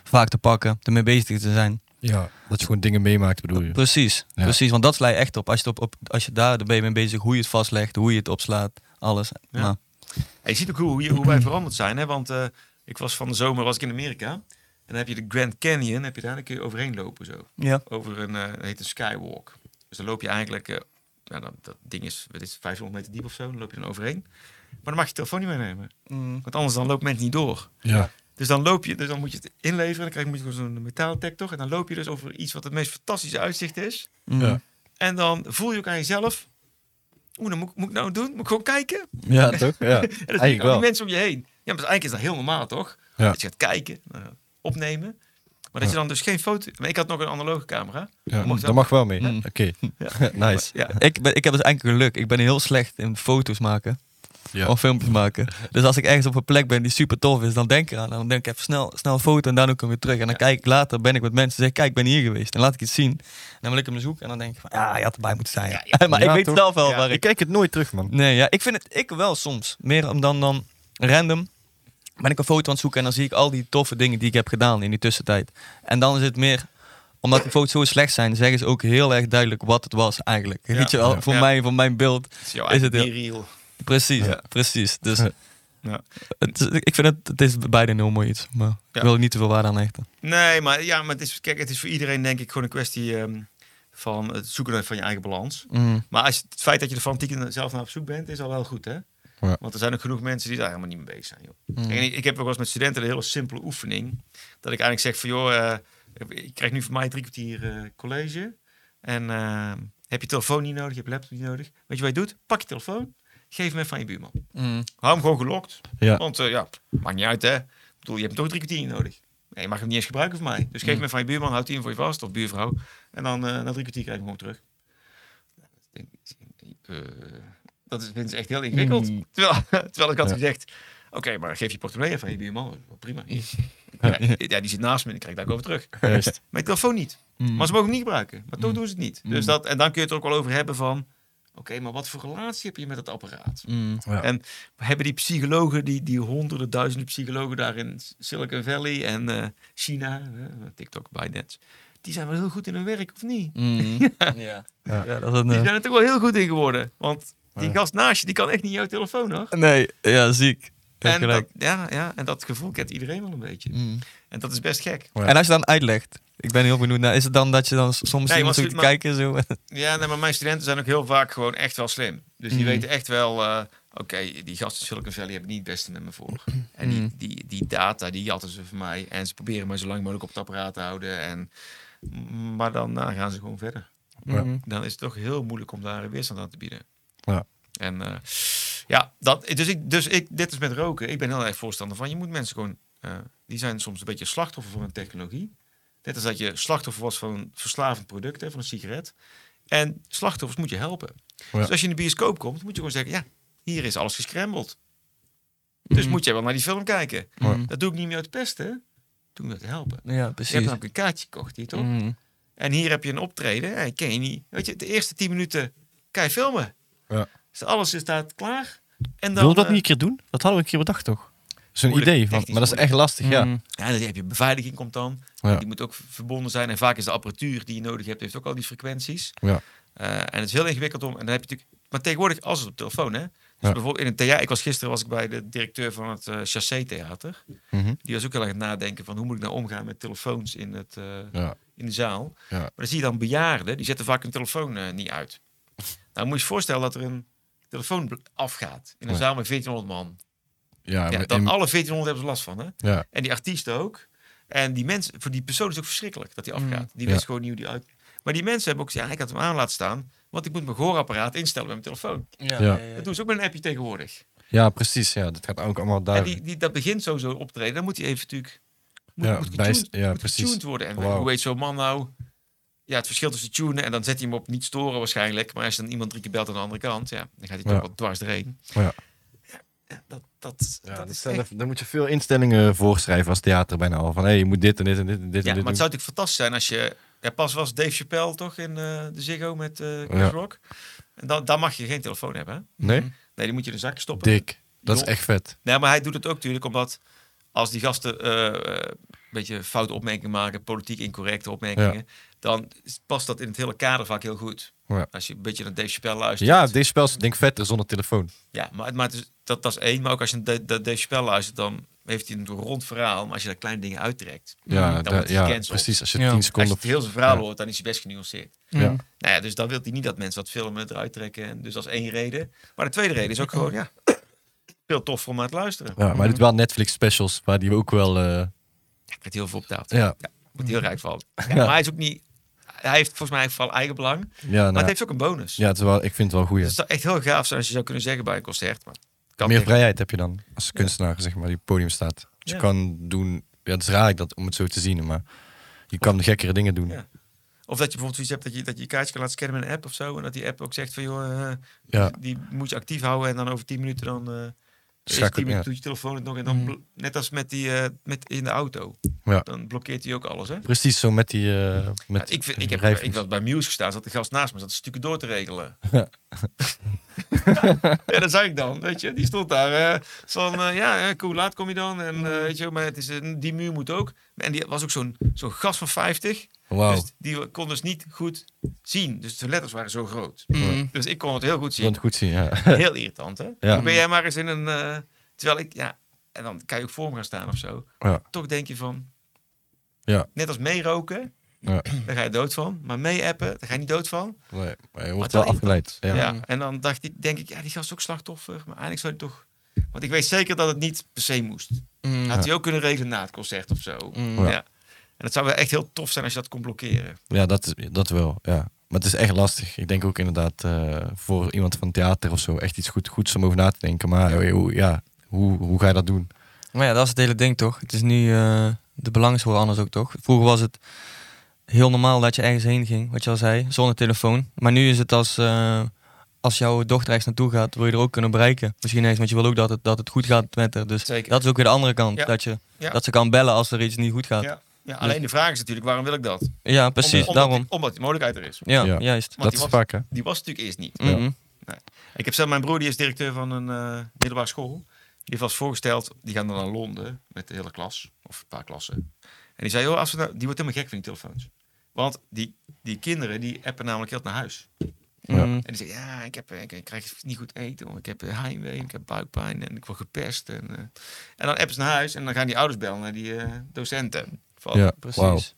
vaak te pakken, ermee bezig te zijn.
Ja, dat je gewoon dingen meemaakt, bedoel je.
Precies,
Ja.
precies, want dat sla je echt op. Als je, het op, op, als je daar ben je mee bezig, hoe je het vastlegt, hoe je het opslaat, alles.
Ja.
Maar,
En je ziet ook hoe, hoe je- hoe wij veranderd zijn. Hè? Want eh, ik was van de zomer was ik in Amerika. En dan heb je de Grand Canyon, heb je daar een keer overheen lopen zo.
ja.
over een, eh, dat heet een skywalk. Dus dan loop je eigenlijk, eh, nou, dat, dat ding is, wat is het, 500 meter diep of zo, dan loop je dan overheen. Maar dan mag je je telefoon niet meenemen,
Mm.
want anders dan loopt men het niet door.
Ja.
Dus dan loop je, dus dan moet je het inleveren, dan krijg je, moet je gewoon zo'n metaaldetector en dan loop je dus over iets wat het meest fantastische uitzicht is.
Mm.
Ja.
En dan voel je ook aan jezelf, oeh, dan moet, ik- moet ik nou doen? Moet ik gewoon kijken?
Ja, toch? Ja.
En dan zie je
Eigenlijk
al die
wel.
mensen om je heen. Ja, maar dus eigenlijk is dat heel normaal, toch?
Ja.
Dat je gaat kijken, eh, opnemen. Maar dat je dan dus geen foto... Maar ik had nog een analoge camera.
Ja,
Mocht
dat mag wel mee.
Mm.
Oké.
Ja.
nice.
Ja,
Ik, ben, ik heb dus eigenlijk geluk. Ik ben heel slecht in foto's maken.
Ja.
of filmpjes maken. Dus als ik ergens op een plek ben die super tof is, dan denk ik eraan. Dan denk ik even snel, snel een foto en daarna kom ik weer terug. En dan kijk ik later, ben ik met mensen, zeg ik, kijk, ik ben hier geweest. En laat ik iets zien. En dan wil ik hem zoeken en dan denk ik van, ja, je had erbij moeten zijn.
Ja,
maar
Ja,
ik weet
toch?
zelf wel
Ja.
waar
Ik
ik...
kijk het nooit terug, man.
Nee, ja, ik vind het, ik wel soms. Meer om dan, dan random ben ik een foto aan het zoeken en dan zie ik al die toffe dingen die ik heb gedaan in die tussentijd. En dan is het meer omdat de foto's zo slecht zijn, zeggen ze ook heel erg duidelijk wat het was eigenlijk.
Ja.
Weet je wel,
Ja.
voor
Ja.
mij, voor mijn beeld.
Het is jouw
Is
eigen
het heel-
B-reel.
Precies,
Ja.
precies. Dus
Ja.
Ja.
het, is- ik vind het, het is beide een heel mooi iets. Maar
Ja.
ik wil er niet te veel waarde aan hechten.
Nee, maar, ja, maar het, is, kijk, het is voor iedereen denk ik gewoon een kwestie ehm, van het zoeken van je eigen balans.
Mm.
Maar als, je- het feit dat je er fanatiek zelf naar op zoek bent, is al wel goed, hè?
Ja.
Want er zijn ook genoeg mensen die daar helemaal niet mee bezig zijn, joh.
Mm.
Kijk, en ik, ik heb ook wel eens met studenten een hele simpele oefening. Dat ik eigenlijk zeg van, joh, eh, ik krijg nu van mij drie kwartier eh, college. En eh, Heb je telefoon niet nodig, je hebt laptop niet nodig. Weet je wat je doet? Pak je telefoon, geef hem even aan je buurman.
Mm.
Hou hem gewoon gelokt.
Ja.
Want eh, ja, maakt niet uit hè. Ik bedoel, je hebt hem toch drie kwartier niet nodig. Nee, je mag hem niet eens gebruiken voor mij. Dus geef
Mm.
hem even aan je buurman, houd die hem voor je vast of buurvrouw. En dan eh, na drie kwartier krijg je hem gewoon terug. Ik denk, eh, dat is, vind ik echt heel ingewikkeld. Terwijl, terwijl ik had
Mm. Ja.
gezegd, oké, maar geef je portemonnee even aan je buurman. Prima. Ja, ja, die zit naast me en ik krijg daar ook over terug.
Juist. Mm.
Mijn telefoon niet. Maar ze mogen hem niet gebruiken. Maar toch doen ze het niet. Dus dat, en dan kun je het er ook wel over hebben van... Oké, maar wat voor relatie heb je met dat apparaat?
Mm.
Ja.
En hebben die psychologen, die, die honderden duizenden psychologen daar in Silicon Valley en eh, China, eh, TikTok, Binance, die zijn wel heel goed in hun werk, of niet?
Mm. ja.
Ja, dat is een,
Die
eh,
zijn er toch wel heel goed in geworden. Want die
Ja.
gast naast je, die kan echt niet jouw telefoon, hoor.
Nee, ja, ziek. Ja,
En dat,
gelijk.
ja, ja, en dat gevoel kent iedereen wel een beetje.
Mm.
En dat is best gek.
Ja.
En als je dan uitlegt, ik ben heel benieuwd naar, is het dan dat je dan s- soms
Nee,
iemand
maar
zit te
maar-
kijken zo?
Ja, nee, maar mijn studenten zijn ook heel vaak gewoon echt wel slim. Dus die
Mhm.
weten echt wel, eh, oké, die gasten in Silicon Valley hebben niet het beste met me voor. En die,
Mhm.
die, die data, die jatten ze van mij. En ze proberen mij zo lang mogelijk op het apparaat te houden. En, maar dan daarna gaan ze gewoon verder.
Ja.
Mm.
Dan is het toch heel moeilijk om daar een weerstand aan te bieden.
Ja.
En eh, ja, dat, dus, ik, dus ik, dit is met roken. Ik ben heel erg voorstander van, je moet mensen gewoon, eh, die zijn soms een beetje slachtoffer van een technologie. Net als dat je slachtoffer was van een verslavend product, hè, van een sigaret. En slachtoffers moet je helpen.
Ja.
Dus als je in de bioscoop komt, moet je gewoon zeggen, ja, hier is alles gescrambled. Dus
Mhm.
Mm.
moet jij wel naar die film kijken.
Ja.
Mm.
Dat doe ik niet meer uit pesten, doe ik uit helpen.
Ja,
Je hebt
precies.
namelijk een kaartje gekocht hier, toch?
Mm.
En hier heb je een optreden. En ken je niet. Weet je, de eerste 10 minuten kan je filmen.
Ja.
Dus alles is staat klaar. En dan,
Wil dat
eh,
niet een keer doen? Dat hadden we een keer bedacht, toch? Zo'n
Moeilijk,
idee, van,
technisch
maar dat is echt lastig, ja.
Mm.
Ja, dan heb je beveiliging komt dan.
Ja.
Die moet ook verbonden zijn. En vaak is de apparatuur die je nodig hebt, heeft ook al die frequenties.
Ja.
Eh, en het is heel ingewikkeld om. En dan heb je natuurlijk. Maar tegenwoordig, als het op telefoon, hè. Dus
Ja.
bijvoorbeeld in een theater. Ik was gisteren was ik bij de directeur van het eh Chassé Theater.
Mhm.
Die was ook heel erg aan het nadenken van hoe moet ik nou omgaan met telefoons in, het, eh,
Ja.
in de zaal.
Ja.
Maar dan zie je dan bejaarden, die zetten vaak hun telefoon eh, niet uit. Nou, moet je je voorstellen dat er een telefoon bl- afgaat in een
Ja.
zaal met 1400 man.
Ja,
Ja,
maar
dan
in-
alle 1400 hebben ze last van, hè?
ja,
En die artiesten ook. En die mensen, voor die persoon is het ook verschrikkelijk dat die afgaat. Die
Ja.
wist gewoon niet hoe die uit. Maar die mensen hebben ook gezegd, ja, ik had hem aan laten staan, want ik moet mijn gehoorapparaat instellen met mijn telefoon.
Ja.
Ja.
Dat doen ze ook met een appje tegenwoordig.
ja, precies. Ja, dat gaat ook allemaal
En
daar.
die, die, dat begint sowieso optreden, dan moet hij even natuurlijk moet,
Ja,
moet
bij-
getuned,
ja,
moet
precies.
getuned worden. En
Wauw.
hoe weet zo'n man nou? Ja, het verschil tussen tunen en dan zet hij hem op niet storen waarschijnlijk. Maar als je dan iemand drie keer belt aan de andere kant, ja, dan gaat hij
Ja.
toch wel dwars erheen.
Ja.
Ja, dat, dat,
Ja,
dat
dat
is
zijn
echt-
er- daar moet je veel instellingen voor schrijven als theater bijna al. Van hé, je moet dit en dit en dit en dit
Ja,
en dit
maar het
doen.
zou natuurlijk fantastisch zijn als je... Ja, pas was Dave Chappelle toch in eh, de Ziggo met eh Chris
Ja.
Rock. En dan, dan mag je geen telefoon hebben. hè?
Nee?
Nee, die moet je in de zak stoppen.
Dik. Dat is
Jong.
echt vet.
Nee, maar hij doet het ook natuurlijk omdat als die gasten eh, eh, een beetje foute opmerkingen maken, politiek incorrecte opmerkingen, dan is- past dat in het hele kader vaak heel goed.
Ja.
Als je een beetje naar Dave Chappelle luistert.
Ja, deze spel is denk ik vetter zonder telefoon.
Ja, maar, maar het is, dat, dat is één. Maar ook als je naar Da- Da- Dave Chappelle luistert, dan heeft hij een rond verhaal. Maar als je daar kleine dingen uittrekt,
Ja,
dan
da-
wordt hij
ja
gecanceld.
precies. Als je
Ja.
10
Als je
seconden...
het heel zijn verhaal
Ja.
hoort, dan is hij best genuanceerd.
Ja.
Nou ja, dus dan wil hij niet dat mensen dat filmen eruit trekken. En Dus dat is één reden. Maar de tweede reden is ook gewoon, ja, veel tof om naar te luisteren.
Ja, maar hij doet wel Netflix specials, waar die ook wel... eh,
Ja, ik krijg heel veel op tafel.
ja,
Wordt heel rijk van. Ja,
Ja.
Maar hij is ook niet, hij heeft volgens mij vooral eigen belang. Maar
ja, nou,
het heeft ook een bonus.
ja het is wel, ik vind het wel goed.
Dus het zou echt heel gaaf zijn als je zou kunnen zeggen bij een concert. Maar het kan
Meer
tegen-
vrijheid heb je dan als kunstenaar, zeg maar, die op het podium staat. Dus je
Ja.
kan doen... Ja, het is raar dat, om het zo te zien, maar je kan gekkere dingen doen.
Ja. Of dat je bijvoorbeeld zoiets hebt dat je dat je, je kaartje kan laten scannen met een app of zo. En dat die app ook zegt van joh, eh,
Ja.
die moet je actief houden. En dan over 10 minuten dan... eh is
Schakel-
10 minuten
ja. Mm.
doet je telefoon het nog. En dan, bl- net als met die eh, met in de auto.
Ja.
Dan blokkeert hij ook alles, hè?
Precies, zo met die... eh,
Ja,
met
ik, vind- ik, heb,
wrijvings.
ik was bij Muse gestaan, zat de gast naast me, zat stukken door te regelen. ja, dat zag ik dan, weet je. Die stond daar eh, van, eh, ja, eh, cool, laat kom je dan. En eh, weet je, maar het is, een- die muur moet ook. En die was ook zo'n zo'n gast van 50.
Wauw.
Dus die kon dus niet goed zien. Dus zijn letters waren zo groot.
Hm.
Mm.
Dus ik kon het heel goed
Je kon
zien.
het goed zien, ja.
Heel irritant, hè?
Ja.
Ben jij maar eens in een... eh, terwijl ik, ja... En dan kan je ook voor me gaan staan of zo.
Ja.
Toch denk je van...
Ja.
Net als meeroken,
Ja.
daar ga je dood van. Maar mee-appen, daar ga je niet dood van.
Nee, maar je
Maar
wordt
wel
wel afgeleid.
Ja.
Ja.
Mm.
En dan dacht ik, denk ik, ja, die gast is ook slachtoffer. Maar eigenlijk zou hij toch... Want ik weet zeker dat het niet per se moest.
Mm.
Had hij ook kunnen regelen na het concert of zo.
Mm.
Ja.
Ja. En het zou wel echt heel tof zijn als je dat kon blokkeren.
Ja, dat, dat wel. Ja. maar het is echt lastig. Ik denk ook inderdaad eh, voor iemand van theater of zo echt iets goed, goeds om over na te denken. Maar eh, hoe- ja, hoe, hoe ga je dat doen?
Maar ja, dat is het hele ding toch? Het is nu, eh, de belangen worden anders ook toch? Vroeger was het heel normaal dat je ergens heen ging, wat je al zei, zonder telefoon. Maar nu is het als, eh, als jouw dochter ergens naartoe gaat, wil je er ook kunnen bereiken. Misschien eens, want je wil ook dat het, dat het goed gaat met haar. Dus
Zeker.
dat is ook weer de andere kant.
Ja.
Dat, je,
Ja.
dat ze kan bellen als er iets niet goed gaat. Ja,
Ja. Ja, alleen de vraag is natuurlijk, waarom wil ik dat? Om-
precies,
omdat,
daarom.
Die, omdat die mogelijkheid er is.
Ja,
Ja.
juist.
Want
dat
die
is
was-
vaak, hè?
Die was natuurlijk eerst niet.
Ja.
Mhm.
Ik heb zelf mijn broer, die is directeur van een eh, middelbare school. Die was voorgesteld, die gaan dan naar Londen met de hele klas, of een paar klassen. En die zei, joh, als we nou, die wordt helemaal gek van die telefoons. Want die, die kinderen, die appen namelijk heel naar huis.
Ja.
Mhm.
En die zeggen, ja, ik, heb, eh, ik, ik krijg niet goed eten, hoor. ik heb eh, heimwee, ik heb buikpijn en ik word gepest. En, eh. en dan appen ze naar huis en dan gaan die ouders bellen naar die eh, docenten. Van,
Ja,
dus,
wauw.
Precies.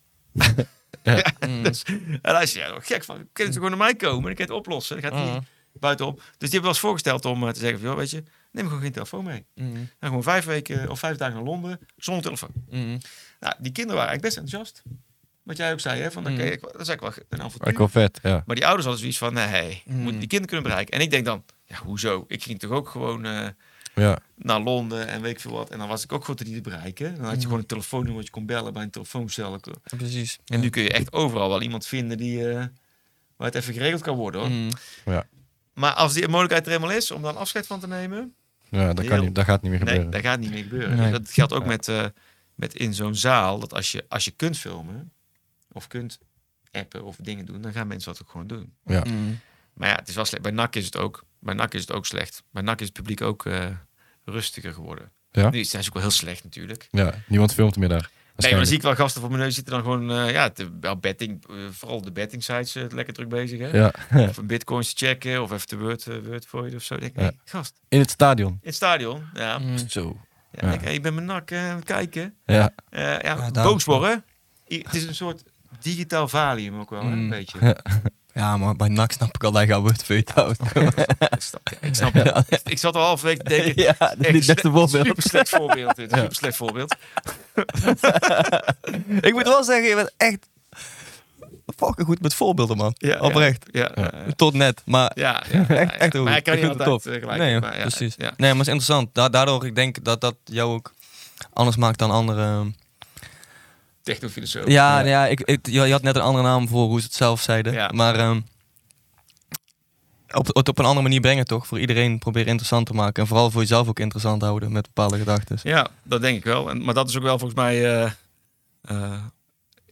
Ja.
Mhm.
En hij zei, ja, wat gek, van, kunnen ze gewoon naar mij komen en ik kan het oplossen. Dan gaat hij
Mhm.
buitenop. Dus die hebben wel eens voorgesteld om eh, te zeggen, van, joh, weet je, neem gewoon geen telefoon mee.
Mhm.
En gewoon vijf weken of vijf dagen naar Londen zonder telefoon.
Mhm.
Nou, die kinderen waren eigenlijk best enthousiast. Wat jij ook zei, hè? Van, oké,
Mm.
ik- dat is eigenlijk wel een avontuur.
Eigenlijk wel vet, ja.
Maar die ouders hadden zoiets van, nee, we
Mm.
moeten die kinderen kunnen bereiken. En ik denk dan, ja, hoezo? Ik ging toch ook gewoon eh,
ja.
naar Londen en weet ik veel wat. En dan was ik ook goed niet te bereiken. Dan had je
Mm.
gewoon een telefoonnummer dat je kon bellen bij een telefooncel. En
Precies.
nu kun je echt overal wel iemand vinden die, eh, waar het even geregeld kan worden. Hoor.
Mhm.
Maar als die mogelijkheid er eenmaal is om dan afscheid van te nemen,
Ja, dat, kan
Heel-
niet, dat gaat niet meer
nee,
gebeuren.
dat gaat niet meer gebeuren.
Nee.
Dat geldt ook met, eh, met in zo'n zaal, dat als je, als je kunt filmen of kunt appen of dingen doen, dan gaan mensen dat ook gewoon doen.
Ja.
Mhm.
Maar ja, het is wel slecht. Bij NAC is het ook, bij NAC is het ook slecht. Bij NAC is het publiek ook eh, rustiger geworden.
Ja?
Nu zijn ze ook wel heel slecht natuurlijk.
Ja, niemand filmt meer daar.
Nee, maar dan
Waarschijnlijk.
zie ik wel gasten voor mijn neus zitten dan gewoon, eh, ja, de, wel betting, eh, vooral de betting sites eh, lekker druk bezig. Hè?
Ja.
Of een bitcoins te checken of even de word, eh, word voor je of zo. Ik Denk,
Ja.
hey, gast,
In het stadion.
in het stadion. Ja,
Mhm.
Zo.
Ja,
Ja.
Ik, ik ben mijn nak eh, aan het kijken.
Ja,
Eh, ja,
Ja, daarom.
boos worden. I- Het is een soort digitaal valium ook wel, hè, een
Mm.
beetje.
Ja, maar bij NAC snap ik al dat je al wordt veut.
Ik snap- ik snap het. Ik- Ik zat al half week te denken.
Ja,
echt
dit is echt
sle-
een voorbeeld.
Super slecht voorbeeld dit.
Ja.
Super slecht voorbeeld.
Ik moet wel zeggen, je bent echt fucking goed met voorbeelden, man.
Ja,
Oprecht.
Ja,
Ja.
eh,
Tot net, maar...
ja, ja, ja,
Echt-
ja.
echt heel
Maar
goed.
ik kan
Ik
niet
vind het
altijd eh, gelijk.
nee,
maar ja,
precies.
Ja.
Nee, maar het is interessant. Da- daardoor, ik denk dat dat jou ook anders maakt dan andere...
Technofilosoof.
Ja, ja. ik, ik- je je had net een andere naam voor hoe ze het zelf zeiden.
Ja.
Maar ehm, op, het op een andere manier brengen, toch? Voor iedereen proberen interessant te maken. En vooral voor jezelf ook interessant houden met bepaalde gedachten.
Ja, dat denk ik wel. En, maar dat is ook wel volgens mij. eh, eh,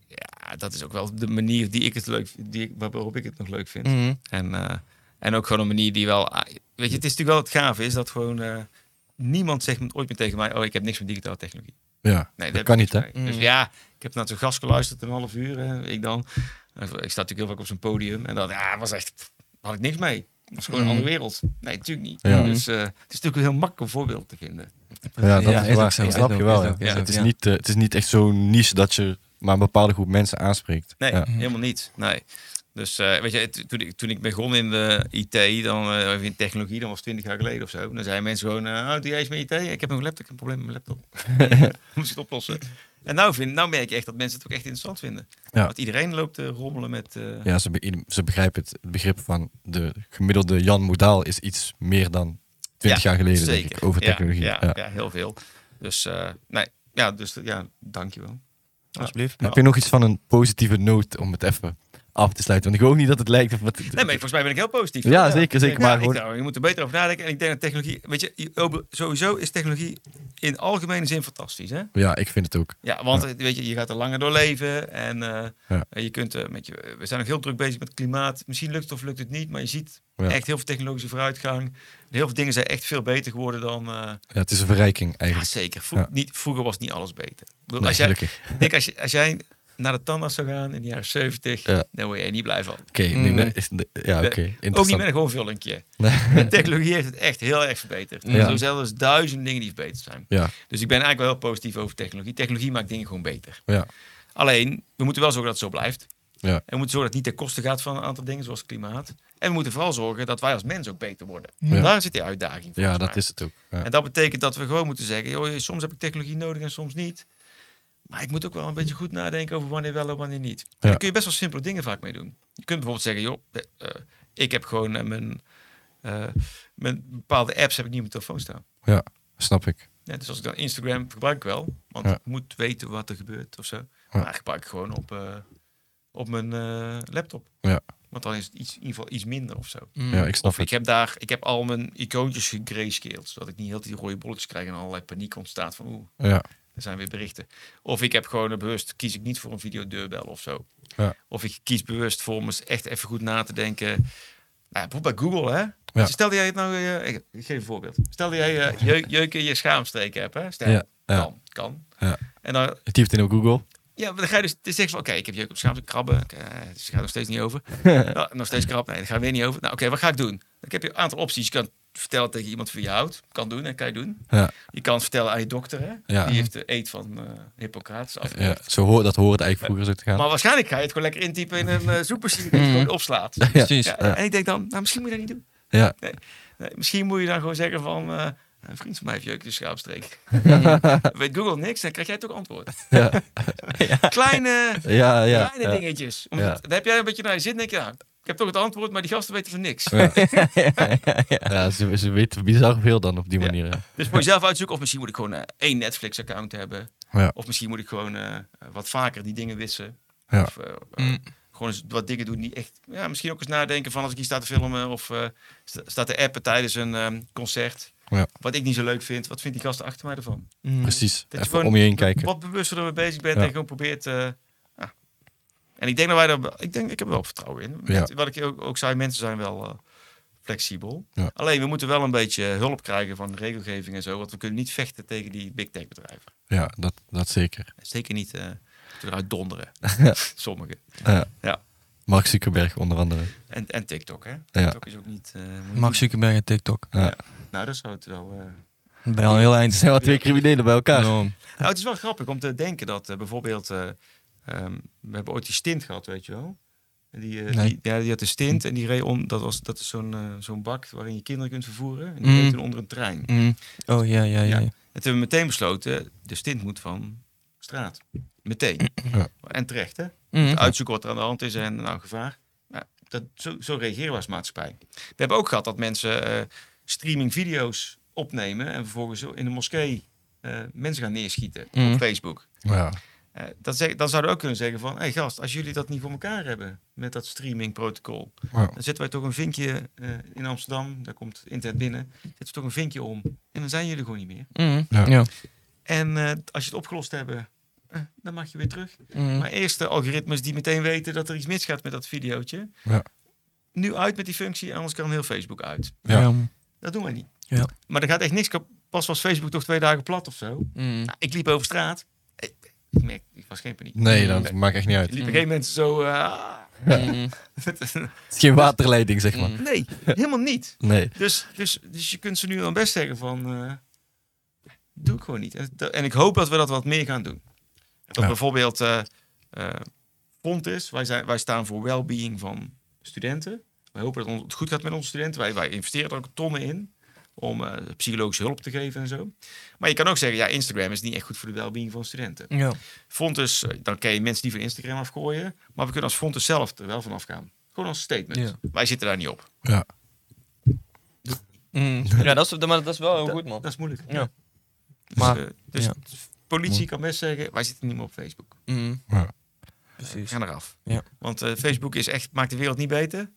ja, dat is ook wel de manier die ik het leuk die ik, waarop ik het nog leuk vind.
Mhm.
En, eh, en ook gewoon een manier die wel. ah, Weet je, het is natuurlijk wel het gave is dat gewoon. eh, niemand zegt me- ooit meer tegen mij: Oh, ik heb niks met digitale technologie.
ja.
Nee,
dat
heb
kan
ik
niet, hè?
niks mee. Dus
Mm.
ja, ik heb naar zo'n gast geluisterd een half uur. eh, ik dan. Eh, Ik sta natuurlijk heel vaak op zo'n podium. En dat ja, was echt. had ik niks mee. Het was gewoon een
Mm.
andere wereld. Nee, natuurlijk niet.
Ja.
Dus eh, het is natuurlijk een heel makkelijk om voorbeeld te vinden.
Ja, dat
Ja,
is
is
waar.
ook zo.
Dat
Is
snap
ook,
je wel.
is
ja.
ook, is ook,
het, is
ja.
niet, eh, het is niet echt zo'n niche dat je maar een bepaalde groep mensen aanspreekt.
Nee,
Ja.
helemaal niet. Nee. Dus eh, weet je, het- toen ik, toen ik begon in de IT, dan, eh, of in technologie, dan was 20 jaar geleden of zo. Dan zeiden mensen gewoon, eh, oh, doe jij eens met IT? Ik heb nog een laptop, ik heb een probleem met mijn laptop. Moet ik het oplossen? En nou, vind, nou merk je echt dat mensen het ook echt interessant vinden.
Ja.
Want iedereen loopt te rommelen met... eh,
Ja, ze, be- ze begrijpen het, het begrip van de gemiddelde Jan Modaal is iets meer dan 20 jaar geleden, denk ik, over
Ja,
technologie.
Ja,
Ja.
ja, heel veel. Dus eh, nee, ja, dus ja, dankjewel.
Alsjeblieft.
Heb je nog iets van een positieve noot om het even af te sluiten? Want ik hoop niet dat het lijkt of wat.
Nee, maar volgens mij ben ik heel positief.
Ja, zeker, zeker,
Ja,
maar
ik
gewoon-
nou, je moet er beter over nadenken. En ik denk dat technologie, weet je, je- sowieso is technologie in algemene zin fantastisch, hè?
Ja, ik vind het ook.
Ja, want eh, weet je, je gaat er langer door leven en eh,
Ja.
eh, je kunt, eh, met je, we zijn ook heel druk bezig met klimaat. Misschien lukt het of lukt het niet, maar je ziet
Ja.
echt heel veel technologische vooruitgang. En heel veel dingen zijn echt veel beter geworden dan. eh,
Ja, het is een verrijking
ja,
eigenlijk.
zeker. Vro-
Ja.
Niet, vroeger was niet alles beter. Ik bedoel,
Nee,
als, jij,
gelukkig.
ik denk, als, je, als jij naar de tandarts zou gaan in de jaren 70,
Ja.
dan word je niet blij van.
Oké, nee,
Mm.
nee, is- nee, ja, oké.
Ook niet
Interessant.
met een gewoon vullingje.
Nee.
De technologie heeft het echt heel erg verbeterd.
Ja.
Er zijn zelfs duizend dingen die verbeterd zijn.
Ja,
Dus ik ben eigenlijk wel heel positief over technologie. Technologie maakt dingen gewoon beter.
ja,
Alleen, we moeten wel zorgen dat het zo blijft.
Ja.
En we moeten zorgen dat het niet ten koste gaat van een aantal dingen, zoals klimaat. En we moeten vooral zorgen dat wij als mens ook beter worden.
Ja.
Daar zit die uitdaging
ja,
volgens
dat
mij.
is het ook. Ja.
En dat betekent dat we gewoon moeten zeggen, joh, soms heb ik technologie nodig en soms niet. Maar ik moet ook wel een beetje goed nadenken over wanneer wel en wanneer niet. En
Ja.
daar kun je best wel simpele dingen vaak mee doen. Je kunt bijvoorbeeld zeggen, joh, eh, eh, ik heb gewoon eh, mijn, eh, mijn bepaalde apps heb ik niet op mijn telefoon staan.
Snap ik.
Ja, dus als ik dan Instagram gebruik ik wel, want
Ja.
ik moet weten wat er gebeurt of zo.
Ja.
Maar gebruik ik gewoon op, eh, op mijn eh, laptop.
Ja.
Want dan is het iets, in ieder geval iets minder of zo.
Ja, ik snap
Of ik
het.
heb daar, ik heb al mijn icoontjes gegrayscaled, zodat ik niet heel die rode bolletjes krijg en allerlei paniek ontstaat van oeh,
Ja,
er zijn weer berichten. Of ik heb gewoon eh, bewust, kies ik niet voor een videodeurbel of zo.
Ja.
Of ik kies bewust voor om eens echt even goed na te denken. Nou, ja, bijvoorbeeld bij Google, hè? Dus stel dat jij het nou, eh, ik ik geef een voorbeeld. Stel dat jij eh, jeuk, jeuk in je schaamstreken hebt, hè? Stel,
Ja, ja.
kan, kan.
Ja.
En dan,
je typt in op Google.
ja, maar dan ga je dus dan zeg je van, oké, ik heb jeuk op schaamstreken, krabben, oké, dus het gaat nog steeds niet over. nou, nog steeds krab, nee, dat gaat weer niet over. Nou, oké, wat ga ik doen? Dan heb je een aantal opties. Je kan vertellen tegen iemand van je houdt, kan doen, en kan je doen.
Ja.
Je kan het vertellen aan je dokter, hè?
Ja.
Die heeft de eet van eh, Hippocrates af.
Ja, zo hoort dat hoort eigenlijk vroeger zo te gaan.
Maar waarschijnlijk ga je het gewoon lekker intypen in een eh, zoekmachine die het
Mm.
gewoon opslaat.
Ja,
Precies.
Ja,
ja.
En ik denk dan, nou, misschien moet je dat niet doen.
Ja.
Nee, misschien moet je dan gewoon zeggen van, eh, een vriend van mij heeft jeuk in de schaapstreek. Weet Google niks, dan krijg jij toch antwoord.
Ja.
Kleine,
Ja, ja.
kleine
ja.
dingetjes. Om-
Ja.
Dan heb jij een beetje naar je zin, denk je, ja, ik heb toch het antwoord, maar die gasten weten van niks.
Ja, ze, ze weten bizar veel dan op die
Ja.
manier. hè.
Dus moet je zelf uitzoeken, of misschien moet ik gewoon eh, één Netflix-account hebben.
Ja.
Of misschien moet ik gewoon eh, wat vaker die dingen wissen.
Ja.
Of, eh, eh,
Mm.
Gewoon eens wat dingen doen die echt... Ja, misschien ook eens nadenken van als ik hier sta te filmen... of eh, sta- staat te appen tijdens een ehm, concert.
Ja.
Wat ik niet zo leuk vind. Wat vindt die gast achter mij ervan?
Mhm.
Precies.
je
Even
gewoon
om je heen kijken.
Wat bewuster ermee bezig bent
Ja.
en gewoon probeert... eh, ja. En ik denk dat wij daar... Ik denk, ik heb er wel vertrouwen in.
Ja.
Met- Wat ik ook, ook zei, mensen zijn wel... eh, flexibel.
Ja.
Alleen we moeten wel een beetje hulp krijgen van regelgeving en zo, want we kunnen niet vechten tegen die big tech bedrijven.
Ja, dat, dat zeker.
Zeker niet eh eruit donderen. Sommigen.
Mark Zuckerberg onder andere.
En, en TikTok, hè?
Ja.
TikTok is ook niet. eh, moet je
Mark Zuckerberg en TikTok.
niet- Nou, dat zou het wel. eh.
Ben al heel eind.
zijn wel twee criminelen bij elkaar.
Enorm.
Nou, het is wel grappig om te denken dat eh, bijvoorbeeld. eh, ehm, we hebben ooit die stint gehad, weet je wel. En Die, eh,
Nee.
die, ja, die had de stint en die reed om. Dat, was, dat is zo'n eh, zo'n bak waarin je kinderen kunt vervoeren. En die
Mm.
reed toen onder een trein.
Mm. Oh ja, ja, ja.
Ja.
ja.
En toen hebben we meteen besloten: de stint moet van straat. Meteen.
Ja.
En terecht, hè?
Mm.
uitzoeken wat er aan de hand is en nou gevaar. Ja, dat, zo, zo reageren we als maatschappij. We hebben ook gehad dat mensen eh, streaming video's opnemen en vervolgens in de moskee eh, mensen gaan neerschieten
Mhm.
op Facebook.
Ja.
Eh, dat zeg, dan zouden we ook kunnen zeggen van, hé hey gast, als jullie dat niet voor elkaar hebben met dat streamingprotocol,
Ja.
dan zetten wij toch een vinkje eh, in Amsterdam, daar komt internet binnen, zetten we toch een vinkje om en dan zijn jullie gewoon niet meer.
Mm.
Ja.
Ja.
En eh, als je het opgelost hebt, eh, dan mag je weer terug.
Mm.
Maar eerst de algoritmes die meteen weten dat er iets misgaat met dat videootje.
Ja.
Nu uit met die functie, anders kan heel Facebook uit.
Ja.
Ja.
Dat doen wij niet.
Ja.
Maar er gaat echt niks kap- Pas was Facebook toch twee dagen plat of zo.
Mm.
Nou, ik liep over straat. Ik, ik merk, ik was geen paniek.
Nee, dat maakt echt niet
Er
uit.
liepen geen mensen zo... eh,
Mm.
Het is geen waterleiding, zeg maar.
Mm.
nee, helemaal niet.
Nee.
Dus, dus, dus je kunt ze nu dan best zeggen van... eh, doe ik gewoon niet. En, dat- en ik hoop dat we dat wat meer gaan doen. Dat
Ja.
bijvoorbeeld eh eh, Fontis, wij, zijn, wij staan voor well-being van studenten. Wij hopen dat ons- het goed gaat met onze studenten. Wij, wij investeren er ook tonnen in om eh, psychologische hulp te geven en zo. Maar je kan ook zeggen, ja, Instagram is niet echt goed voor de well-being van studenten.
Ja.
Fontes, eh, dan kan je mensen niet van Instagram afgooien. Maar we kunnen als Fontes zelf er wel van afgaan. Gewoon als statement.
Ja.
Wij zitten daar niet op.
Ja.
Mm. ja, dat is, maar dat is wel heel goed, man.
Dat is moeilijk.
Ja.
Dus,
Maar-
eh, dus
ja.
politie kan best zeggen, wij zitten niet meer op Facebook.
Mm.
Ja.
We
Precies.
gaan eraf.
Ja.
Want eh, Facebook is echt, maakt de wereld niet beter.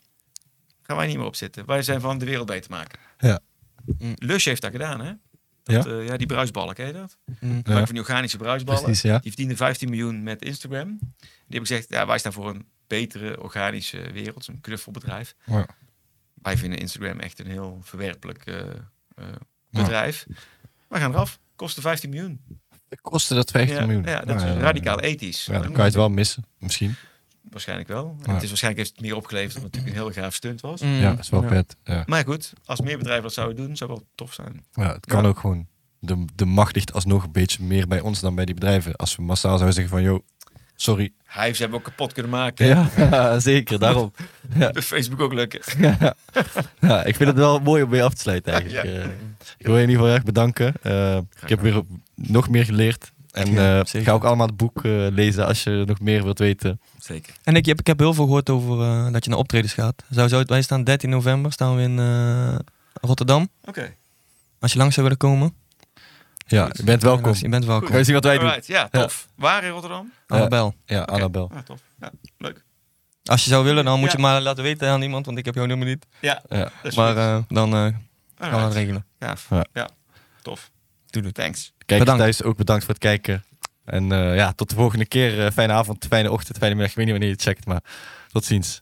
Gaan wij niet meer op zitten. Wij zijn van de wereld beter maken.
Ja.
Mm.
Lush heeft dat gedaan, hè?
Ja.
Dat, eh, ja, die bruisballen, ken je dat?
Mm.
Maak van die organische bruisballen.
Precies, ja.
Die verdiende 15 miljoen met Instagram. Die hebben gezegd, ja, wij staan voor een betere organische wereld. Een knuffelbedrijf.
Ja.
Wij vinden Instagram echt een heel verwerpelijk eh, eh, bedrijf. Wij gaan eraf. Kostte 15 miljoen.
Kostte dat 15
ja,
miljoen.
Ja, dat is
ja, ja.
radicaal ethisch.
Ja,
Dat
dan kan
moet
je het wel missen, misschien.
Waarschijnlijk wel. En
Ja.
Het is waarschijnlijk heeft het meer opgeleverd omdat het natuurlijk een heel gaaf stunt was.
Mm.
Ja, is wel
Ja.
vet. Ja.
Maar goed, als meer bedrijven dat zouden doen, zou wel tof zijn.
Ja, het kan ook gewoon. De, de macht ligt alsnog een beetje meer bij ons dan bij die bedrijven. Als we massaal zouden zeggen van, yo, sorry.
Hives hebben we ook kapot kunnen maken.
Ja, zeker, daarom.
Bij Facebook ook lukken.
Ja, ik vind het wel mooi om mee af te sluiten eigenlijk.
Ja.
Eh, ik wil je in ieder geval erg bedanken. Eh, ik heb weer op- nog meer geleerd. En
Ja,
eh,
zeker.
ga ook allemaal het boek eh, lezen als je nog meer wilt weten.
Zeker.
En ik heb, ik heb heel veel gehoord over eh, dat je naar optredens gaat. Zou, zou, wij staan 13 november staan we in eh, Rotterdam.
Oké.
Als je langs zou willen komen.
Ja,
Goed.
je bent welkom.
Je bent welkom. Nou,
Kan je zien wat wij doen?
Alright, ja, tof. Waar in Rotterdam?
Annabel.
Ja,
Oké.
Annabel.
Ah, tof. Ja, leuk.
Als je zou willen, dan moet je
Ja.
maar laten weten aan iemand, want ik heb jouw nummer niet.
Ja,
Ja.
dat is
Maar
goed.
eh, dan eh, gaan we dat
Alright.
regelen.
Gaaf.
eh, Ja.
Ja. tof.
Doe het.
Thanks.
Kijkers
Bedankt.
thuis ook bedankt voor het kijken. En eh, ja, tot de volgende keer. Eh, fijne avond, fijne ochtend, fijne middag. Ik weet niet wanneer je het checkt, maar tot ziens.